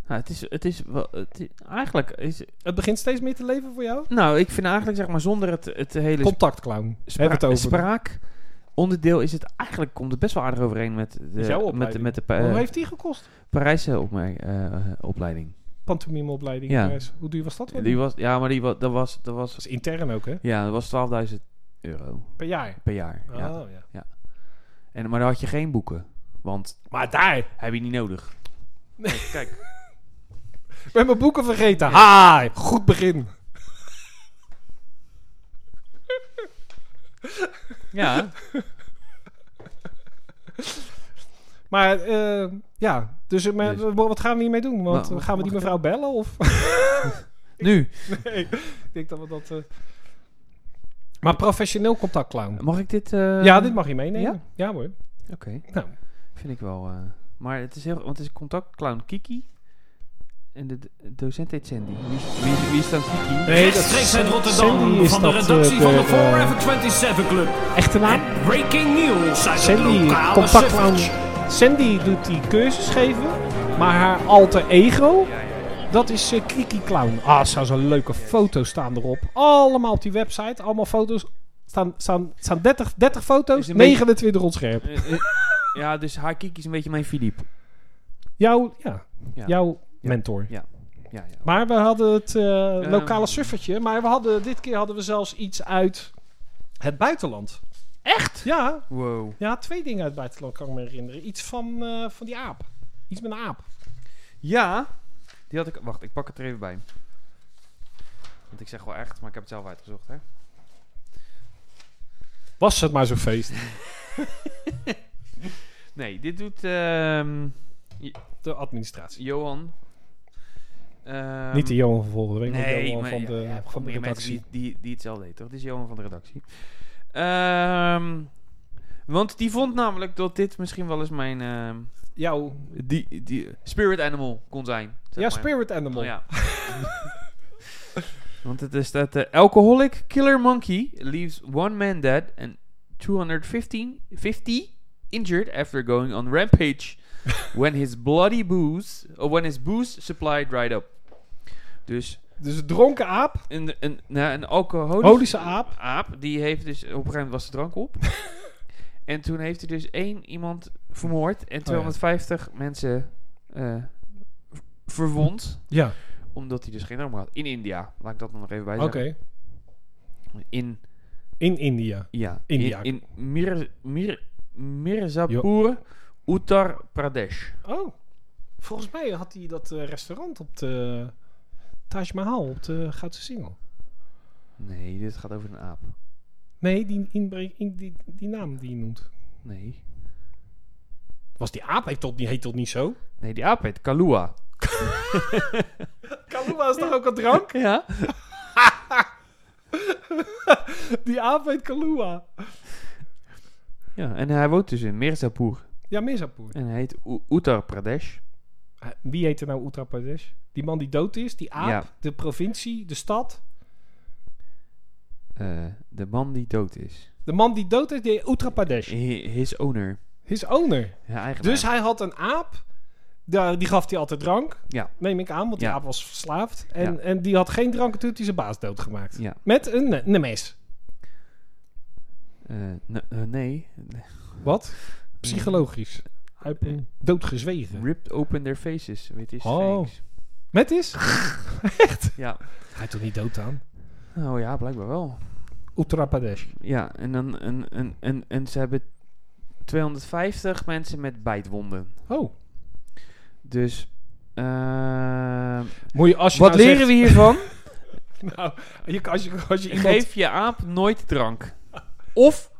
Speaker 2: nou, het is, het is wel, het is- eigenlijk is,
Speaker 1: Het begint steeds meer te leven voor jou?
Speaker 2: nou, ik vind eigenlijk, zeg maar, zonder het, het hele
Speaker 1: Contactclown.
Speaker 2: spra-
Speaker 1: Hebben we het over.
Speaker 2: spraak onderdeel is het eigenlijk, komt het best wel aardig overeen met
Speaker 1: Met jouw
Speaker 2: de, met, de-
Speaker 1: opleiding.
Speaker 2: met de
Speaker 1: Hoe
Speaker 2: pa- eh,
Speaker 1: heeft die gekost?
Speaker 2: Parijse opme- eh, opleiding.
Speaker 1: pantomimeopleiding
Speaker 2: Ja.
Speaker 1: in Parijs. Hoe duur was dat? wel?
Speaker 2: Die was, ja, maar die was, dat was, dat was,
Speaker 1: Dat is intern ook, hè?
Speaker 2: ja, dat was 12.000 euro
Speaker 1: Per jaar.
Speaker 2: per jaar. Ja.
Speaker 1: Oh, ja.
Speaker 2: En, maar dan had je geen boeken, want
Speaker 1: Maar daar,
Speaker 2: heb je niet nodig. Kijk.
Speaker 1: ik ben mijn boeken vergeten. Ha, goed begin.
Speaker 2: Ja.
Speaker 1: Maar eh, ja, dus, eh, maar,
Speaker 2: Dus-
Speaker 1: wat gaan we hiermee doen? Want eh,
Speaker 2: Maar-
Speaker 1: gaan we die
Speaker 2: mag ik-
Speaker 1: mevrouw bellen? Of
Speaker 2: <laughs>
Speaker 1: <laughs>
Speaker 2: Nu,
Speaker 1: nee, ik denk dat we dat. eh, Maar professioneel contactclown.
Speaker 2: mag ik dit? eh,
Speaker 1: ja, dit mag je meenemen. Ja, hoor.
Speaker 2: Oké.
Speaker 1: Nou,
Speaker 2: Vind ik wel. eh, maar het is heel. Want het is contactclown Kiki. En de d- docent heet Sandy. Wie, is- wie, is- wie is dan Kiki?
Speaker 1: nee, dat
Speaker 6: Rechtstreeks uit
Speaker 1: Sandy
Speaker 6: Rotterdam
Speaker 1: is
Speaker 6: van de
Speaker 1: dat, eh,
Speaker 6: redactie van de
Speaker 1: eh,
Speaker 6: Forever 27 Club.
Speaker 1: echte naam.
Speaker 6: En breaking news uit het
Speaker 1: Sandy,
Speaker 6: lokale
Speaker 1: contactclown.
Speaker 6: suffertje.
Speaker 1: Sandy doet die cursus geven, maar haar alter ego Dat is eh, Kiki Clown. Ah, er staan zo'n leuke foto's staan erop. Allemaal op die website. Allemaal foto's. Staan, staan, staan 30, 30 foto's.
Speaker 2: Is een beetje-
Speaker 1: 29 onscherp.
Speaker 2: Eh, eh, ja, dus haar kiek is een beetje mijn Philippe.
Speaker 1: Jouw, ja,
Speaker 2: Ja.
Speaker 1: jouw
Speaker 2: Ja.
Speaker 1: mentor.
Speaker 2: Ja, ja.
Speaker 1: Maar we hadden het eh,
Speaker 2: Ehm.
Speaker 1: lokale suffertje. Maar we hadden, dit keer hadden we zelfs iets uit het buitenland. Echt? Ja,
Speaker 2: Wow.
Speaker 1: ja twee dingen uit het buitenland kan ik me herinneren. Iets van, eh, van die aap. Iets met een aap.
Speaker 2: Ja, die had ik... Wacht, ik pak het er even bij. Want ik zeg wel echt, maar ik heb het zelf uitgezocht, hè.
Speaker 1: Was het maar zo'n feest.
Speaker 2: Nee, dit doet ehm,
Speaker 1: De administratie.
Speaker 2: Johan. Ehm,
Speaker 1: Niet de Johan van volgende week. maar de Johan
Speaker 2: maar
Speaker 1: van
Speaker 2: ja,
Speaker 1: de,
Speaker 2: ja, gewoon
Speaker 1: van de
Speaker 2: meer
Speaker 1: redactie.
Speaker 2: mensen die, die, die hetzelfde deed, toch? Dit is Johan van de redactie. Ehm, want die vond namelijk dat dit misschien wel eens mijn ehm,
Speaker 1: Jouw
Speaker 2: die, die spirit animal kon zijn. zeg
Speaker 1: Oh, ja,
Speaker 2: maar. Oh,
Speaker 1: spirit animal.
Speaker 2: Ja. <laughs> Want het is dat de alcoholic killer monkey leaves one man dead and 215 50 injured after going on
Speaker 1: <laughs>
Speaker 2: rampage when his bloody booze or when his booze supply dried up. Dus
Speaker 1: Dus een dronken aap.
Speaker 2: een, een, nou, een alcoholische
Speaker 1: Holische aap.
Speaker 2: aap, die heeft dus op een gegeven moment was de drank op. en toen heeft hij dus één iemand vermoord en 250 mensen eh, v- verwond
Speaker 1: Ja,
Speaker 2: omdat hij dus geen arm had. In India. Laat ik dat dan nog even bij
Speaker 1: oké.
Speaker 2: zeggen. In,
Speaker 1: In India.
Speaker 2: ja.
Speaker 1: India.
Speaker 2: In, in Mir, Mir, Mirzapur, Uttar Pradesh.
Speaker 1: Oh. Volgens mij had hij dat eh, restaurant op de Taj Mahal, op de Goudse Singel.
Speaker 2: Nee, dit gaat over een aap.
Speaker 1: Nee, die, inbre- in, die, die naam die je noemt.
Speaker 2: Nee.
Speaker 1: Was die aap? Heet tot, niet- heet tot niet zo?
Speaker 2: Nee, die aap heet Kalua.
Speaker 1: Kalua is toch ook een drank? <laughs>
Speaker 2: Ja?
Speaker 1: Die aap heet Kalua.
Speaker 2: Ja, en hij woont dus in Mirzapur.
Speaker 1: Ja, Mirzapur.
Speaker 2: En hij heet U- Uttar Pradesh.
Speaker 1: Eh, Wie heet er nou Uttar Pradesh? Die man die dood is, die aap,
Speaker 2: Ja.
Speaker 1: de provincie, de stad.
Speaker 2: Eh, de man die dood is.
Speaker 1: De man die dood is, die heet Uttar Pradesh.
Speaker 2: Hi- His owner.
Speaker 1: His owner.
Speaker 2: Ja, eigenaar.
Speaker 1: Dus hij had een aap. Daar, die gaf hij altijd drank.
Speaker 2: Ja.
Speaker 1: Neem ik aan, want die
Speaker 2: Ja.
Speaker 1: aap was verslaafd. En,
Speaker 2: Ja.
Speaker 1: en die had geen drank en toen heeft hij zijn baas doodgemaakt.
Speaker 2: Ja.
Speaker 1: Met een, ne- een mes.
Speaker 2: Eh, n- eh, nee.
Speaker 1: Wat? Psychologisch. Hij heeft hem doodgezwegen.
Speaker 2: Ripped open their faces. Weet je,
Speaker 1: Oh. <laughs>
Speaker 2: sphinx.
Speaker 1: Met is? Echt?
Speaker 2: Ja.
Speaker 1: Hij is toch niet dood aan?
Speaker 2: Oh ja, blijkbaar wel.
Speaker 1: Uttar Pradesh.
Speaker 2: Ja, en, dan, en, en, en, en ze hebben 250 mensen met bijtwonden.
Speaker 1: Oh.
Speaker 2: Dus, ehm,
Speaker 1: Moet je, als je
Speaker 2: wat
Speaker 1: nou
Speaker 2: leren we hiervan?
Speaker 1: zegt- Nou, je, als je, als <laughs> je iemand...
Speaker 2: Geef je aap nooit drank. Of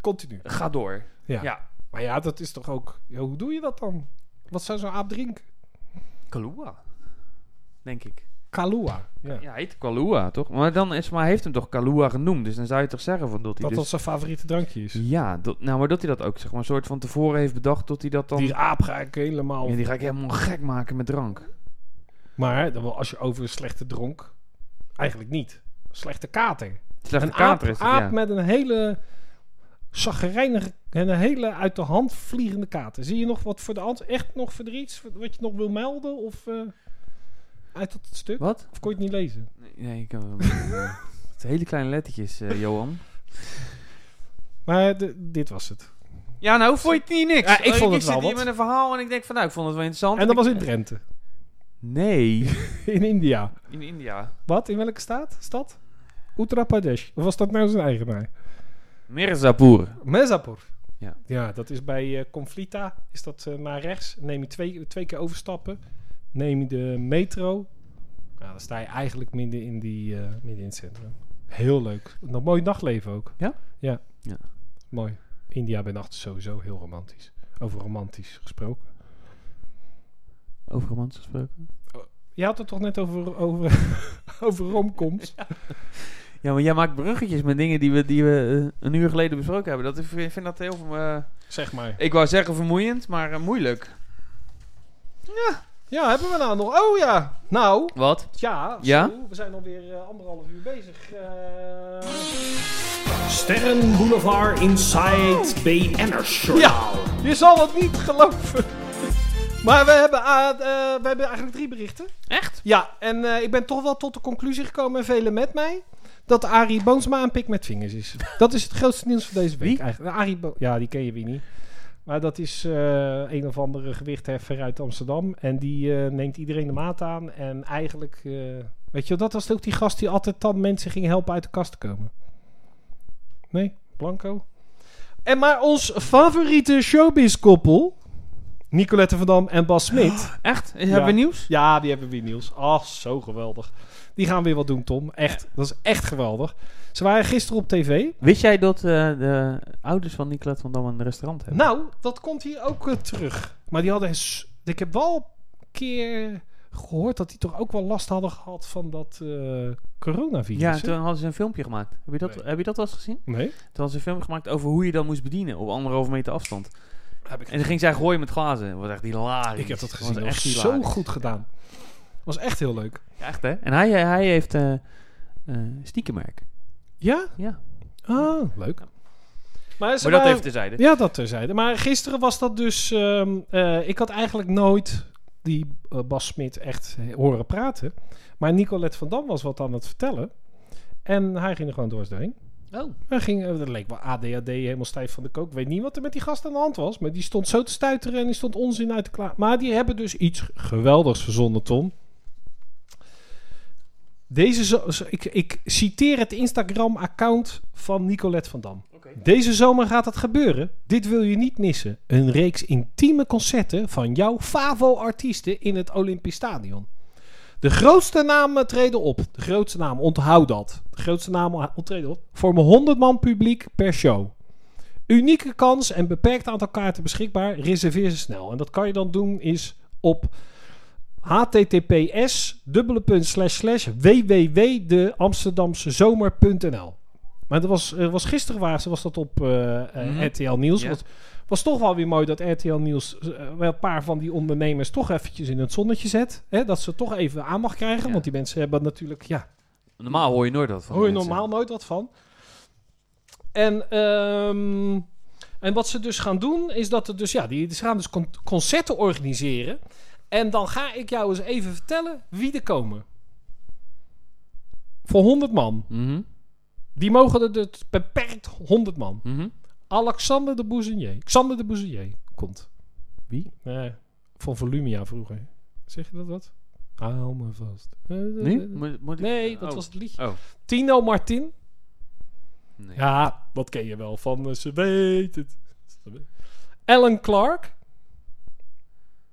Speaker 1: Continu.
Speaker 2: ga door.
Speaker 1: Ja.
Speaker 2: ja.
Speaker 1: Maar ja, dat is toch ook... Ja, hoe doe je dat dan? Wat zou zo'n aap drinken?
Speaker 2: Kalua, denk ik.
Speaker 1: Kalua. Ja.
Speaker 2: Ja, hij heet Kalua, toch? Maar dan is, maar hij heeft hem toch Kalua genoemd. Dus dan zou je toch zeggen van dat hij
Speaker 1: Dat dat
Speaker 2: dus...
Speaker 1: zijn favoriete drankje is.
Speaker 2: Ja, dat, nou, maar dat hij dat ook, zeg maar, soort van tevoren heeft bedacht dat hij dat dan...
Speaker 1: Die aap ga ik helemaal...
Speaker 2: Ja, die ga ik helemaal gek maken met drank.
Speaker 1: Maar dan wel als je over een slechte dronk... Eigenlijk niet. Slechte kater.
Speaker 2: Slechte
Speaker 1: Een aap,
Speaker 2: kater is het,
Speaker 1: aap
Speaker 2: ja.
Speaker 1: met een hele zagrijnige en een hele uit de hand vliegende kater. Zie je nog wat voor de hand? Echt nog voor de iets wat je nog wil melden? Of eh, uit dat stuk?
Speaker 2: Wat?
Speaker 1: Of kon je het niet lezen?
Speaker 2: Nee, Nee, ik heb
Speaker 1: <laughs>
Speaker 2: hem niet. eh, Het zijn hele kleine lettertjes, eh, Johan.
Speaker 1: Maar eh, de- dit was het.
Speaker 2: Ja, nou vond je het niet niks.
Speaker 1: Ja, ik
Speaker 2: Eh,
Speaker 1: vond het
Speaker 2: zit
Speaker 1: wel
Speaker 2: hier
Speaker 1: wat.
Speaker 2: met een verhaal en ik denk van, nou, ik vond het wel interessant.
Speaker 1: En dat
Speaker 2: Ik-
Speaker 1: was in Drenthe.
Speaker 2: Nee,
Speaker 1: In India.
Speaker 2: in India.
Speaker 1: Wat? In welke staat? Stad? Uttar Pradesh. Of was dat nou zijn eigenaar?
Speaker 2: Mirzapur.
Speaker 1: Mezapur.
Speaker 2: Ja.
Speaker 1: ja, dat is bij eh, Conflita. Is dat eh, naar rechts? Neem je twee, twee keer overstappen. Neem je de metro. Nou, dan sta je eigenlijk midden in, die, eh, midden in het centrum. Heel leuk. Een mooi nachtleven ook.
Speaker 2: Ja?
Speaker 1: Ja.
Speaker 2: Ja.
Speaker 1: Mooi. India bij nacht is sowieso heel romantisch. Over romantisch gesproken.
Speaker 2: Over romans gesproken.
Speaker 1: Je had het toch net over, over, <laughs> over romcoms?
Speaker 2: Ja, maar jij maakt bruggetjes met dingen die we, die we eh, een uur geleden besproken hebben. Dat, ik vind vind dat heel... eh,
Speaker 1: Zeg maar.
Speaker 2: ik wou zeggen vermoeiend, maar eh, moeilijk.
Speaker 1: Ja, hebben we nou nog? Oh ja. Nou.
Speaker 2: Wat?
Speaker 1: Ja,
Speaker 2: Ja?
Speaker 1: zo, we zijn alweer eh, anderhalf uur bezig. Eh Sterren Boulevard Inside BN'ers Ja, je zal het niet geloven. <laughs> Maar we hebben, ah, eh, we hebben eigenlijk drie berichten.
Speaker 2: Echt?
Speaker 1: Ja, en eh, ik ben toch wel tot de conclusie gekomen, en velen met mij, dat Arie Boomsma een pik met vingers is. <laughs> Dat is het grootste nieuws van deze week
Speaker 2: Wie?
Speaker 1: eigenlijk. Nou, Arie Bo- ja, die ken je wie niet. Maar dat is eh, een of andere gewichtheffer uit Amsterdam. En die eh, neemt iedereen de maat aan. En eigenlijk, eh, weet je, wel, dat was ook die gast die altijd dan mensen ging helpen uit de kast te komen. Nee, Blanco. En maar ons favoriete showbiz-koppel, Nicolette van Dam en Bas Smit.
Speaker 2: Echt? Is-
Speaker 1: Ja.
Speaker 2: Hebben we nieuws?
Speaker 1: Ja, die hebben weer nieuws. Ach, zo geweldig. Die gaan weer wat doen, Tom. Echt, dat is echt geweldig. Ze waren gisteren op tv.
Speaker 2: Wist jij dat eh, de ouders van Nicolette van Dam een restaurant hebben?
Speaker 1: Nou, dat komt hier ook eh, terug. Maar die hadden... s- Ik heb wel een keer gehoord dat die toch ook wel last hadden gehad van dat eh, coronavirus.
Speaker 2: ja,
Speaker 1: hè?
Speaker 2: toen hadden ze een filmpje gemaakt. Heb je dat,
Speaker 1: Nee.
Speaker 2: heb je dat wel eens gezien?
Speaker 1: Nee?
Speaker 2: Toen hadden ze een filmpje gemaakt over hoe je dan moest bedienen op anderhalve meter afstand.
Speaker 1: Heb ik,
Speaker 2: En toen ging zij gooien met glazen. Dat was echt hilarisch.
Speaker 1: ik heb dat
Speaker 2: was
Speaker 1: gezien. Dat was
Speaker 2: echt
Speaker 1: zo
Speaker 2: hilarisch.
Speaker 1: goed gedaan. was echt heel leuk.
Speaker 2: Ja, echt hè? En hij, hij heeft eh eh stiekenmerk.
Speaker 1: Ja?
Speaker 2: Ja,
Speaker 1: Ah, leuk. Maar, ze
Speaker 2: maar dat
Speaker 1: waren-
Speaker 2: even terzijde.
Speaker 1: Ja, dat terzijde. Maar gisteren was dat dus... ehm, eh, ik had eigenlijk nooit die eh, Bas Smit echt eh, horen praten. Maar Nicolette van Dam was wat aan het vertellen. En hij ging er gewoon dwars doorheen.
Speaker 2: Oh.
Speaker 1: Hij ging, eh, dat leek wel ADHD, helemaal stijf van de kook. Ik weet niet wat er met die gast aan de hand was. Maar die stond zo te stuiteren en die stond onzin uit te klaar. Maar die hebben dus iets geweldigs verzonnen, Tom. Deze zo- zo- ik, ik citeer het Instagram-account van Nicolette van Dam. Deze zomer gaat het gebeuren. Dit wil je niet missen. Een reeks intieme concerten van jouw favo-artiesten in het Olympisch Stadion. De grootste namen treden op. De grootste namen, onthoud dat. De grootste namen treden op. Vormen 100 man publiek per show. Unieke kans en beperkt aantal kaarten beschikbaar. Reserveer ze snel. En dat kan je dan doen is op https www.deamsterdamsezomer.nl Maar dat was, eh, was gisteren waar ze was dat op eh, eh,
Speaker 2: Mhm.
Speaker 1: RTL Nieuws.
Speaker 2: Ja.
Speaker 1: Was, was toch wel weer mooi dat RTL Nieuws eh, wel een paar van die ondernemers toch eventjes in het zonnetje zet. Hè? Dat ze toch even aan mag krijgen.
Speaker 2: Ja.
Speaker 1: Want die mensen hebben natuurlijk, ja,
Speaker 2: Normaal hoor je nooit dat van
Speaker 1: Hoor je
Speaker 2: mensen.
Speaker 1: normaal nooit wat van. En, ehm, en wat ze dus gaan doen, is dat er dus, ja, die, ze gaan dus con- concerten organiseren. En dan ga ik jou eens even vertellen wie er komen. Voor 100 man.
Speaker 2: Mhm,
Speaker 1: Die mogen er dus beperkt 100 man.
Speaker 2: mhm.
Speaker 1: Alexander de Bouzinier. Xander de Bouzinier komt.
Speaker 2: Wie?
Speaker 1: Eh, van Volumia vroeger. Zeg je dat wat? Hou me vast.
Speaker 2: Nu? Moet, moet ik-
Speaker 1: Nee, dat
Speaker 2: oh.
Speaker 1: was het liedje.
Speaker 2: Oh.
Speaker 1: Tino Martin.
Speaker 2: Nee.
Speaker 1: Ja, dat ken je wel van eh, ze weet het. Ellen Clark.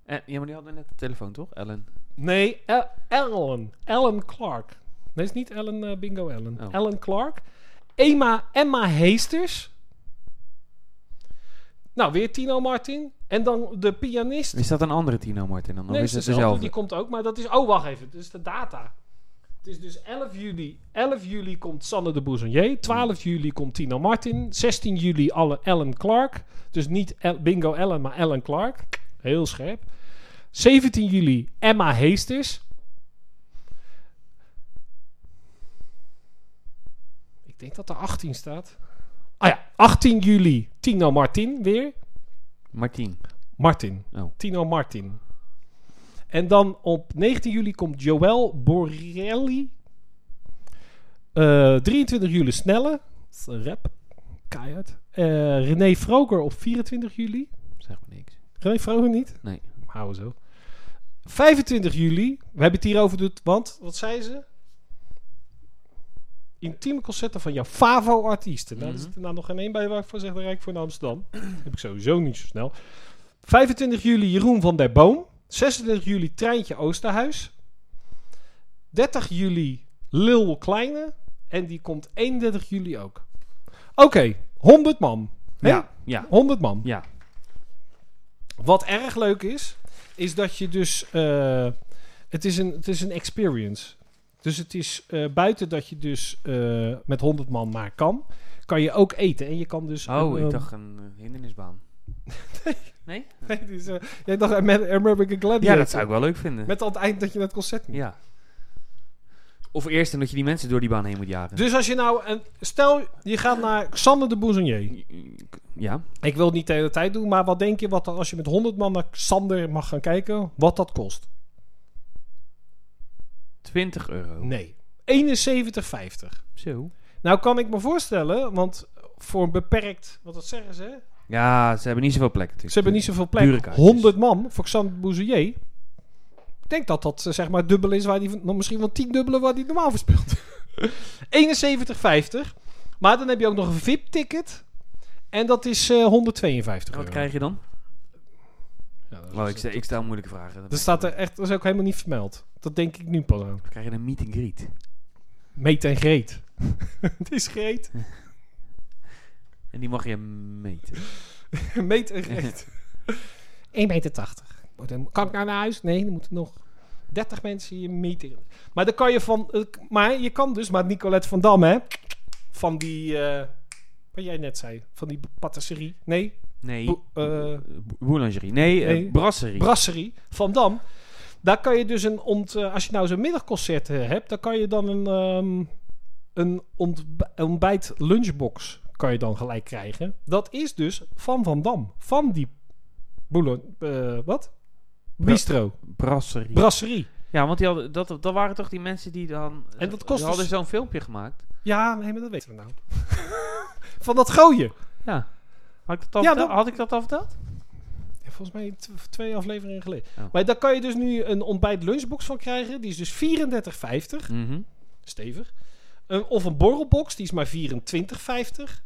Speaker 2: Eh, ja, maar die hadden net de telefoon, toch? Ellen.
Speaker 1: Nee, El- Ellen. Ellen Clark. Nee, is niet Ellen eh, Bingo Ellen.
Speaker 2: Oh.
Speaker 1: Ellen Clark. Emma, Emma Heesters. Nou, weer Tino Martin. En dan de pianist.
Speaker 2: Is dat een andere Tino Martin dan? Of
Speaker 1: nee,
Speaker 2: is
Speaker 1: is
Speaker 2: het
Speaker 1: dezelfde.
Speaker 2: dezelfde?
Speaker 1: Die komt ook, maar dat is... Oh, wacht even. Dat is de data. Het is dus 11 juli. 11 juli komt Sanne de Bouzonnier. 12 juli komt Tino Martin. 16 juli alle Ellen Clark. Dus niet El- Bingo Ellen, maar Ellen Clark. Heel scherp. 17 juli Emma Heesters. Ik denk dat er 18 staat. Ah ja, 18 juli Tino Martin weer.
Speaker 2: Martin.
Speaker 1: Martin.
Speaker 2: Oh.
Speaker 1: Tino Martin. En dan op 19 juli komt Joël Borelli. Eh, 23 juli Snelle. Dat is een rap. Keihard. Eh, René Vroger op 24 juli.
Speaker 2: Zeg maar niks.
Speaker 1: René Vroger niet?
Speaker 2: Nee.
Speaker 1: Houden zo. 25 juli. We hebben het hier over doet, want wat zei ze? Intieme concerten van jouw favo-artiesten. Nou,
Speaker 2: Mhm.
Speaker 1: er zit er nou nog geen één bij waar ik voor zeg, daar rijk ik voor naar Amsterdam. <clears throat> heb ik sowieso niet zo snel. 25 juli Jeroen van der Boom. 26 juli Treintje Oosterhuis. 30 juli Lil Kleine. En die komt 31 juli ook. Oké, 100 man. hè?
Speaker 2: Ja. Ja.
Speaker 1: 100 man.
Speaker 2: Ja.
Speaker 1: Wat erg leuk is, is dat je dus. eh, het, is een, het is een experience. Dus het is eh, buiten dat je dus eh, met 100 man maar kan, kan je ook eten. En je kan dus.
Speaker 2: Oh,
Speaker 1: een,
Speaker 2: ik
Speaker 1: ehm,
Speaker 2: dacht een eh, hindernisbaan. Nee?
Speaker 1: <laughs> nee, het is, eh, jij dacht met American Gladiator.
Speaker 2: Ja, dat zou ik wel leuk vinden.
Speaker 1: Met aan het eind dat je naar het concert moet.
Speaker 2: Ja. Of eerst en dat je die mensen door die baan heen moet jagen.
Speaker 1: Dus als je nou... Een, stel, je gaat naar Xander de Boezenier.
Speaker 2: Ja.
Speaker 1: Ik wil het niet de hele tijd doen, maar wat denk je... Wat, er- als je met 100 man naar Xander mag gaan kijken, wat dat kost?
Speaker 2: 20 euro.
Speaker 1: Nee. 71,50.
Speaker 2: Zo.
Speaker 1: Nou kan ik me voorstellen, want voor een beperkt... Wat dat zeggen ze, hè?
Speaker 2: Ja, ze hebben niet zoveel plek natuurlijk.
Speaker 1: Ze hebben niet zoveel
Speaker 2: Dure
Speaker 1: plek.
Speaker 2: kaartjes.
Speaker 1: 100 man voor Xander Bouzelier. Ik denk dat dat eh, zeg maar dubbel is waar die van- nou, misschien wel 10 dubbele waar die normaal verspeelt. <laughs> 71,50. Maar dan heb je ook nog een VIP-ticket. En dat is eh 152
Speaker 2: En
Speaker 1: euro.
Speaker 2: wat krijg je dan?
Speaker 1: Ja, dat is-
Speaker 2: Oh, ik, stel, ik stel moeilijke vragen.
Speaker 1: dat staat er echt, dat is ook helemaal niet vermeld. Dat denk ik nu pas aan.
Speaker 2: Dan krijg je een meet and greet.
Speaker 1: Meet en greet. <laughs> Het is greet.
Speaker 2: En die mag je meten.
Speaker 1: Meet en greet. 1,80 meter. Oh, dan Kan ik nou naar huis? Nee, dan moeten nog 30 mensen je meten. Maar dan kan je van. eh, k- Maar je kan dus, maar Nicolette van Dam, hè? Van die. eh, wat jij net zei. Van die patisserie. Nee,
Speaker 2: Nee.
Speaker 1: Bo- eh,
Speaker 2: B- Boulangerie. Nee, eh,
Speaker 1: nee.
Speaker 2: brasserie.
Speaker 1: brasserie van Dam. Daar kan je dus een. Ont, eh, als je nou zo'n middagconcert eh, hebt, dan kan je dan een. ehm, een ontb- ontbijt lunchbox kan je dan gelijk krijgen. Dat is dus van Van Dam. Van die. Boulon, eh, wat? Bistro.
Speaker 2: brasserie.
Speaker 1: Brasserie.
Speaker 2: ja, want die hadden, dat, dat waren toch die mensen die dan...
Speaker 1: En dat kost
Speaker 2: Ze hadden
Speaker 1: dus-
Speaker 2: zo'n filmpje gemaakt.
Speaker 1: Ja, nee, maar dat weten we nou. <laughs> van dat gooien.
Speaker 2: Ja. Had ik dat al,
Speaker 1: Ja,
Speaker 2: verteld?
Speaker 1: dat-
Speaker 2: Had ik dat al verteld?
Speaker 1: Ja, volgens mij t- twee afleveringen geleden.
Speaker 2: Oh.
Speaker 1: Maar daar kan je dus nu een ontbijt lunchbox van krijgen. Die is dus 34,50.
Speaker 2: Mhm.
Speaker 1: Stevig. Een- of een borrelbox, die is maar 24,50.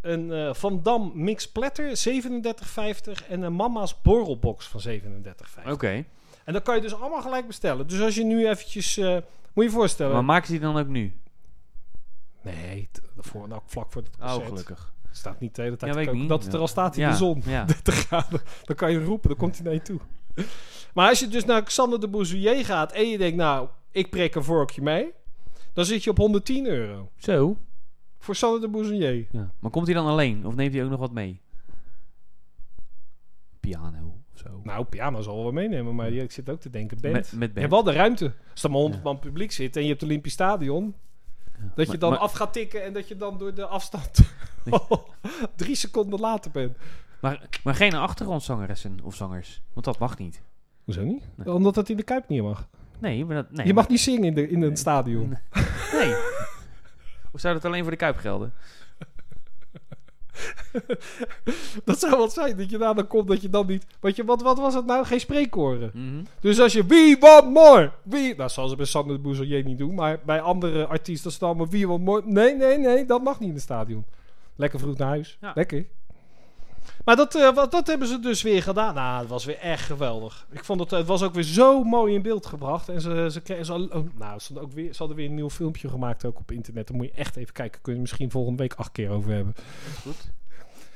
Speaker 1: Een eh, Van Dam Mix Platter, 37,50. En een Mama's borrelbox van 37,50.
Speaker 2: Oké.
Speaker 1: En dat kan je dus allemaal gelijk bestellen. Dus als je nu eventjes... eh, moet je je voorstellen...
Speaker 2: Maar maken ze die dan ook nu?
Speaker 1: nee, t- voor, nou, vlak voor het
Speaker 2: Oh,
Speaker 1: concert.
Speaker 2: gelukkig.
Speaker 1: Staat niet de hele tijd
Speaker 2: Ja,
Speaker 1: te
Speaker 2: weet
Speaker 1: koken.
Speaker 2: ik niet.
Speaker 1: Dat het
Speaker 2: Ja.
Speaker 1: er al staat in de zon. <laughs>
Speaker 2: Ja.
Speaker 1: 30 graden. Dan kan je roepen, dan komt hij naar je toe. Maar als je dus naar Xander de Bouzouillet gaat en je denkt, nou, ik prik een vorkje mee. Dan zit je op 110 euro.
Speaker 2: Zo.
Speaker 1: Voor Xander de Bouzouillet.
Speaker 2: Ja. Maar komt hij dan alleen? Of neemt hij ook nog wat mee? Piano of zo.
Speaker 1: Nou, piano zal wel meenemen, maar die- ik zit ook te denken, band.
Speaker 2: Met, met
Speaker 1: Je
Speaker 2: band.
Speaker 1: hebt wel de ruimte. Als er maar 100
Speaker 2: Ja.
Speaker 1: man publiek zit en je hebt het Olympisch Stadion. Dat je
Speaker 2: Maar-
Speaker 1: dan
Speaker 2: maar-
Speaker 1: af gaat tikken en dat je dan door de afstand
Speaker 2: Nee.
Speaker 1: <laughs> drie seconden later bent.
Speaker 2: Maar, maar geen achtergrondzangeressen of zangers. Want dat mag niet.
Speaker 1: Hoezo niet?
Speaker 2: Nee.
Speaker 1: Omdat dat in de Kuip niet mag.
Speaker 2: Nee, maar dat... Nee,
Speaker 1: je mag niet zingen in, de, in een stadion.
Speaker 2: Nee.
Speaker 1: <laughs>
Speaker 2: Of zou dat alleen voor de Kuip gelden?
Speaker 1: Dat zou wat zijn, dat je daar dan komt, dat je dan niet... Weet je, wat, wat was het nou? Geen spreekkoren.
Speaker 2: Mhm.
Speaker 1: Dus als je wie want more, wie... Nou, zal ze bij Sander de Bouzelier niet doen, maar bij andere artiesten is het allemaal wie want more. Nee, nee, nee, dat mag niet in het stadion. Lekker vroeg naar huis.
Speaker 2: Ja.
Speaker 1: Lekker. Maar dat, eh, wat, dat hebben ze dus weer gedaan. Nou, het was weer echt geweldig. Ik vond het, het was ook weer zo mooi in beeld gebracht. En ze, ze, kregen, ze, al- oh, nou, ze, hadden ook weer, ze hadden weer een nieuw filmpje gemaakt ook op internet. Dan moet je echt even kijken. Kun je misschien volgende week acht keer over hebben.
Speaker 2: Goed.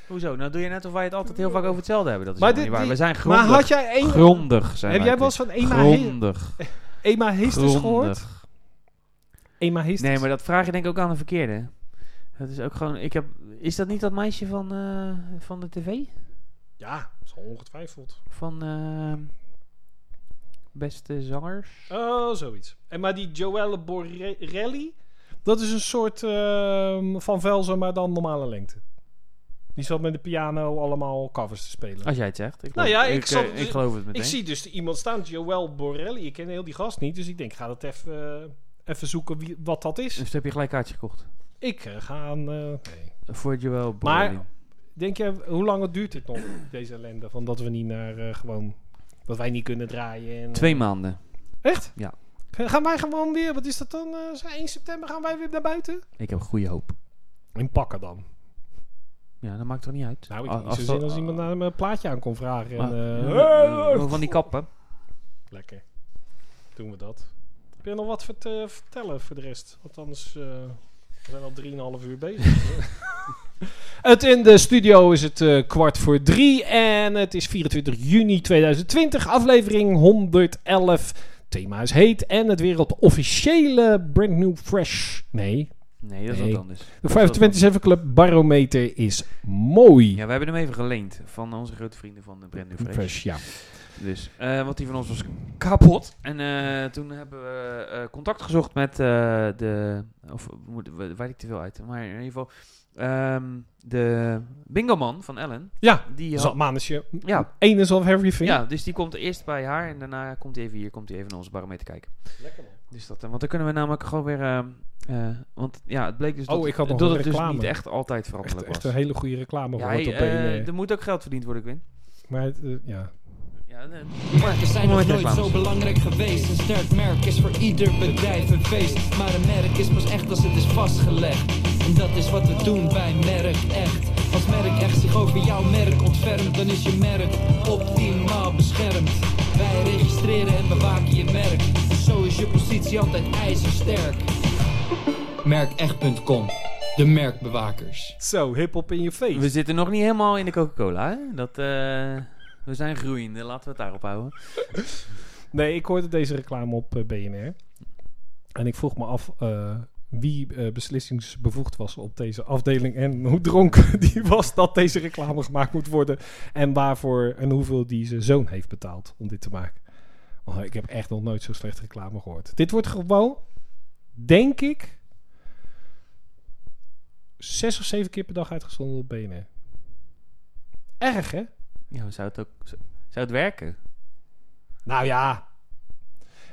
Speaker 2: Hoezo? Nou doe je net of wij het altijd heel vaak over hetzelfde hebben. Dat is
Speaker 1: Maar
Speaker 2: helemaal
Speaker 1: dit-
Speaker 2: niet waar. We zijn
Speaker 1: Maar
Speaker 2: grondig.
Speaker 1: had jij één...
Speaker 2: Grondig zijn
Speaker 1: Heb
Speaker 2: wij,
Speaker 1: jij wel eens
Speaker 2: Chris.
Speaker 1: van Ema, He
Speaker 2: Grondig.
Speaker 1: Ema Heesters gehoord?
Speaker 2: Grondig.
Speaker 1: Ema Heesters?
Speaker 2: Nee, maar dat vraag je denk ik ook aan de verkeerde. Dat is ook gewoon... Ik heb, is dat niet dat meisje van, eh, van de tv?
Speaker 1: Ja, dat is al ongetwijfeld.
Speaker 2: Van... ehm, beste zangers?
Speaker 1: Oh, zoiets. En maar die Joelle Borelli, dat is een soort ehm, Van Velzen, maar dan normale lengte. Die zat met de piano allemaal covers te spelen.
Speaker 2: Als jij het zegt. Ik
Speaker 1: Nou
Speaker 2: geloof-
Speaker 1: ja, ik
Speaker 2: eh,
Speaker 1: zal-
Speaker 2: ik geloof het meteen.
Speaker 1: ik zie dus iemand staan, Joelle Borelli. Ik ken heel die gast niet, dus ik denk, ga dat even, eh, even zoeken wie, wat dat is.
Speaker 2: Dus heb je gelijk kaartje gekocht.
Speaker 1: Ik eh, ga aan... eh,
Speaker 2: Voor Joel
Speaker 1: Maar-
Speaker 2: Borrelli.
Speaker 1: denk je, hoe lang duurt dit nog, deze ellende? Van dat we niet naar eh, gewoon... Dat wij niet kunnen draaien. En, eh,
Speaker 2: Twee maanden.
Speaker 1: Echt?
Speaker 2: Ja.
Speaker 1: Ga- Gaan wij gewoon weer, wat is dat dan? eh 1 september gaan wij weer naar buiten?
Speaker 2: Ik heb goede hoop.
Speaker 1: In pakken dan.
Speaker 2: Ja, dat maakt toch niet uit.
Speaker 1: Nou, ik
Speaker 2: A-
Speaker 1: heb niet zo
Speaker 2: Ah, dat- Ah.
Speaker 1: zin als iemand naar mijn plaatje aan kon vragen. En,
Speaker 2: Maar-
Speaker 1: eh,
Speaker 2: Ja, eh, van die kappen.
Speaker 1: Lekker. Doen we dat. Heb je nog wat voor te vertellen voor de rest? Want anders eh, we zijn al 3,5 uur bezig. <laughs> het in de studio is het eh, kwart voor drie. En het is 24 juni 2020, aflevering 111. Thema is heet. En het weer op de officiële Brand New Fresh. Nee.
Speaker 2: Nee, dat is
Speaker 1: Nee.
Speaker 2: wat anders.
Speaker 1: De
Speaker 2: Dat is wat
Speaker 1: 527 Club Barometer is mooi.
Speaker 2: Ja, we hebben hem even geleend van onze grote vrienden van de Brand New Fresh.
Speaker 1: Fresh, ja.
Speaker 2: Dus, eh, want die van ons was kapot. En eh, toen hebben we eh, contact gezocht met eh, de... Of moet, we- weet ik te veel uit. Maar in ieder geval... ehm, de bingoman van Ellen.
Speaker 1: Ja,
Speaker 2: Die
Speaker 1: Dus dat
Speaker 2: had,
Speaker 1: is je
Speaker 2: ja,
Speaker 1: Eén is of everything.
Speaker 2: ja, dus die komt eerst bij haar. En daarna komt hij even hier. Komt hij even naar onze barometer kijken.
Speaker 1: Lekker man.
Speaker 2: Dus dat, eh, want dan kunnen we namelijk gewoon weer... ehm, eh, want ja, het bleek dus
Speaker 1: Oh,
Speaker 2: dat,
Speaker 1: ik had nog
Speaker 2: dat
Speaker 1: een
Speaker 2: het dus
Speaker 1: reclame.
Speaker 2: niet echt altijd
Speaker 1: Echt,
Speaker 2: veranderlijk
Speaker 1: echt een
Speaker 2: was.
Speaker 1: hele goede reclame
Speaker 2: ja,
Speaker 1: voor het
Speaker 2: hey,
Speaker 1: op één,
Speaker 2: eh,
Speaker 1: eh,
Speaker 2: er moet ook geld verdiend worden, Quinn.
Speaker 1: Maar het, eh, ja.
Speaker 2: Ja, nee.
Speaker 8: Merken zijn nog nooit zo belangrijk geweest. Een sterk merk is voor ieder bedrijf een feest. Maar een merk is pas echt als het is vastgelegd. En dat is wat we doen bij Merk Echt. Als Merk Echt zich over jouw merk ontfermt, dan is je merk optimaal beschermd. Wij registreren en bewaken je merk. Dus zo is je positie altijd ijzersterk. Merkecht.com, de merkbewakers.
Speaker 1: Zo, hip hop in je face.
Speaker 2: We zitten nog niet helemaal in de Coca-Cola, hè? Dat, eh, we zijn groeiende, laten we het daarop houden.
Speaker 1: Nee, ik hoorde deze reclame op eh, BNR. En ik vroeg me af eh, wie eh, beslissingsbevoegd was op deze afdeling. En hoe dronken <laughs> die was dat deze reclame gemaakt moet worden. En waarvoor en hoeveel die zijn zoon heeft betaald om dit te maken. Oh, ik heb echt nog nooit zo slecht reclame gehoord. Dit wordt gewoon, denk ik, zes of zeven keer per dag uitgezonden op BNR. Erg, hè?
Speaker 2: Ja, zou het ook... Zou zou het werken?
Speaker 1: Nou ja.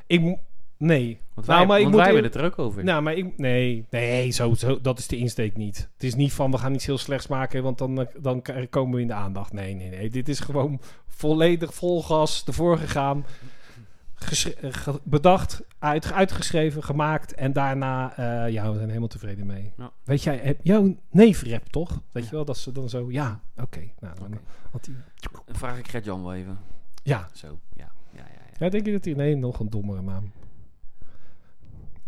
Speaker 1: Ik... mo- Nee.
Speaker 2: Want wij,
Speaker 1: Nou, maar ik
Speaker 2: want
Speaker 1: moet
Speaker 2: wij
Speaker 1: eer-
Speaker 2: hebben het er ook over.
Speaker 1: Nou, maar ik... Nee, nee zo, zo, dat is de insteek niet. Het is niet van, we gaan iets heel slechts maken, want dan, eh, dan k- komen we in de aandacht. Nee, nee, nee. Dit is gewoon volledig vol gas ervoor gegaan. Geschre- eh, ge- bedacht, uit, uitgeschreven, gemaakt en daarna, eh, ja, we zijn helemaal tevreden mee.
Speaker 2: Ja.
Speaker 1: Weet jij, heb- jouw neef rap toch? Weet
Speaker 2: Ja.
Speaker 1: je wel, dat ze dan zo, ja, oké. Nou, dan
Speaker 2: Oké.
Speaker 1: had hij...
Speaker 2: Dan vraag ik Gert-Jan wel even.
Speaker 1: Ja,
Speaker 2: Zo, ja. ja, ja, ja.
Speaker 1: Ja, denk je dat hij... Nee, nog een dommere naam.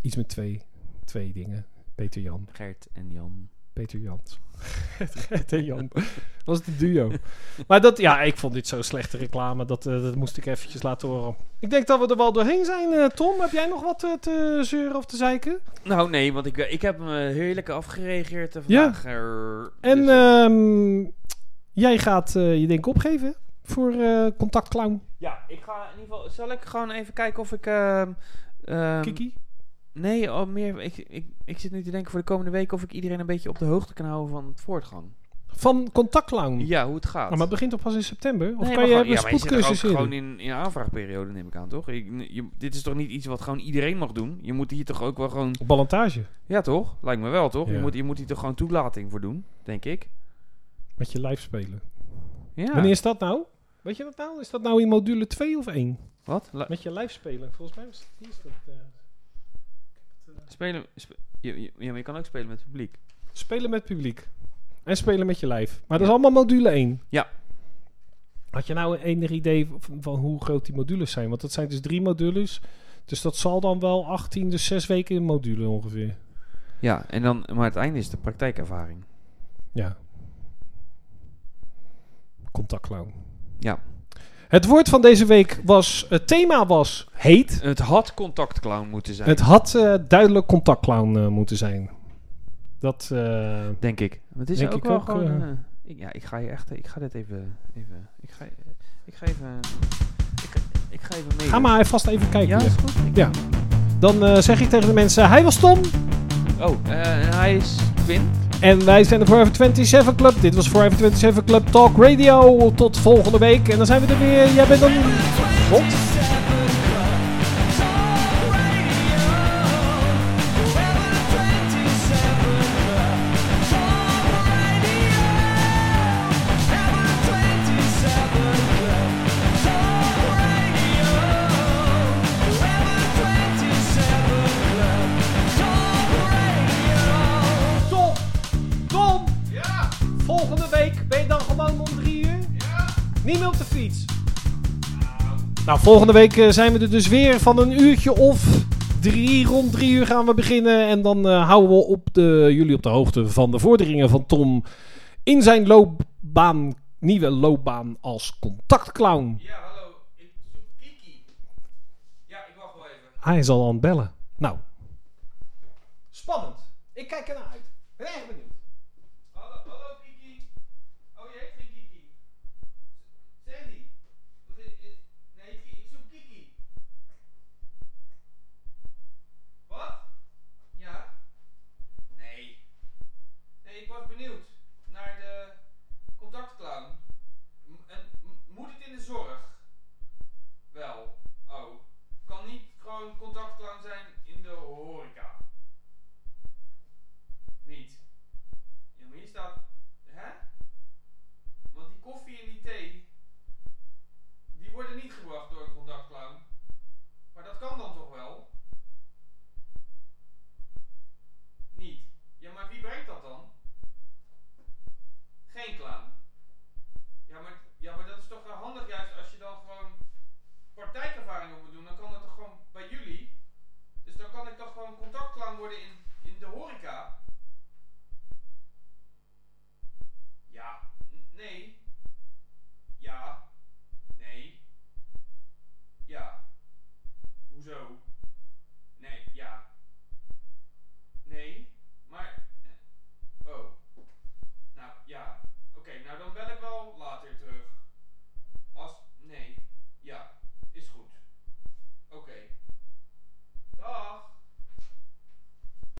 Speaker 1: Iets met twee, twee dingen. Peter Jan.
Speaker 2: Gert en Jan.
Speaker 1: Peter Jans. <laughs> Gert en Jan. Dat was de duo. Maar dat... Ja, ik vond dit zo'n slechte reclame. Dat, eh, dat moest ik eventjes laten horen. Ik denk dat we er wel doorheen zijn, eh, Tom. Heb jij nog wat eh, te zeuren of te zeiken?
Speaker 2: Nou, nee, want ik, ik heb hem eh, heerlijk afgereageerd eh,
Speaker 1: Ja.
Speaker 2: vandaag. Er-
Speaker 1: En
Speaker 2: dus-
Speaker 1: ehm, jij gaat eh, je denk opgeven voor eh, Contact Clown.
Speaker 2: ja, ik ga in ieder geval... Zal ik gewoon even kijken of ik... ehm, ehm,
Speaker 1: Kiki?
Speaker 2: Nee, al meer, ik, ik, ik zit nu te denken voor de komende week of ik iedereen een beetje op de hoogte kan houden van het voortgang.
Speaker 1: Van Contact Clown.
Speaker 2: Ja, hoe het gaat.
Speaker 1: Nou, maar het begint toch pas in september? Of
Speaker 2: Nee,
Speaker 1: kan
Speaker 2: maar
Speaker 1: je
Speaker 2: gewoon-
Speaker 1: hebben
Speaker 2: ja, maar je zit er
Speaker 1: spoedcursus
Speaker 2: ook
Speaker 1: in?
Speaker 2: gewoon in, in aanvraagperiode, neem ik aan, toch? Ik, je- dit is toch niet iets wat gewoon iedereen mag doen? Je moet hier toch ook wel gewoon...
Speaker 1: Ballantage.
Speaker 2: Ja, toch? Lijkt me wel, toch? Je,
Speaker 1: Ja.
Speaker 2: moet, je moet hier toch gewoon toelating voor doen, denk ik?
Speaker 1: Met je live spelen.
Speaker 2: Ja.
Speaker 1: Wanneer is dat nou? Weet je dat nou? Is dat nou in module 2 of 1?
Speaker 2: Wat? La-
Speaker 1: Met je live spelen. Volgens mij is, hier is dat... eh,
Speaker 2: spelen... sp- je, je- ja, maar je kan ook spelen met het publiek.
Speaker 1: spelen met publiek. En spelen met je live. Maar dat
Speaker 2: Ja.
Speaker 1: is allemaal module 1.
Speaker 2: Ja.
Speaker 1: Had je nou enig idee van, van hoe groot die modules zijn? Want dat zijn dus drie modules. Dus dat zal dan wel 18, dus 6 weken in module ongeveer.
Speaker 2: Ja, en dan, maar het einde is de praktijkervaring.
Speaker 1: Ja. Contactclown.
Speaker 2: Ja.
Speaker 1: Het woord van deze week was... Het thema was heet.
Speaker 2: Het had contactclown moeten zijn,
Speaker 1: Het had eh, duidelijk contactclown eh, moeten zijn. Dat, eh,
Speaker 2: denk ik. Maar het is
Speaker 1: Denk
Speaker 2: ook
Speaker 1: ik
Speaker 2: wel
Speaker 1: ook,
Speaker 2: gewoon...
Speaker 1: eh.
Speaker 2: eh, ik, ja, ik ga je echt... Ik ga dit even... even ik, ga, eh, ik ga even... Ik, ga- ik ga even mee.
Speaker 1: ga maar vast even kijken.
Speaker 2: Ja,
Speaker 1: hier.
Speaker 2: is goed. Ik-
Speaker 1: Ja. Dan eh, zeg ik tegen de mensen, hij was Tom.
Speaker 2: Oh, eh, hij is Quinn.
Speaker 1: En wij zijn de Forever 27 Club. Dit was Forever 27 Club Talk Radio. Tot volgende week. En dan zijn we er weer. Jij bent dan... Rond? Tom! Tom! Ja? Volgende week ben je dan gewoon om drie uur? Ja. Niet meer op de fiets? Nou, volgende week eh, zijn we er dus weer van een uurtje of drie. Rond drie uur gaan we beginnen. En dan eh, houden we op de, jullie op de hoogte van de vorderingen van Tom in zijn loopbaan, nieuwe loopbaan als contactclown.
Speaker 2: Ja, hallo. Ik zoek Kiki. Ja, ik wacht wel even.
Speaker 1: Hij is al aan het bellen. Nou. Spannend. Ik kijk ernaar uit. Ik ben erg benieuwd.
Speaker 2: Hallo, hallo Kiki. Oh, je heet geen Kiki. Sandy. Wat is, is, Oh. kan zijn in de horeca. Niet. Ja, maar hier staat... Hè? Want die koffie en die thee... Die worden niet gebracht door een contactclown. Maar dat kan dan toch wel? Niet. Ja, maar wie brengt dat dan? Geen clown. Ja, maar, ja, maar dat is toch wel handig juist als je dan gewoon praktijkervaring op moet doen. Dan kan dat toch gewoon bij jullie? Dus dan kan ik toch gewoon contactclown worden in eh, oh. Nou,